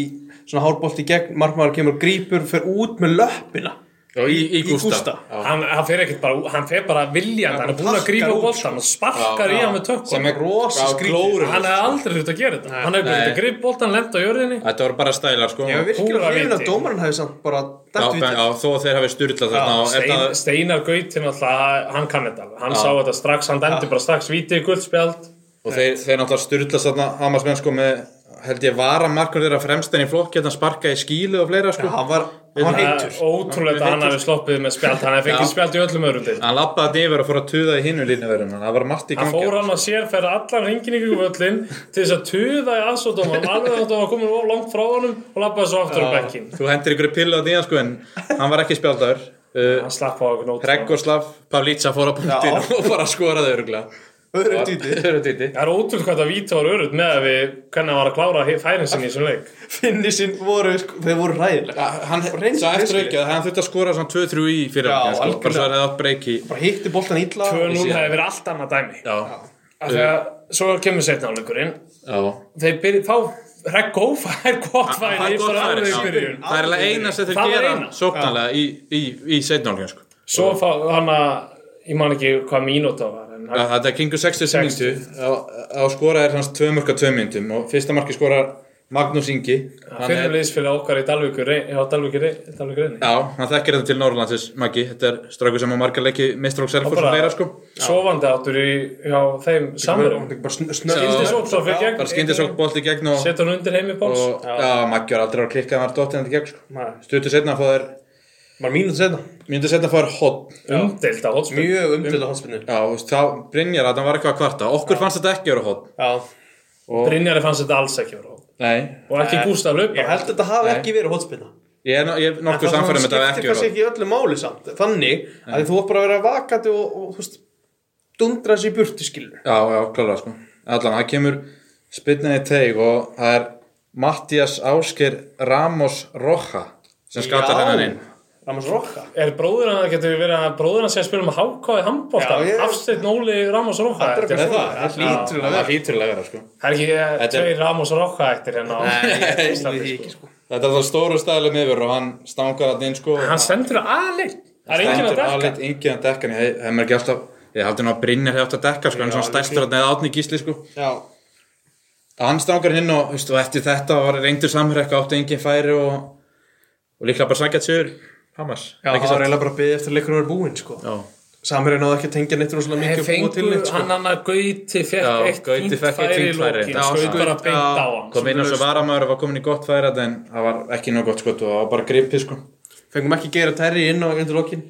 S2: svona hárbolti í gegn, markmaður kemur grípur, fer út með löppina
S1: Já, í, í
S2: í
S1: Gústa.
S2: Gústa.
S3: Hann, hann fer ekkert bara, hann fer bara viljandi, hann er búinn að
S2: sparkar
S3: grípa
S2: út,
S3: boltan og sparkar í hann með tökku.
S1: Sem er
S2: Rosa
S1: já,
S2: skrítið.
S1: glórulaust.
S3: Hann hefði aldrei hlut að gera þetta. Hann hefði bara
S1: Nei.
S3: hlut að grípa boltan, lenda á jörðinni.
S1: Þetta voru bara stælar sko
S2: Ég var virkilega
S3: Púra
S2: hrifin að
S3: viti.
S2: dómarinn hefði samt bara
S1: Já,
S2: dætt
S1: ben,
S2: vítið.
S1: já, þó að þeir hafi styrlað þarna og
S3: Stein,
S1: þetta-
S3: Steinar Gautin alltaf, hann kann þetta alveg. Hann sá þetta strax, hann dendi bara strax viti í guldspjald.
S1: og þeir, þeir náttúrulega styrlað þarna Hamarsmenn sko með held ég vara markur þeirra fremst en í flokki hérna sparka í skílu og fleira sko
S2: Hann var, hann var
S3: Það
S2: heitur.
S3: er ótrúlegt að hann hefði sloppið með spjald, hann hefði fengið spjald í öllum öðrum til.
S1: Hann lappaði þetta yfir og fór að tuða í hinu línuverðin það var margt í
S3: Hann
S1: gangi
S3: fór hann að sér fyrir allan ringin í völlin til þess að tuða í aðsóttómann alveg þátt að hann var komin of langt frá honum og lappaði svo aftur á bekkin
S1: Þú hendir ykkur pillu á því sko en hann var ekki spjaldaður uh,
S3: hann slapp á okkur nót
S1: Regoslav Pavlitsa fór á punktin og bara skoraði öruglega
S2: Öðrum dýti.
S1: Öru dýti
S3: það er ótrúlega hvað það víta var öruð með að við hvernig hann var að klára færin sinni í þessum leik
S2: Finnisinn voru, sko, þeir voru ræðilega.
S1: Hann
S2: Reyndi
S1: svo eftir ekki að hann þurfti að skora svona 2-3 í fyrir
S2: Já,
S1: hann sko, bara svo
S2: algjörlega.
S1: að það átt breyki
S2: Bara hitti boltan illa.
S3: 2-0 hefði verið allt annað dæmi
S1: Já,
S3: af því að svo kemur setna áleikurinn
S1: já
S3: þeir byrja þá Reggó fær gott færi í bara alveg í byrjun
S1: Það er alveg eina sem þeir
S3: Það var
S1: gera
S3: eina.
S1: sóknarlega í, í, í setnálinu sko.
S3: svo fá hann að ég man ekki hvað mínúta var en hann
S1: Ja, Þetta er kringu 60 minútu á skora er hans tvö mörg á tvö myndum og fyrsta marki skorar Magnús Ingi hann
S3: fyrir
S1: er,
S3: liðsfélag okkar í Dalvíkur á Dalvíkur reyni
S1: Já, hann þekkir þetta til Norrlandsins Maggi, þetta er straukur sem á marga leiki mistrók Selfors og
S3: bara-
S1: fleira sko
S3: sofandi áttur í hjá þeim samverðum
S2: Bara sn- snögg.
S3: Skyndi sók svo fyrir gegn
S1: bara skyndi sók bolt í gegn og,
S3: Sett hann undir heim í bóls
S1: og já. Maggi var aldrei að klikka hann var dottin þetta í gegn sko.
S2: Nei.
S1: Stuttu setna að fá þær
S2: Bara mínúti setna.
S1: myndu setna að fá þær hot
S3: Umdelt á hotspil
S2: Mjög umdölda hotspinnu.
S1: Já, þú veist, þá Brynjar að hann var eitthvað að kvarta okkur fannst þetta ekki að vera hot
S2: Já.
S3: Brynjari fannst þetta alls ekki vera hótt
S1: Nei,
S3: Og ekki Gústaf Löpa
S2: Ég held að þetta hafi ekki verið hotspinna.
S1: Ég er, ég er nokkuð samfærum þetta að ekki
S2: skiptir kannski
S1: vera
S2: ekki öllu máli samt. Þannig að þú átt bara að vera vakandi og, og þú veist, dundra þessi í burtu skilur.
S1: Já, já, klálega sko Allan, það kemur spynninni teig og það er Mattias Ásker Ramos Roja sem skatar
S2: Já.
S1: hennan inn
S2: Ramos Rokka.
S3: Er bróður hann, getur við verið að bróður hann sé að spila með hákáði handbólta
S2: Já, ég-
S3: Afstætt Nóli Ramos Rocha
S2: Það er
S3: eftir.
S2: eitthvað svona. Það lítur að
S1: Það
S2: vera.
S1: er hýtrúlega vera sko
S3: Það er ekki eh,
S1: er-
S3: tveir Ramos Rocha eftir henn á
S2: Nei, ég trúi
S3: Íslandi
S2: því
S3: sko.
S2: ekki, sko.
S1: Þetta er það stóru stælum yfir og hann stangar hann inn sko og
S3: Hann stendur aðeins Það er enginn að dekka
S1: alit, enginn að dekka hann Ég hef mér ekki alltaf Ég haldi nú að Brynjar hefði átt að dekka sko en svona stærstur hann eða átni gísli sko
S2: Já.
S1: Hann stangar hann inn og, veist, og eftir þetta var reyndur samhrekka átti enginn færi og, og líklega bara sækjað sigur Hamas
S2: Já, það var eiginlega bara að byggja eftir að leikur að vera búinn, sko.
S1: Já,
S2: Samherri náði ekki að tengja neitt rosalega
S3: Þeir
S2: mikið og búa
S3: fengu
S2: til neitt sko.
S3: hann hann að Gauti fekk
S1: Já,
S3: eitt
S1: Gauti
S3: fínt
S1: fékk eitt
S3: færi í
S1: fínt færi.
S3: lókin
S1: Já,
S3: Skaut
S1: sko.
S3: bara beint
S2: Já.
S3: á hann
S1: kom inn og svo varamaður og var komin í gott færið en það var ekki nóg gott skot og það var bara gripið sko
S2: Fengum ekki Geir og Terri inn á undir lokin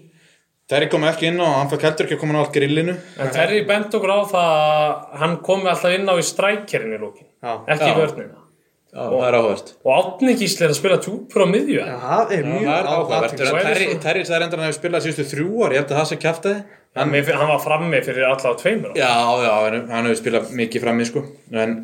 S1: Terry kom ekki inn og hann fæk heldur ekki að koma nátt grillinu.
S3: En Terry bent okkur á það að hann komi alltaf inn á í strækjerinn í lókin,
S2: Já.
S3: ekki í
S1: Já.
S3: vörnina.
S1: Já, það er áhvert.
S3: Og Átni Gísli er að spila tjúpur á miðju.
S2: Já, það er mjög
S1: Það er áhvert.
S2: athyglisvert.
S3: svo-
S1: Terry, Terry sagði reyndar að hann hefur spilað síðustu þrjú ár, ég held að það sé kæftið.
S3: Hann, hann var frammi fyrir alla á tveimur.
S1: Já, já, en hann hefur spilað mikið frammi, sko. En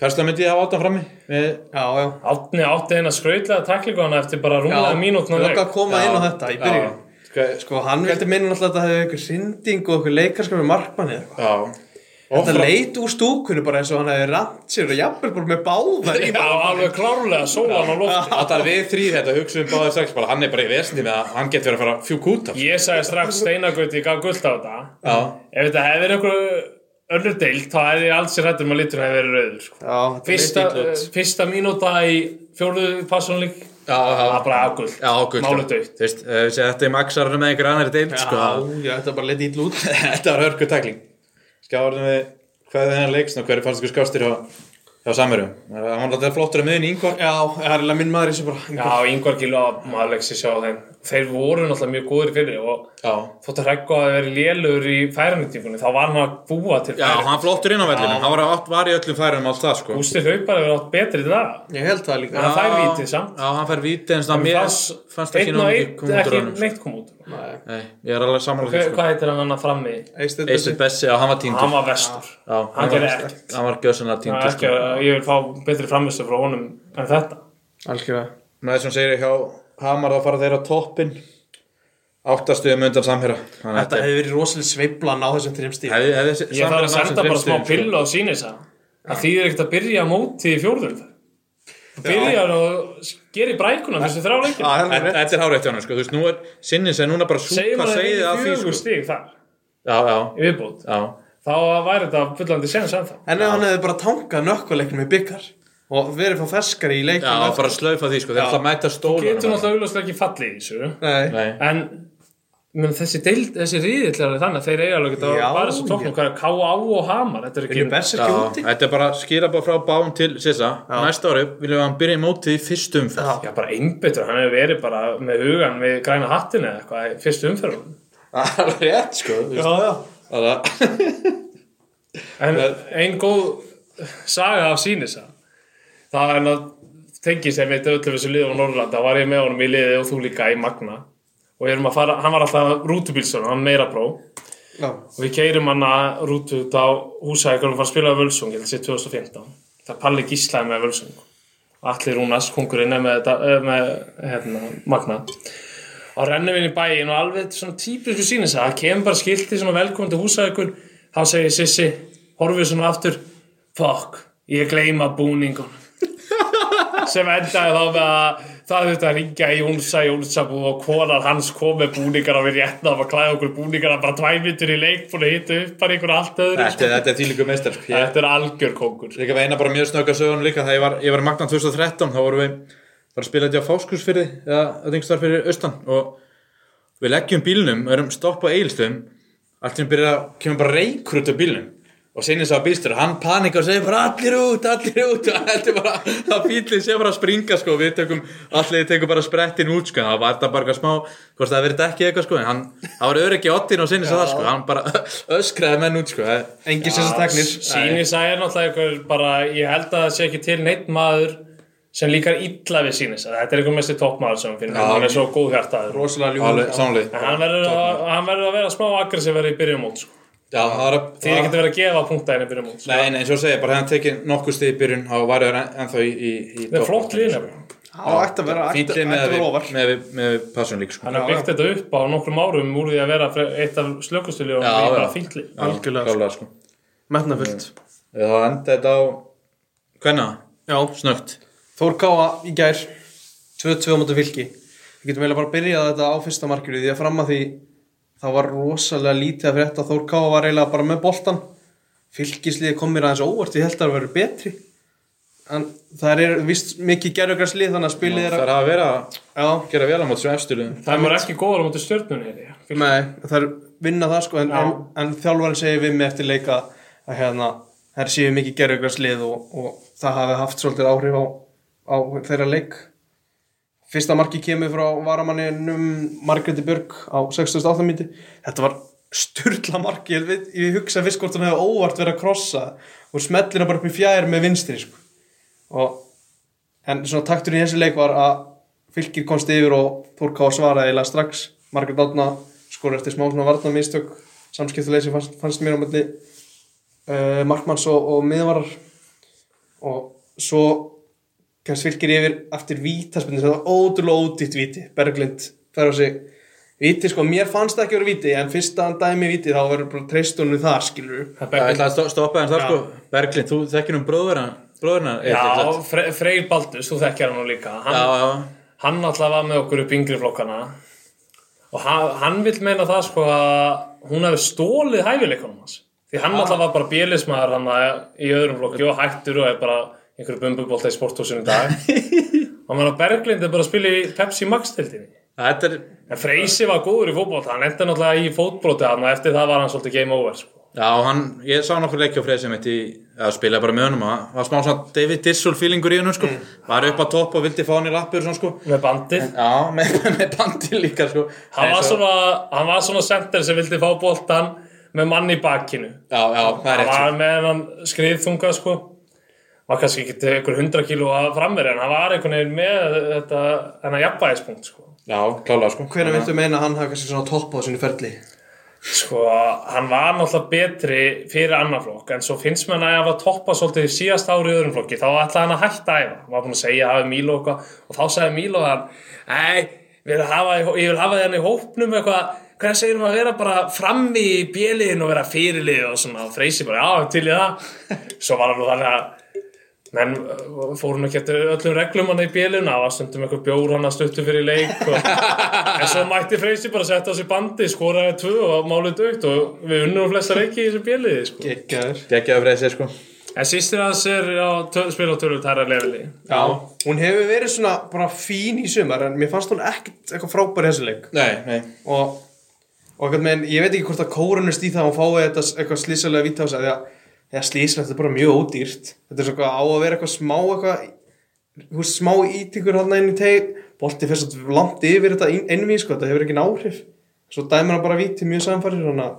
S1: persónulega myndi ég hafa átt hann frammi. Við,
S2: Já, já.
S3: Átni átti eina skrautlega taklingu hann eftir bara rúmlega
S2: Ég
S3: mínútna
S2: langar
S3: leik.
S2: að koma inn á þetta í byrjun.
S1: Hva- sko,
S2: Sko, hann vildi minna alltaf að það hefði einhver synding og einhver leikarskap með markmanni eða eitthvað.
S1: já. Og
S2: Þetta
S1: frá-
S2: leit úr stúkunni bara eins og hann hefði ramt sér og jafnvel bara með báðar í
S3: Já, alveg klárlega, sólan á lofti.
S1: Þetta er við hérna þrýr þetta, hugsaðum báðið strax bara, hann er bara í vesni með að hann getur verið að fara fjúk út af. sko.
S3: Ég sagði strax steinagöti, ég gaf gullt á þetta.
S1: Já,
S3: Ef þetta hefði verið einhver önnur deild, þá hefði ég alls í rættum að litur hefði verið rauður. Sko.
S2: Já, þetta
S3: Fyrsta,
S2: leit illa út.
S3: eh, fyrsta mínúta í fjóruðu passionleik,
S1: já, já.
S3: það var bara afgullt.
S1: Já, gult.
S3: Málu dautt.
S1: Þú veist, ef við segja þetta í maksarunum með einhver annar deild, sko.
S2: Já, já, þetta bara leit ítl út.
S1: þetta var hörku tækling. Skjáðum við hvað er þennan leiksn og hverju fannst ykkur skástir hjá, hjá Samverju? Hann var alltaf flottur að miðin í yngvar.
S2: Já, það er alveg minn maður í þessu bara.
S3: Já, yngvar gílu að maður legg sér sjá þeim. Þeir voru náttúrulega mjög góðir fyrir og
S1: Já.
S3: þótt að hreggu að það verið lélur í færanutíkunni, þá var hann að búa til
S1: Já,
S3: færi.
S1: hann var flottur inn á vellinu. Hann var, að- var í öllum færum allt það, sko.
S3: Gústi Haupar hefur átt betri til það.
S2: Ég held það líka.
S3: hann fær vítið samt.
S1: Já, hann fær víti en svona mér
S3: fannst,
S1: fannst ekki
S3: einn og
S1: nóg mikið koma út úr
S3: einn ekki
S1: honum. sko.
S3: neitt kom út úr honum.
S2: Nei.
S1: Nei, ég er alveg sammála því,
S3: Hver-
S1: sko.
S3: hvað heitir hann annað frammi
S2: Eistedd
S1: Eistur Bessi, já, hann var tíndur.
S3: hann var vestur
S1: Já,
S3: hann gerði
S1: var-
S3: ekkert.
S1: sko. Hann var gjössanlega
S3: Það er
S1: tíndur,
S3: ekki
S1: sko.
S3: að ég vil fá betri framistu frá honum en þetta
S2: Algjörlega.
S1: Með þessum segir ég hjá Hamar að fara þeirra á toppinn áttastuðum undan samherra Þannig
S2: Þetta hefði verið rosalega sveiblan á þessum þrjum stíl.
S1: hefði hef,
S3: ég þarf að senda bara smá
S1: sko.
S3: pillu á sínis að því er ekkert að byrja móti í fjórðum byrjar og s- gerir brækuna þessu þrjá leikin
S1: sko. Þetta þetta er hárætt hjá hann sko, þú veist, nú er sinnin sem núna bara
S3: segjum
S1: súpa
S3: að það
S1: segið af
S3: er
S1: því
S3: fjögur
S1: sko
S3: stík þar
S1: Já, já,
S3: í viðbútt
S1: já
S3: þá væri þetta fullandi séns en þá
S2: En ef hann hefði bara tankað nökkvaleiknum í byggar og verið fá ferskari í leikum.
S1: Já, bara slaufa því sko, þeir ætla að mæta stóla
S3: getur náttúrulega augljóslega ekki fallið í þessu
S2: Nei.
S1: Nei,
S3: en menn, þessi, deild, þessi riðill er alveg þannig að þeir eiga alveg að
S2: Já,
S3: bara þessu tóknum hvað er K.A. og Hamar þetta er
S2: Vilju
S3: ekki
S2: Bess
S1: já,
S2: ekki úti?
S1: þetta er bara skýra bara frá bán til Sissa Næsta ári viljum við að hann byrja í mótið í fyrstu umferð
S3: Já, bara einbyttur, hann hefur verið bara með hugan við græna hattinu eða eitthvað í fyrstu umferðunum.
S1: Það er rétt sko þú
S2: Já,
S1: veist.
S2: já.
S1: Það er-
S3: En ein góð saga af sínisa, það er að tengið sem eitt öllum þessu liðu á Norrlanda, var ég með honum í liði og þú líka í Magna og ég erum að fara, hann var alltaf rútubílsson, hann meira bró og
S2: Já.
S3: við keirum hann að rútu út á húsækur og fara að spila á Völsung, ég held að sé 2015. Það palli gíslaði með Völsung. Allir Rúnas, kongurinn er með, þetta, eh, með hérna, Magna og rennum inn í bæin og alveg svona típisku sýnis að það kemur bara skilti svona velkomin til húsæðikun þá segir Sissi, horfið svona aftur fuck, ég gleyma búningun sem endaði þá með að það þurfti að ringja í Jónsa Jónsabú og konar hans kom með búningar og við rétna að klæða okkur búningar bara tvæmitur í leik búin að hita upp bara einhver allt öðru
S1: Þetta er- þetta er þýlíku meistar sko, ég
S3: þetta er algjör kongur
S1: Líka með eina bara mjög snögga sögun líka þegar ég var, ég var magna 2013 þá vorum við bara að spila þetta á Fáskursfyrði eða að þingstar fyrir austan og við leggjum bílnum, erum stopp á eigilstöðum allt sem byrja, kemur bara reykur út af bílnum og sinni sá bílstur, hann panikar og segir bara allir út, allir út og heldur bara að bílinn sé bara að springa sko, við tökum, allir tekum bara sprettin út sko, það var þetta bara eitthvað smá hvort það verið ekki eitthvað sko, en hann, það var öryggi ottin og sinni sá það sko, hann bara öskraði menn út sko, það-
S2: Engin sem þess teknir.
S3: Sýnisa er náttúrulega einhver bara, ég held að það sé ekki til neitt maður sem líkar illa við Sýnisa. Þetta er einhver mest toppmaður sem við finnum, hann er svo góð hjartaður.
S2: Rosalega
S1: alveg
S2: ljúð.
S1: sannlega
S3: En hann verður, að, hann verður að vera smá aggressíver í byrjum mót, sko.
S1: Já, það var að-
S3: Því er ekki að vera að gefa punkta henni í byrjum mót, sko.
S1: Nei, nei, eins og ég segi, bara hefðan tekið nokkuð stið í byrjun þá væri það ennþá í, í, í
S3: Það er flott lína.
S2: Það ætti að vera, ætti
S1: Fýllið
S2: ætti
S1: með,
S2: að vera
S1: með,
S2: ofar.
S1: með, með passun líka sko.
S3: Hann har byggt þetta upp á nokkrum árum úr því að vera fre- eitt af slökustuljum og
S1: Já,
S3: hann er
S1: já.
S3: bara fínt lið.
S2: algjörlega, sko.
S1: Klálega, sko.
S2: Metnafullt.
S1: Það enda þetta á hvenna,
S2: Já.
S1: snögt
S2: Þór Káa í gær. 2-2 mútu fylki. Við getum eiginlega bara að byrja þetta á fyrsta markinu því að fram að því það var rosalega lítið að frétta. Þór Káa var eiginlega bara með boltan. Fylkisliði kom mér aðeins á óvart. Ég held að það verið betri. En það er vist mikið gerðugarslið þannig að spilið
S1: Það
S2: er að...
S1: er að vera að
S2: Já.
S1: gera vel á mót sem efstiluðum
S3: Það er ekki góður á móti stjörnunni, heyri ég.
S2: Nei, það er vinna það sko en,
S3: Já.
S2: en, en þjálfarinn segir við mig eftir leika að hérna, þær séu mikið gerðugræslið og, og það hafi haft svolítið áhrif á, á þeirra leik Fyrsta marki kemur frá varamanninum Margreti Björg á 68. míti Þetta var sturla marki ég, veit- ég hugsa fyrst hvort hann hefði óvart verið að krossa og smellina bara upp í fjær með vinstri sko. og en svona taktur í þessu leik var að fylgir komst yfir og Þór Ká svaraði eiginlega strax Margrét Átna skor eftir smá svona varnamistök samskiptuleysi fannst, fannst mér á melli uh, Markmanns og, og miðvarar og svo kannski fylgir yfir eftir vítaspindu þetta var ótrúlega ódýtt víti Berglind fer á sig víti sko, mér fannst það ekki að vera víti en fyrst að hann dæmi víti þá verður bara treystunni það skilur
S1: Ég ætla að sto- stoppa þess þar
S2: Já.
S1: sko Berglind, þú þekkir um bróðurna Bróðurna,
S3: Já, Fre Freyr Baldus, þú þekkjar hann nú líka hann,
S1: já, já
S3: hann alltaf var með okkur upp yngri flokkana og hann, hann vill meina það sko að hún hefði stólið hæfileikunum hans því
S1: Ah.
S3: hann alltaf var bara bjelismæður hann að- í öðrum flokki og hættur og er bara einhverju bumbubólta í sporthúsinu í dag og meðan að Berglind er bara að spila í Pepsi Max-tildinni
S1: Þetta er,
S3: en Freysi var góður í fótbolta hann endi náttúrulega í fótbroti hann og eftir það var hann svolítið game over sko.
S1: já, hann, ég sá nokkur leikja á freysið mitt í, að spila bara með honum og það var smá svona David Dissol feelingur í honum sko Var upp á topp og vildi fá hann í lappur svona sko
S3: með bandið
S1: Já, með, með bandi líka sko
S3: hann
S1: Nei,
S3: var
S1: svo-
S3: svona, hann var svona center sem vildi fá boltan með mann í bakinu
S1: Já, já, það er
S3: hann
S1: rétt sko
S3: var með hennan skriðþunga sko var kannski ekki til einhver hundra kíló að framverja en hann var einhvern veginn með þetta hennar jafnvægispunkt sko
S1: Já, klálega sko
S2: hvernig viltu meina að hann hafa kannski svona topp á sinni ferli
S3: sko, hann var náttúrulega betri fyrir annan flokk, en svo finnst mér hann að hafa toppað svolítið síðast ári í öðrum flokki þá ætlaði hann að hætta að æfa, hann var búin að segja hafi Míló og eitthvað, og þá sagði Míló að hann ei, ég vil hafa, ég vil hafa hann í hópnum eitthvað, hvað segir hann að vera bara frammi í bjöliðin og vera fyrirlið og svona, og freysi bara, já, til í það svo var hann nú þannig að menn uh, fóru nú ekki eftir öllum reglum hann í bíluna, það var stundum einhver bjór hann að stuttu fyrir leik og... en svo mætti Freysi bara að setja á sig bandi skoraði tvö og málið dögt og við unnum flesta leiki í þessu bíliði sko.
S2: geggjaður
S1: Gekkjaðu freysið sko
S3: en sýstir hans er á töl, spil á tölvut herra lefili
S2: Já, hún hefur verið svona bara fín í sumar en mér fannst hún ekkert eitthvað frábær í þessu leik
S1: Nei, nei
S2: og, og eitthvað með, ég veit ekki hvort að kórunust í það að hún fái þetta s- eitthvað slísalega víta á sig því að, því að slísalega þetta er bara mjög ódýrt þetta er svona á að vera eitthvað smá eitthvað, þú veist, smá ítingur hann inn í teig bolti fyrst að langt yfir þetta inn- innví sko, þetta hefur ekki náhrif svo dæmur hann bara víti mjög samfærir þannig að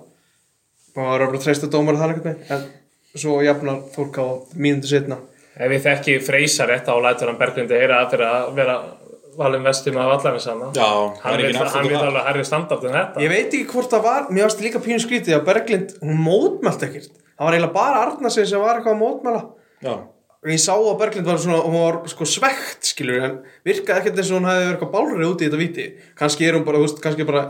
S2: maður verður bara að treysta dómar þar eitthvað með en svo jafnar fólk á mínundu setna
S3: ef við þekki Freysa rétt þá lætur hann Berglindi heyra að fyrir að vera valin vestum að vallarins hann
S1: Já, það
S3: hann
S1: er
S3: vil
S1: ekki náttúrulega það
S3: alveg herri standart en þetta
S2: Ég veit ekki hvort það var, mér varst líka pínu skrítið að Berglind, hún mótmælt ekkert. Það var eiginlega bara Arnarsson sem var eitthvað að mótmæla.
S1: Já,
S2: Og ég sá að Berglind var svona, hún var sko svegt, skilur, en virkaði ekkert eins og hún hefði verið eitthvað bálri úti í þetta viti. Kanski er hún bara, húst, kannski bara,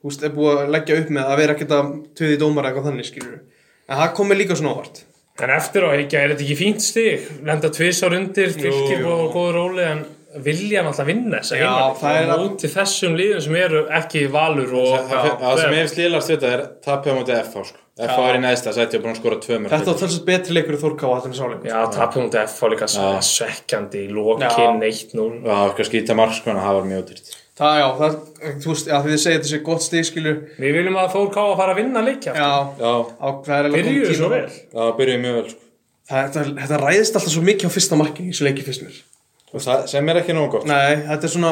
S2: húst, er búið að leggja upp með að vera ekkert að töði dómara eitthvað þannig, skilur. En það kom mér líka svona óvart.
S3: En eftir á heikja er þetta ekki fínt stig Lenda tvisar undir, fylgir
S2: jú.
S3: og góður róli En vilja náttúrulega vinna þess að
S2: Já, það er
S3: heima
S2: að-
S3: Móti þessum liðum sem eru ekki valur og
S1: Það það sem ég
S3: Ber-
S1: hef slílast þetta er tapja á móti FH sko FH er í næsta sæti og búin að skora tvö mörg
S2: Þetta var talsett betri leikur í Þórká að þannig sáleikur.
S3: Já, tapum út F á líka svo
S1: Já.
S3: svekkjandi í
S2: Já.
S3: lokin 1-0
S1: Já, eitthvað skýta mark sko, en það var mjög dyrt
S2: Það, já, það, þú veist, já, þið segir þetta sé gott stig, skilur.
S3: Við viljum að Þór Ká að fara að vinna leikja
S2: Já,
S1: Já,
S2: á, það er eiginlega kominn
S3: Byrjuðu
S2: tími
S3: svo
S2: á-
S3: vel
S1: það byrjuði mjög vel sko
S2: Það, þetta, þetta ræðist alltaf svo mikið á fyrsta markinu í þessu leiki fyrst mér.
S1: Og það sem er ekki nóg gott
S2: Nei, þetta er svona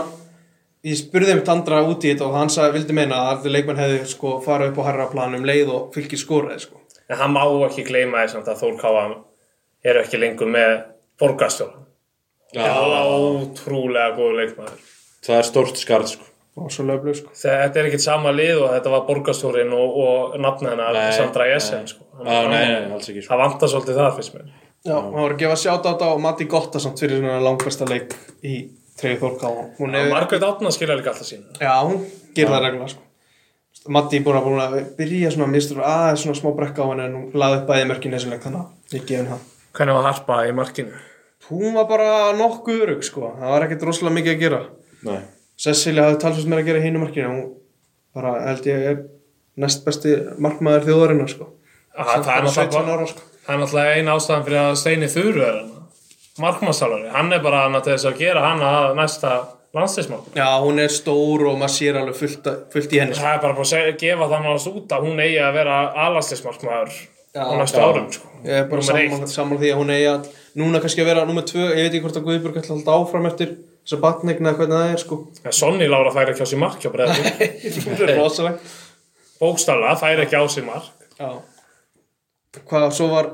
S2: Ég spurði mitt andra út í þetta og hann sagði, vildi meina að allir leikmenn hefði sko farið upp á harra planum leið og fylgir skoraði sko.
S3: En hann má ekki gleyma því samt að Þór Ká eru ekki lengur með borgarstjóra Já, ótrúlega góður leikmaður
S1: Það er stórt skarð sko
S2: Og svo löflug sko.
S3: Þetta er ekkert sama lið og þetta var borgarstjórin og, og nafna hennar
S1: Nei,
S3: Sandra Jessen sko.
S1: Já, nei, nei, alls ekki sko
S3: Það vantar svolítið það fyrst mér
S2: Já, hann var að gefa sjátt á þetta og Matti Gotta samt fyrir svona langbæsta leik í treyði Þórká. Hún hefur,
S3: Margrét Átna skilja líka alltaf sína
S2: já, hún gerir það reglulega sko. Matti búin að búin að byrja svona mistur aðeins svona smá brekka á henni en hún laði upp bæði mörkinu þessu leik þannig að ég gef henni það.
S3: Hvernig var Harpa í markinu?
S2: Hún var bara nokkuð örug sko, það var ekkert rosalega mikið að gera.
S1: Nei
S2: Cecilia hafði talsvist meira að gera í hinu markinu hún bara held ég er næst besti markmaður þjóðarinnar sko
S3: Ah, það, er
S2: Bara
S3: náttúrulega
S2: 17
S3: bara-
S2: ára sko
S3: það er náttúrulega eina ástæðan fyrir að Steini Þuru er hann Markmannstálari, hann er bara hann til þess að gera hann að næsta landsleismark
S2: Já, hún er stór og maður sér alveg fullt, að- fullt í henni sko.
S3: Það er bara bara að seg- gefa þannig að út að hún eigi að vera alansleismarkmaður
S2: Já,
S3: á næstu
S1: já.
S3: árum sko.
S2: Ég er bara
S3: Númer
S2: sammála, sammála því að hún eigi að núna kannski að vera nummer tvö, ég veit ekki hvort að Guðbjörg ætla að halda áfram eftir þess að batnegna hvernig það er sko
S3: En Sonny Lára fær ekki á sér mark hjá breyðablík.
S2: það er rosalegt
S3: Bókstaflega fær ekki á sér mark.
S2: já hvað svo var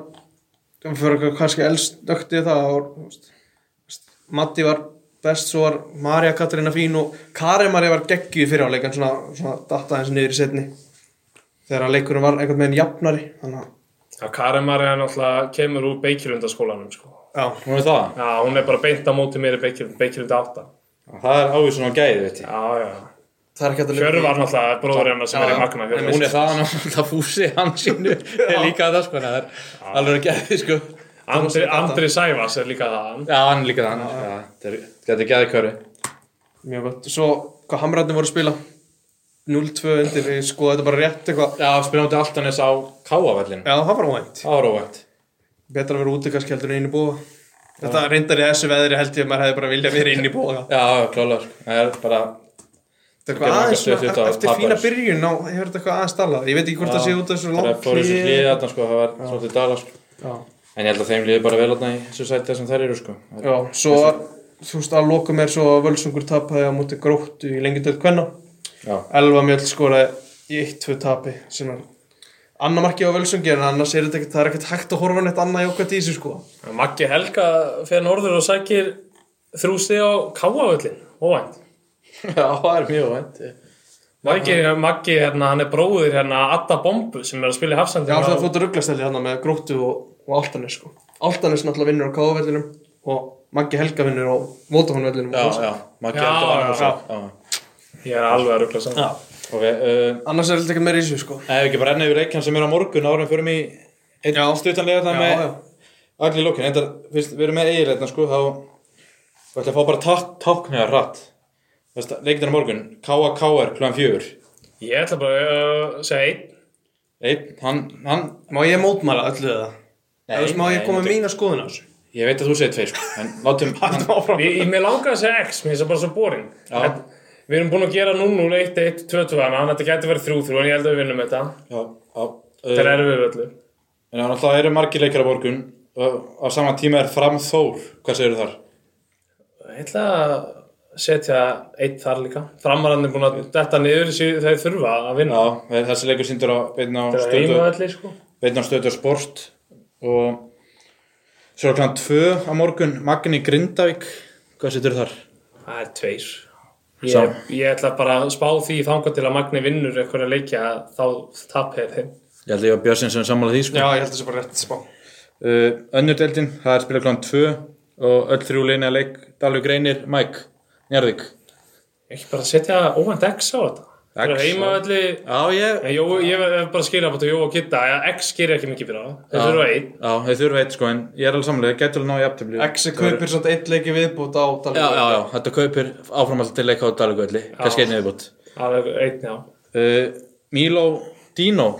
S2: fyrir eitthvað kannski eldstökti það var, þú veist, Matti var best svo var Marja Katarina fín og Karin Marja var geggjuð fyrir áleik en svona, svona datta hans niður í setni þegar að leikurinn var einhvern veginn jafnari þannig
S3: Já, Karen Marja náttúrulega kemur úr Beikilundaskólanum, sko.
S2: að já,
S1: Hún er það.
S3: Já, hún er bara beint á móti mér í Beikilund, Beikilund 8.
S1: Það er ávísun á gæði, veit ég.
S3: Já, já.
S2: það er ekki hægt að
S3: Fjörð var náttúrulega bróður hennar sem
S2: Já,
S3: er
S2: já.
S3: í Magna. Fjörvar.
S1: Hún er það hann alltaf fúsi hans sínu. Það er líka það, sko. Það er alveg að gæði, sko.
S3: Andri, Andri Sævas er líka það.
S1: Já, hann er líka það. hann. Já, Þetta er- þetta er gæði körfi.
S2: mjög gott svo hvað Hamrarnir voru að spila 0-2 undir ég skoði þetta bara rétt eitthvað
S1: Já, spilum við alltaf næst á káavellinu.
S2: já, það var óvænt
S1: Það var óvægt.
S2: betra að vera úti kannski heldur en inn í búa þetta reyndar í þessu veðri held ég að maður hefði bara viljað vera inn í búa
S1: Já, já, klálega, sko. Það er bara,
S2: þetta
S1: gerði
S2: er eitthvað
S1: marga
S2: aðeins
S1: stutt
S2: svona,
S1: út á
S2: eftir fína
S1: Pappers.
S2: byrjun á, hefur þetta eitthvað aðeins talað ég veit ekki hvort það sé út af þessu
S1: það er
S2: langt
S1: fór þessu
S2: hlé.
S1: hlið þarna, sko. Það var svolítið dala, sko.
S2: Já.
S1: En ég held að þeim liði bara vel þarna í þessu sæti sem þær eru, sko. Það er-
S2: já, svo þú veist að lokum er svo að völsungur tapaði á móti gróttu í lengi döld kvenna
S1: Já.
S2: Elva Mjöll skoraði í 1-2 tapi sem er annar marki á völsungi en annars er þetta ekkert, það er ekkert hægt að horfa neitt annað í okkar dísi sko
S3: Maggi Helga fyrir norður og sækir þrústi á Káavöllin. Óvænt.
S1: Já, það er mjög vænt.
S3: Maggi, Maggi hérna, hann er bróðir hérna Adda Bombu sem er að spila í Hafsandi.
S2: Já, það fóttu rugglastelli hann með gróttu og, og Altanes sko. Altanes náttúrulega vinnur á K-vellinum og Maggi Helga vinnur á sko. Vótafónvellinum
S1: Já, já. Maggi
S3: Já,
S1: heldur
S3: já,
S1: annars.
S3: já.
S1: Já.
S3: Ég er alveg að ruggla saman.
S1: Og við, uh,
S2: Annars er þetta ekkert meira í þessu sko
S1: Nei, ef ekki bara renna yfir leikjan sem er á morgun árum fyrir mig einn stuttanlega það
S2: Já,
S1: með
S2: já.
S1: allir lókin Þetta, fyrst, við erum með eiginleitna sko þá við ætlum að fá bara tá- táknlega hratt Veist, leikjan á morgun KAKR kl. 4
S3: Ég ætla bara að uh, segja einn.
S1: Einn, hann, hann
S2: Má ég mótmæla öllu það? Nei, Eða, þú veist, má ég
S1: nei,
S2: koma
S1: nei.
S2: með mína skoðun á þessu?
S1: Ég veit að þú segir tveir sko en látum hann,
S3: Ég, ég, mér langaði að segja X, mér finnst það bara svo boring. En Við erum búin að gera 0-0, 1-1, 2-2, þannig að þetta gæti verið 3-3, en ég held að við vinnum þetta.
S1: já, já,
S3: Þetta er
S1: uh,
S3: erfið öllu.
S1: En þannig að eru margir leikjar á morgun og á sama tíma er fram Þór Hvað segir þar?
S3: Ég ætla að setja eitt þar líka. Framarandi er búin að detta niður þessi þau þurfa að vinna.
S1: Já, þessi leikur sindur á beinn á
S3: Þetta er
S1: stöðu
S3: heimavalli, sko.
S1: veitna stöður sport og svo er klant 2 á morgun Magni Grindavík hvað setur þar?
S3: Það er tveir.
S1: Sá.
S3: Ég, ég ætla bara að spá því þangað til að Magni vinnur einhverja leikja þá tapir þeim.
S1: Ég held að ég var Björnsson sem sammála því sko.
S2: Já, ég held þessu bara rétt spá
S1: uh, Önnur deildin, það er spila klant 2 og öll þrjú leina leik Dalvi Greinir, Mike, Njarðvík
S3: Ekki bara að setja óvænt X á þetta. Þetta er
S1: X, já.
S3: heimavalli.
S1: Já, ég
S3: Jó, Eh, ég verð bara að skilja á þetta Jó og Gitta. Já, X gerir ekki mikið fyrir það. Þeir þurfa einn.
S1: Já, þau þurfa eitt sko en ég er alveg samlega, getur alveg ná í aftöfli
S2: Exi kaupir samt eitt leiki viðbútt á Dalvík
S1: Já, já, já, þetta kaupir áframallið til leika á Dalvi Greinir, kannski einnig viðbútt
S3: Það er einn, já.
S1: uh, Milo Dino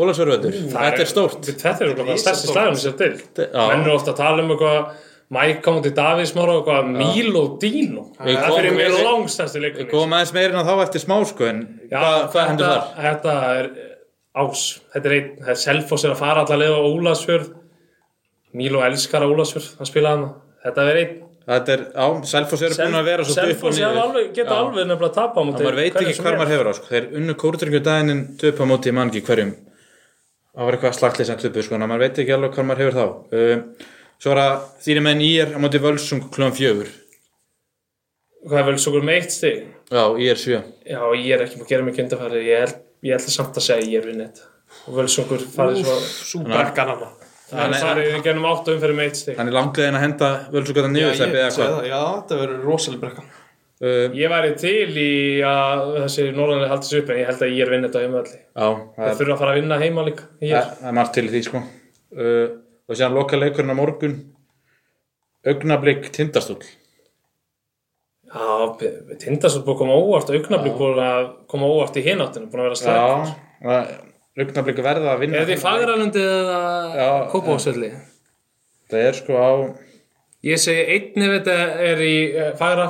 S1: Ólafsverðvöldur, þetta er stórt
S3: Þetta Mm. er bara stærsti slagunum sem til.
S1: Já.
S3: Menn eru ofta að tala um eitthvað Mike kom til Davís Mára og eitthvað Milo Dino.
S1: Við
S3: Það
S1: komum-
S3: fyrir mér
S1: við-
S3: langstæsti leikunni.
S1: Góðum aðeins meirinn að þá eftir smá sko en
S3: Já,
S1: hvað, hvað hendur þar?
S3: þetta- Þetta er eh, ás, þetta er einn, það er Selfoss er að fara allar leið á Ólasfjörð Mílo elskar á Ólasfjörð, hann spilaði hann Þetta er einn
S1: Þetta er, já, Selfoss eru búin að vera svo upp og
S3: Selfoss er
S1: niður.
S3: alveg, geta
S1: Já.
S3: alveg nefnilega að tapa á
S1: Og
S3: móti
S1: Maður veit
S3: hverjum
S1: ekki
S3: sem
S1: hver
S3: er.
S1: maður hefur á, sko. Þeir unnu kórdrykju daginn töpa móti í mangi hverjum. Það var eitthvað slaglið sem töpu, sko, en maður veit ekki alveg hver maður hefur þá. Um, svo er að þínir menn ír á móti völsung klón fjögur.
S3: Hvað er vel svo með eitt stig?
S1: Já, ír sjö.
S3: Já, ég er ekki búin að gera mig kynntarfæri ég, held- ég ætla samt að segja að ég er vinnið þetta og vel svo okkur farið svo
S2: Súbrekkan hann
S3: Það
S1: Þannig-
S3: farið í genum áttu umferði með eitt stig
S1: Þannig langlegin að henda völsung að
S2: Já,
S1: niður
S2: ég
S1: sleppi eða
S2: segi
S1: hvað.
S2: það, já, þetta verður rosalega brekkan
S1: Um,
S3: Ég væri til í að þessi norðanlega haldis upp en ég held að ég er vinnið þetta á heimavalli
S1: Já, það
S3: Það
S1: er,
S3: þurfa að fara að vinna heima líka ég er.
S1: það er margt til í því, sko. Uh, og séðan loka leikurinn á morgun. Augnablík tindastúl.
S3: Já, Tindastótt búið að koma óvart og augnablik búið að koma óvart í hináttinu, búin að vera slægt.
S1: Já, augnablík verða að vinna.
S3: Er þetta í Fagralundi eða
S1: Já,
S3: Kópavásvelli?
S1: Það er sko á
S3: Ég segi einn ef þetta er í eh, Fagra,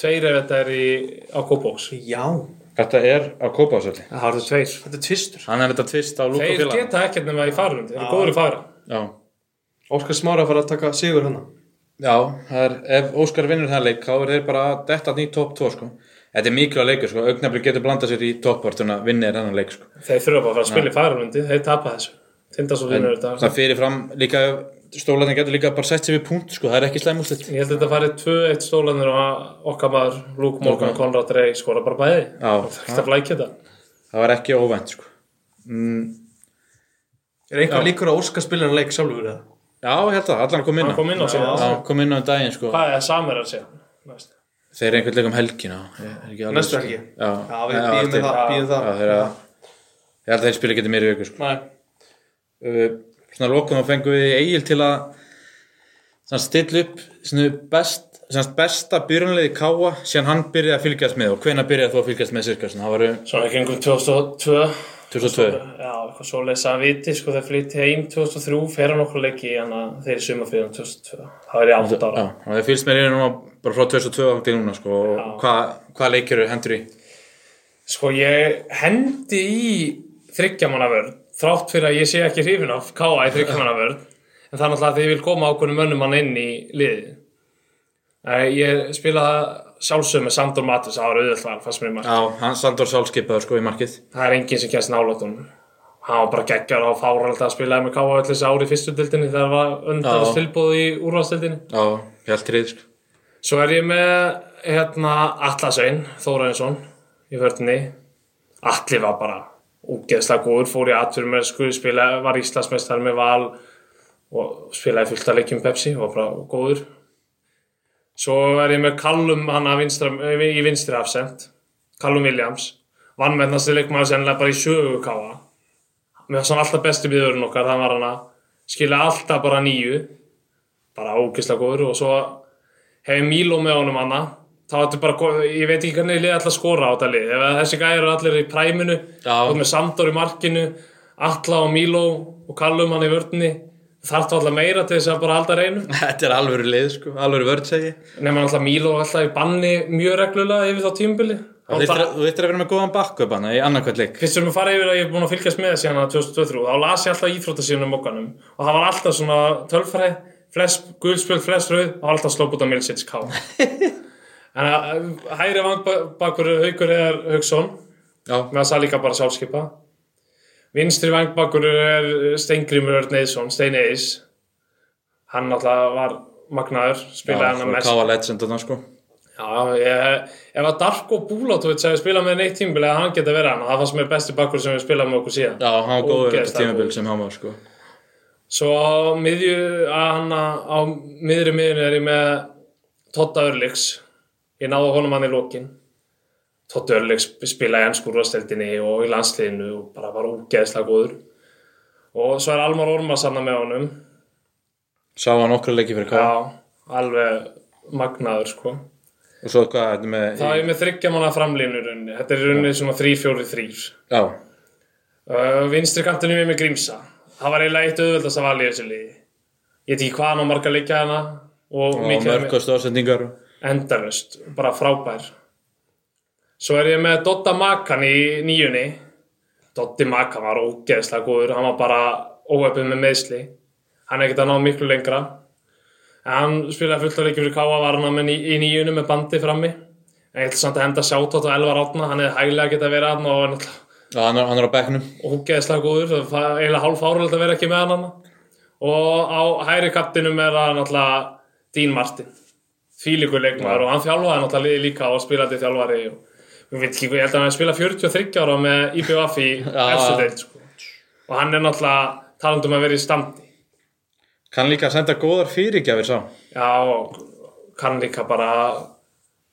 S3: tveir ef þetta er í, á Kópavás.
S2: Já,
S1: Þetta er á Kópásöldi
S3: Það eru tveir.
S2: þetta er tvistur
S1: Hann er þetta tvist á
S3: Þeir
S1: lúkafélag
S3: geta ekkert nema í Fagrundi, þeir eru góður í Fagra.
S1: Já,
S2: Óskar Smára að fara að taka sigur hérna. hann
S1: Já, það er, ef Óskar vinnur þann leik þá er þeir bara að detta hann í topp 2 sko. Þetta er mikilvæg leikur sko, augnabli getur blandað sér í um toppvartuna, vinnir hann leik sko.
S3: Þeir þurfa bara að fara að spila í færalundi, þeir tapa þessu. Tindast og vinnur þetta.
S1: Það fyrir fram líka stólarnir getur líka bara sett sér við punkt sko, það er ekki slæm úrslit.
S3: Ég held að þetta farið 2-1 stólanir og okkar maður, Luke Morgan, Conrad Rey, skora bara bæði.
S1: Já.
S3: Það er ekkert að flækja þetta.
S1: Það var ekki óvænt sko. Mm,
S2: Er einhver líkur að Óskar spila hann leik sjálfur eða?
S1: já, ég held að allan kom inn á.
S3: Hann kom inn á síðan.
S1: Já, kom inn á um daginn sko.
S3: Hvað er samir hann síðan? Næst.
S1: Þeir eru einhvern leik um helgina. ég er ekki alveg viss,
S2: Næstu
S1: sko.
S2: helgi.
S1: Já,
S2: Já, við býðum
S1: eftir-
S2: við það, býðum
S1: Já,
S2: það.
S1: þeir að, ég held að þeir spila ekki meira í viku sko.
S2: Nei.
S1: uh, svona lokum þá fengum við Egil til að svona, stilla upp svona, best, svona, besta byrjunlega káa síðan hann byrjaði að fylgjast með og hvenær byrjaði þú að fylgjast með cirka svona, það var um
S3: Svona kringum 2002.
S1: 2002
S3: Já, eitthvað svo lesa að viti, sko, þeir flytti heim 2003, fer hann okkur leiki, þannig að þeir suma fyrir 2002. Það er í átt
S1: Já,
S3: ára.
S1: og það fylgst mér í núna bara frá 2002 og til núna sko, og hvað hva leikir eru hendur í
S3: Sko ég hendi í þryggjamannavörn þrátt fyrir að ég sé ekki hrifin af káa í þryggjamannavörn en það er náttúrulega að ég vil koma ákveðnum mönnum hann inn í liði Eh, Ég spilaði sjálfsögum með Sandor Matus ára auðvitað fannst mér í mark.
S1: Já, hann Sandor Sálskipaður sko í markið
S3: Það er enginn sem kjæst nálátt honum Hann var bara geggjar og fárald að spilaði með káa öll þessi ári í fyrstu dildinni þegar það var
S1: Já.
S3: undanast tilbúð í úrvastildinni
S1: Já, Hjaltrið sko
S3: Svo er ég með hérna Atlasvein, Þórainsson í vörðinni. Atli var bara úgeðslega góður, fór í atfyrir með sko, spilaði, var Íslandsmeistar með val og spilaði fullt að leikjum Pepsi, var bara góður. Svo er ég með Callum hann að vinstra, eh, í vinstri afsend, Callum Williams, vannmennast leikmaður sennilega bara í sögu káa. Mér var svona alltaf besti miðurinn okkar, það var hann að skila alltaf bara nýju, bara ógeðslega góður og svo hef ég Míló með honum hana þá er þetta bara, go- ég veit ekki hvernig liði alltaf skora á þetta lið, ef að þessi gæri eru allir í præminu
S1: Já.
S3: og með Sandor í markinu Alla og Míló og Callum hann í vördni þarf það alltaf meira til þess að bara halda reynu
S1: Þetta er alvöru lið sko, alvöru vörð segi ég.
S3: nema alltaf Míló alltaf í banni mjög reglulega yfir þá tímbili
S1: Þú þyrftir að- þú þyrftir að vera með góðan bakkup hann í annarkvæmt leik
S3: Fyrst sem við fara yfir að ég er búin að fylgjast með síðan að 2023, þá las ég alltaf íþróttasíðunum okkanum og það var alltaf svona tölfræði, flest guðspjöld, flest rauð og alltaf slóputa Milsits K. en að hægri vangbakur haukur er Hauksson,
S1: Já,
S3: með að það líka bara sjálfskipa. Vinstri vangbakur er Steingrimur Örn Eðsson, Steini Eðs. Hann alltaf var magnaður, spilaði hann að mest.
S1: Káa legend þarna, sko
S3: Já, ég, ef að Darko Búlatovits hefði spilað með neitt tímbil eða hann geta verið hann, það fannst mér besti bakkur sem við spilaði með okkur síðan.
S1: Já, hann var góður þetta
S3: Ógeðslega
S1: tímabil
S3: góður.
S1: sem hann var sko
S3: Svo á miðju, að hann á miðri miðjunni er ég með Totta Örlíks. Ég náði honum hann í lokin. Totta Örlíks spilaði í ennsku úrvasteldinni og í landsliðinu og bara var ógeðslega góður. Og svo er Almar Ormas hann með honum.
S1: Sá hann okkar leiki fyrir Káa
S3: Já, alveg magnaður sko.
S1: Og svo hvað, þetta með
S3: Það er ég með þryggja manna framlínu í rauninni. Þetta er í rauninni svona 3-4-3.
S1: Já,
S3: Uh, vinstri kantinu mér með Grímsa það var eiginlega eitt auðvöldast að valja í þessu liði ég veit ekki hvað hann á marga leikja hana og,
S1: og
S3: mikið er
S1: mörgast ásendingar
S3: með- endalaust, bara frábær svo er ég með Dotta Makan í nýjunni Dotti Makan var ógeðslega góður hann var bara óöpum með meðsli hann er ekkert að ná miklu lengra en hann spilaði fullt af leikjum fyrir Káa var hann með í, í nýjunni með bandi frammi en ég ætla samt að henda sjátt á Elvar Átna hann hefði hæglega getað verið hann og er náttúrulega
S1: Já, hann, er- hann er á bekknum
S3: ógeðslega góður það var eiginlega hálf árald að vera ekki með hann hana. og á hæri kattinum er það náttúrulega Dean Martin þvílíkur leikmaður og hann þjálfaði náttúrulega liði líka og spilaði þjálfari og ég veit ekki, ég held að hann spila 43 ára með IBF í efstu deild sko. og hann er náttúrulega talandi um að vera í standi
S1: Kann líka að senda góðar fyrirgjafir sá
S3: Já, og kann líka bara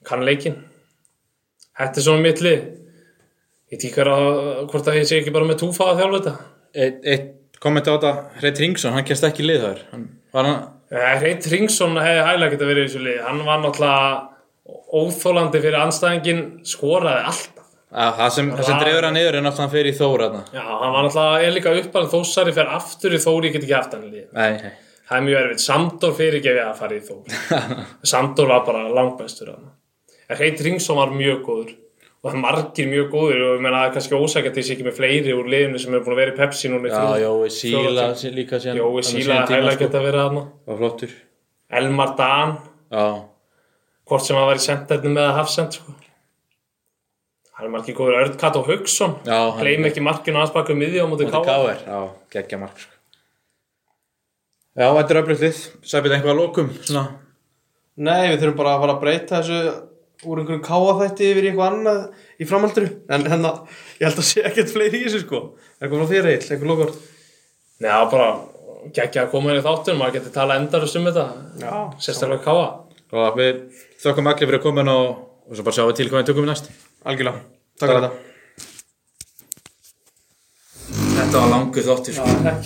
S3: kann leikinn Þetta er svona mitt lið Ég veit ekki hver að, hvort að ég sé ekki bara með túfa að þjálfa þetta
S1: Eitt, eitt kommenti á þetta Hreit Ringsson, hann kemst ekki í lið þar hann, Var hann,
S3: Reit Ringsson Eh, hefði hæglega getið verið í þessu liði. Hann var náttúrulega óþólandi fyrir anstæðingin, skoraði alltaf.
S1: að, það sem, það sem drefur hann yfir er náttúrulega hann fyrir í Þóra þarna
S3: Já, hann var náttúrulega, er líka uppalinn þósari fyrir aftur í Þóri, ég get ekki haft hann í liði.
S1: Nei, nei,
S3: Það er mjög erfitt. Samdór fyrirgefi að fara í Þóri. Samdór var bara langbæstur hann. Reit Ringsson var mjög góður og það er margir mjög góður og ég meina það er kannski ósækjandi að ég sé ekki með fleiri úr liðinu sem er búin að vera í Pepsi núna í
S1: já,
S3: þrjú-
S1: Jói
S3: fjóra
S1: Síla
S3: tíma.
S1: sí- líka síðan
S3: Jói
S1: hann
S3: Síla
S1: síðan tíma,
S3: hæglega
S1: sko,
S3: geta verið hann
S1: Var flottur
S3: Elmar Dan
S1: Já,
S3: hvort sem hann var í sendernu eða hafsend sko. hann er margir góður Örn Kato Hugson
S1: já hann-
S3: gleym ekki markinu hans bakum miðjum á móti
S1: Móti
S3: Káa
S1: K.R. Já, geggja mark sko. Já, þetta er öflutlið Sæpið einhvað að lókum svona.
S2: Nei, við þurfum bara að fara að breyta þessu úr einhverjum káaþætti yfir í eitthvað annað í framhalduru en hérna, ég held að sé ekkert fleiri í þessu sko eitthvað frá þér eill, eitthvað lokort
S3: Já, bara geggja að koma inn í þáttunum maður getur tala endarust um þetta
S2: Já.
S3: sérstaklega Káa
S1: Og við þökkum allir fyrir að koma og, og svo bara sjáum við til hvað við tökum næst
S2: algjörlega, takk fyrir þetta
S1: Þetta var sko. langu þóttir
S3: Já, ekki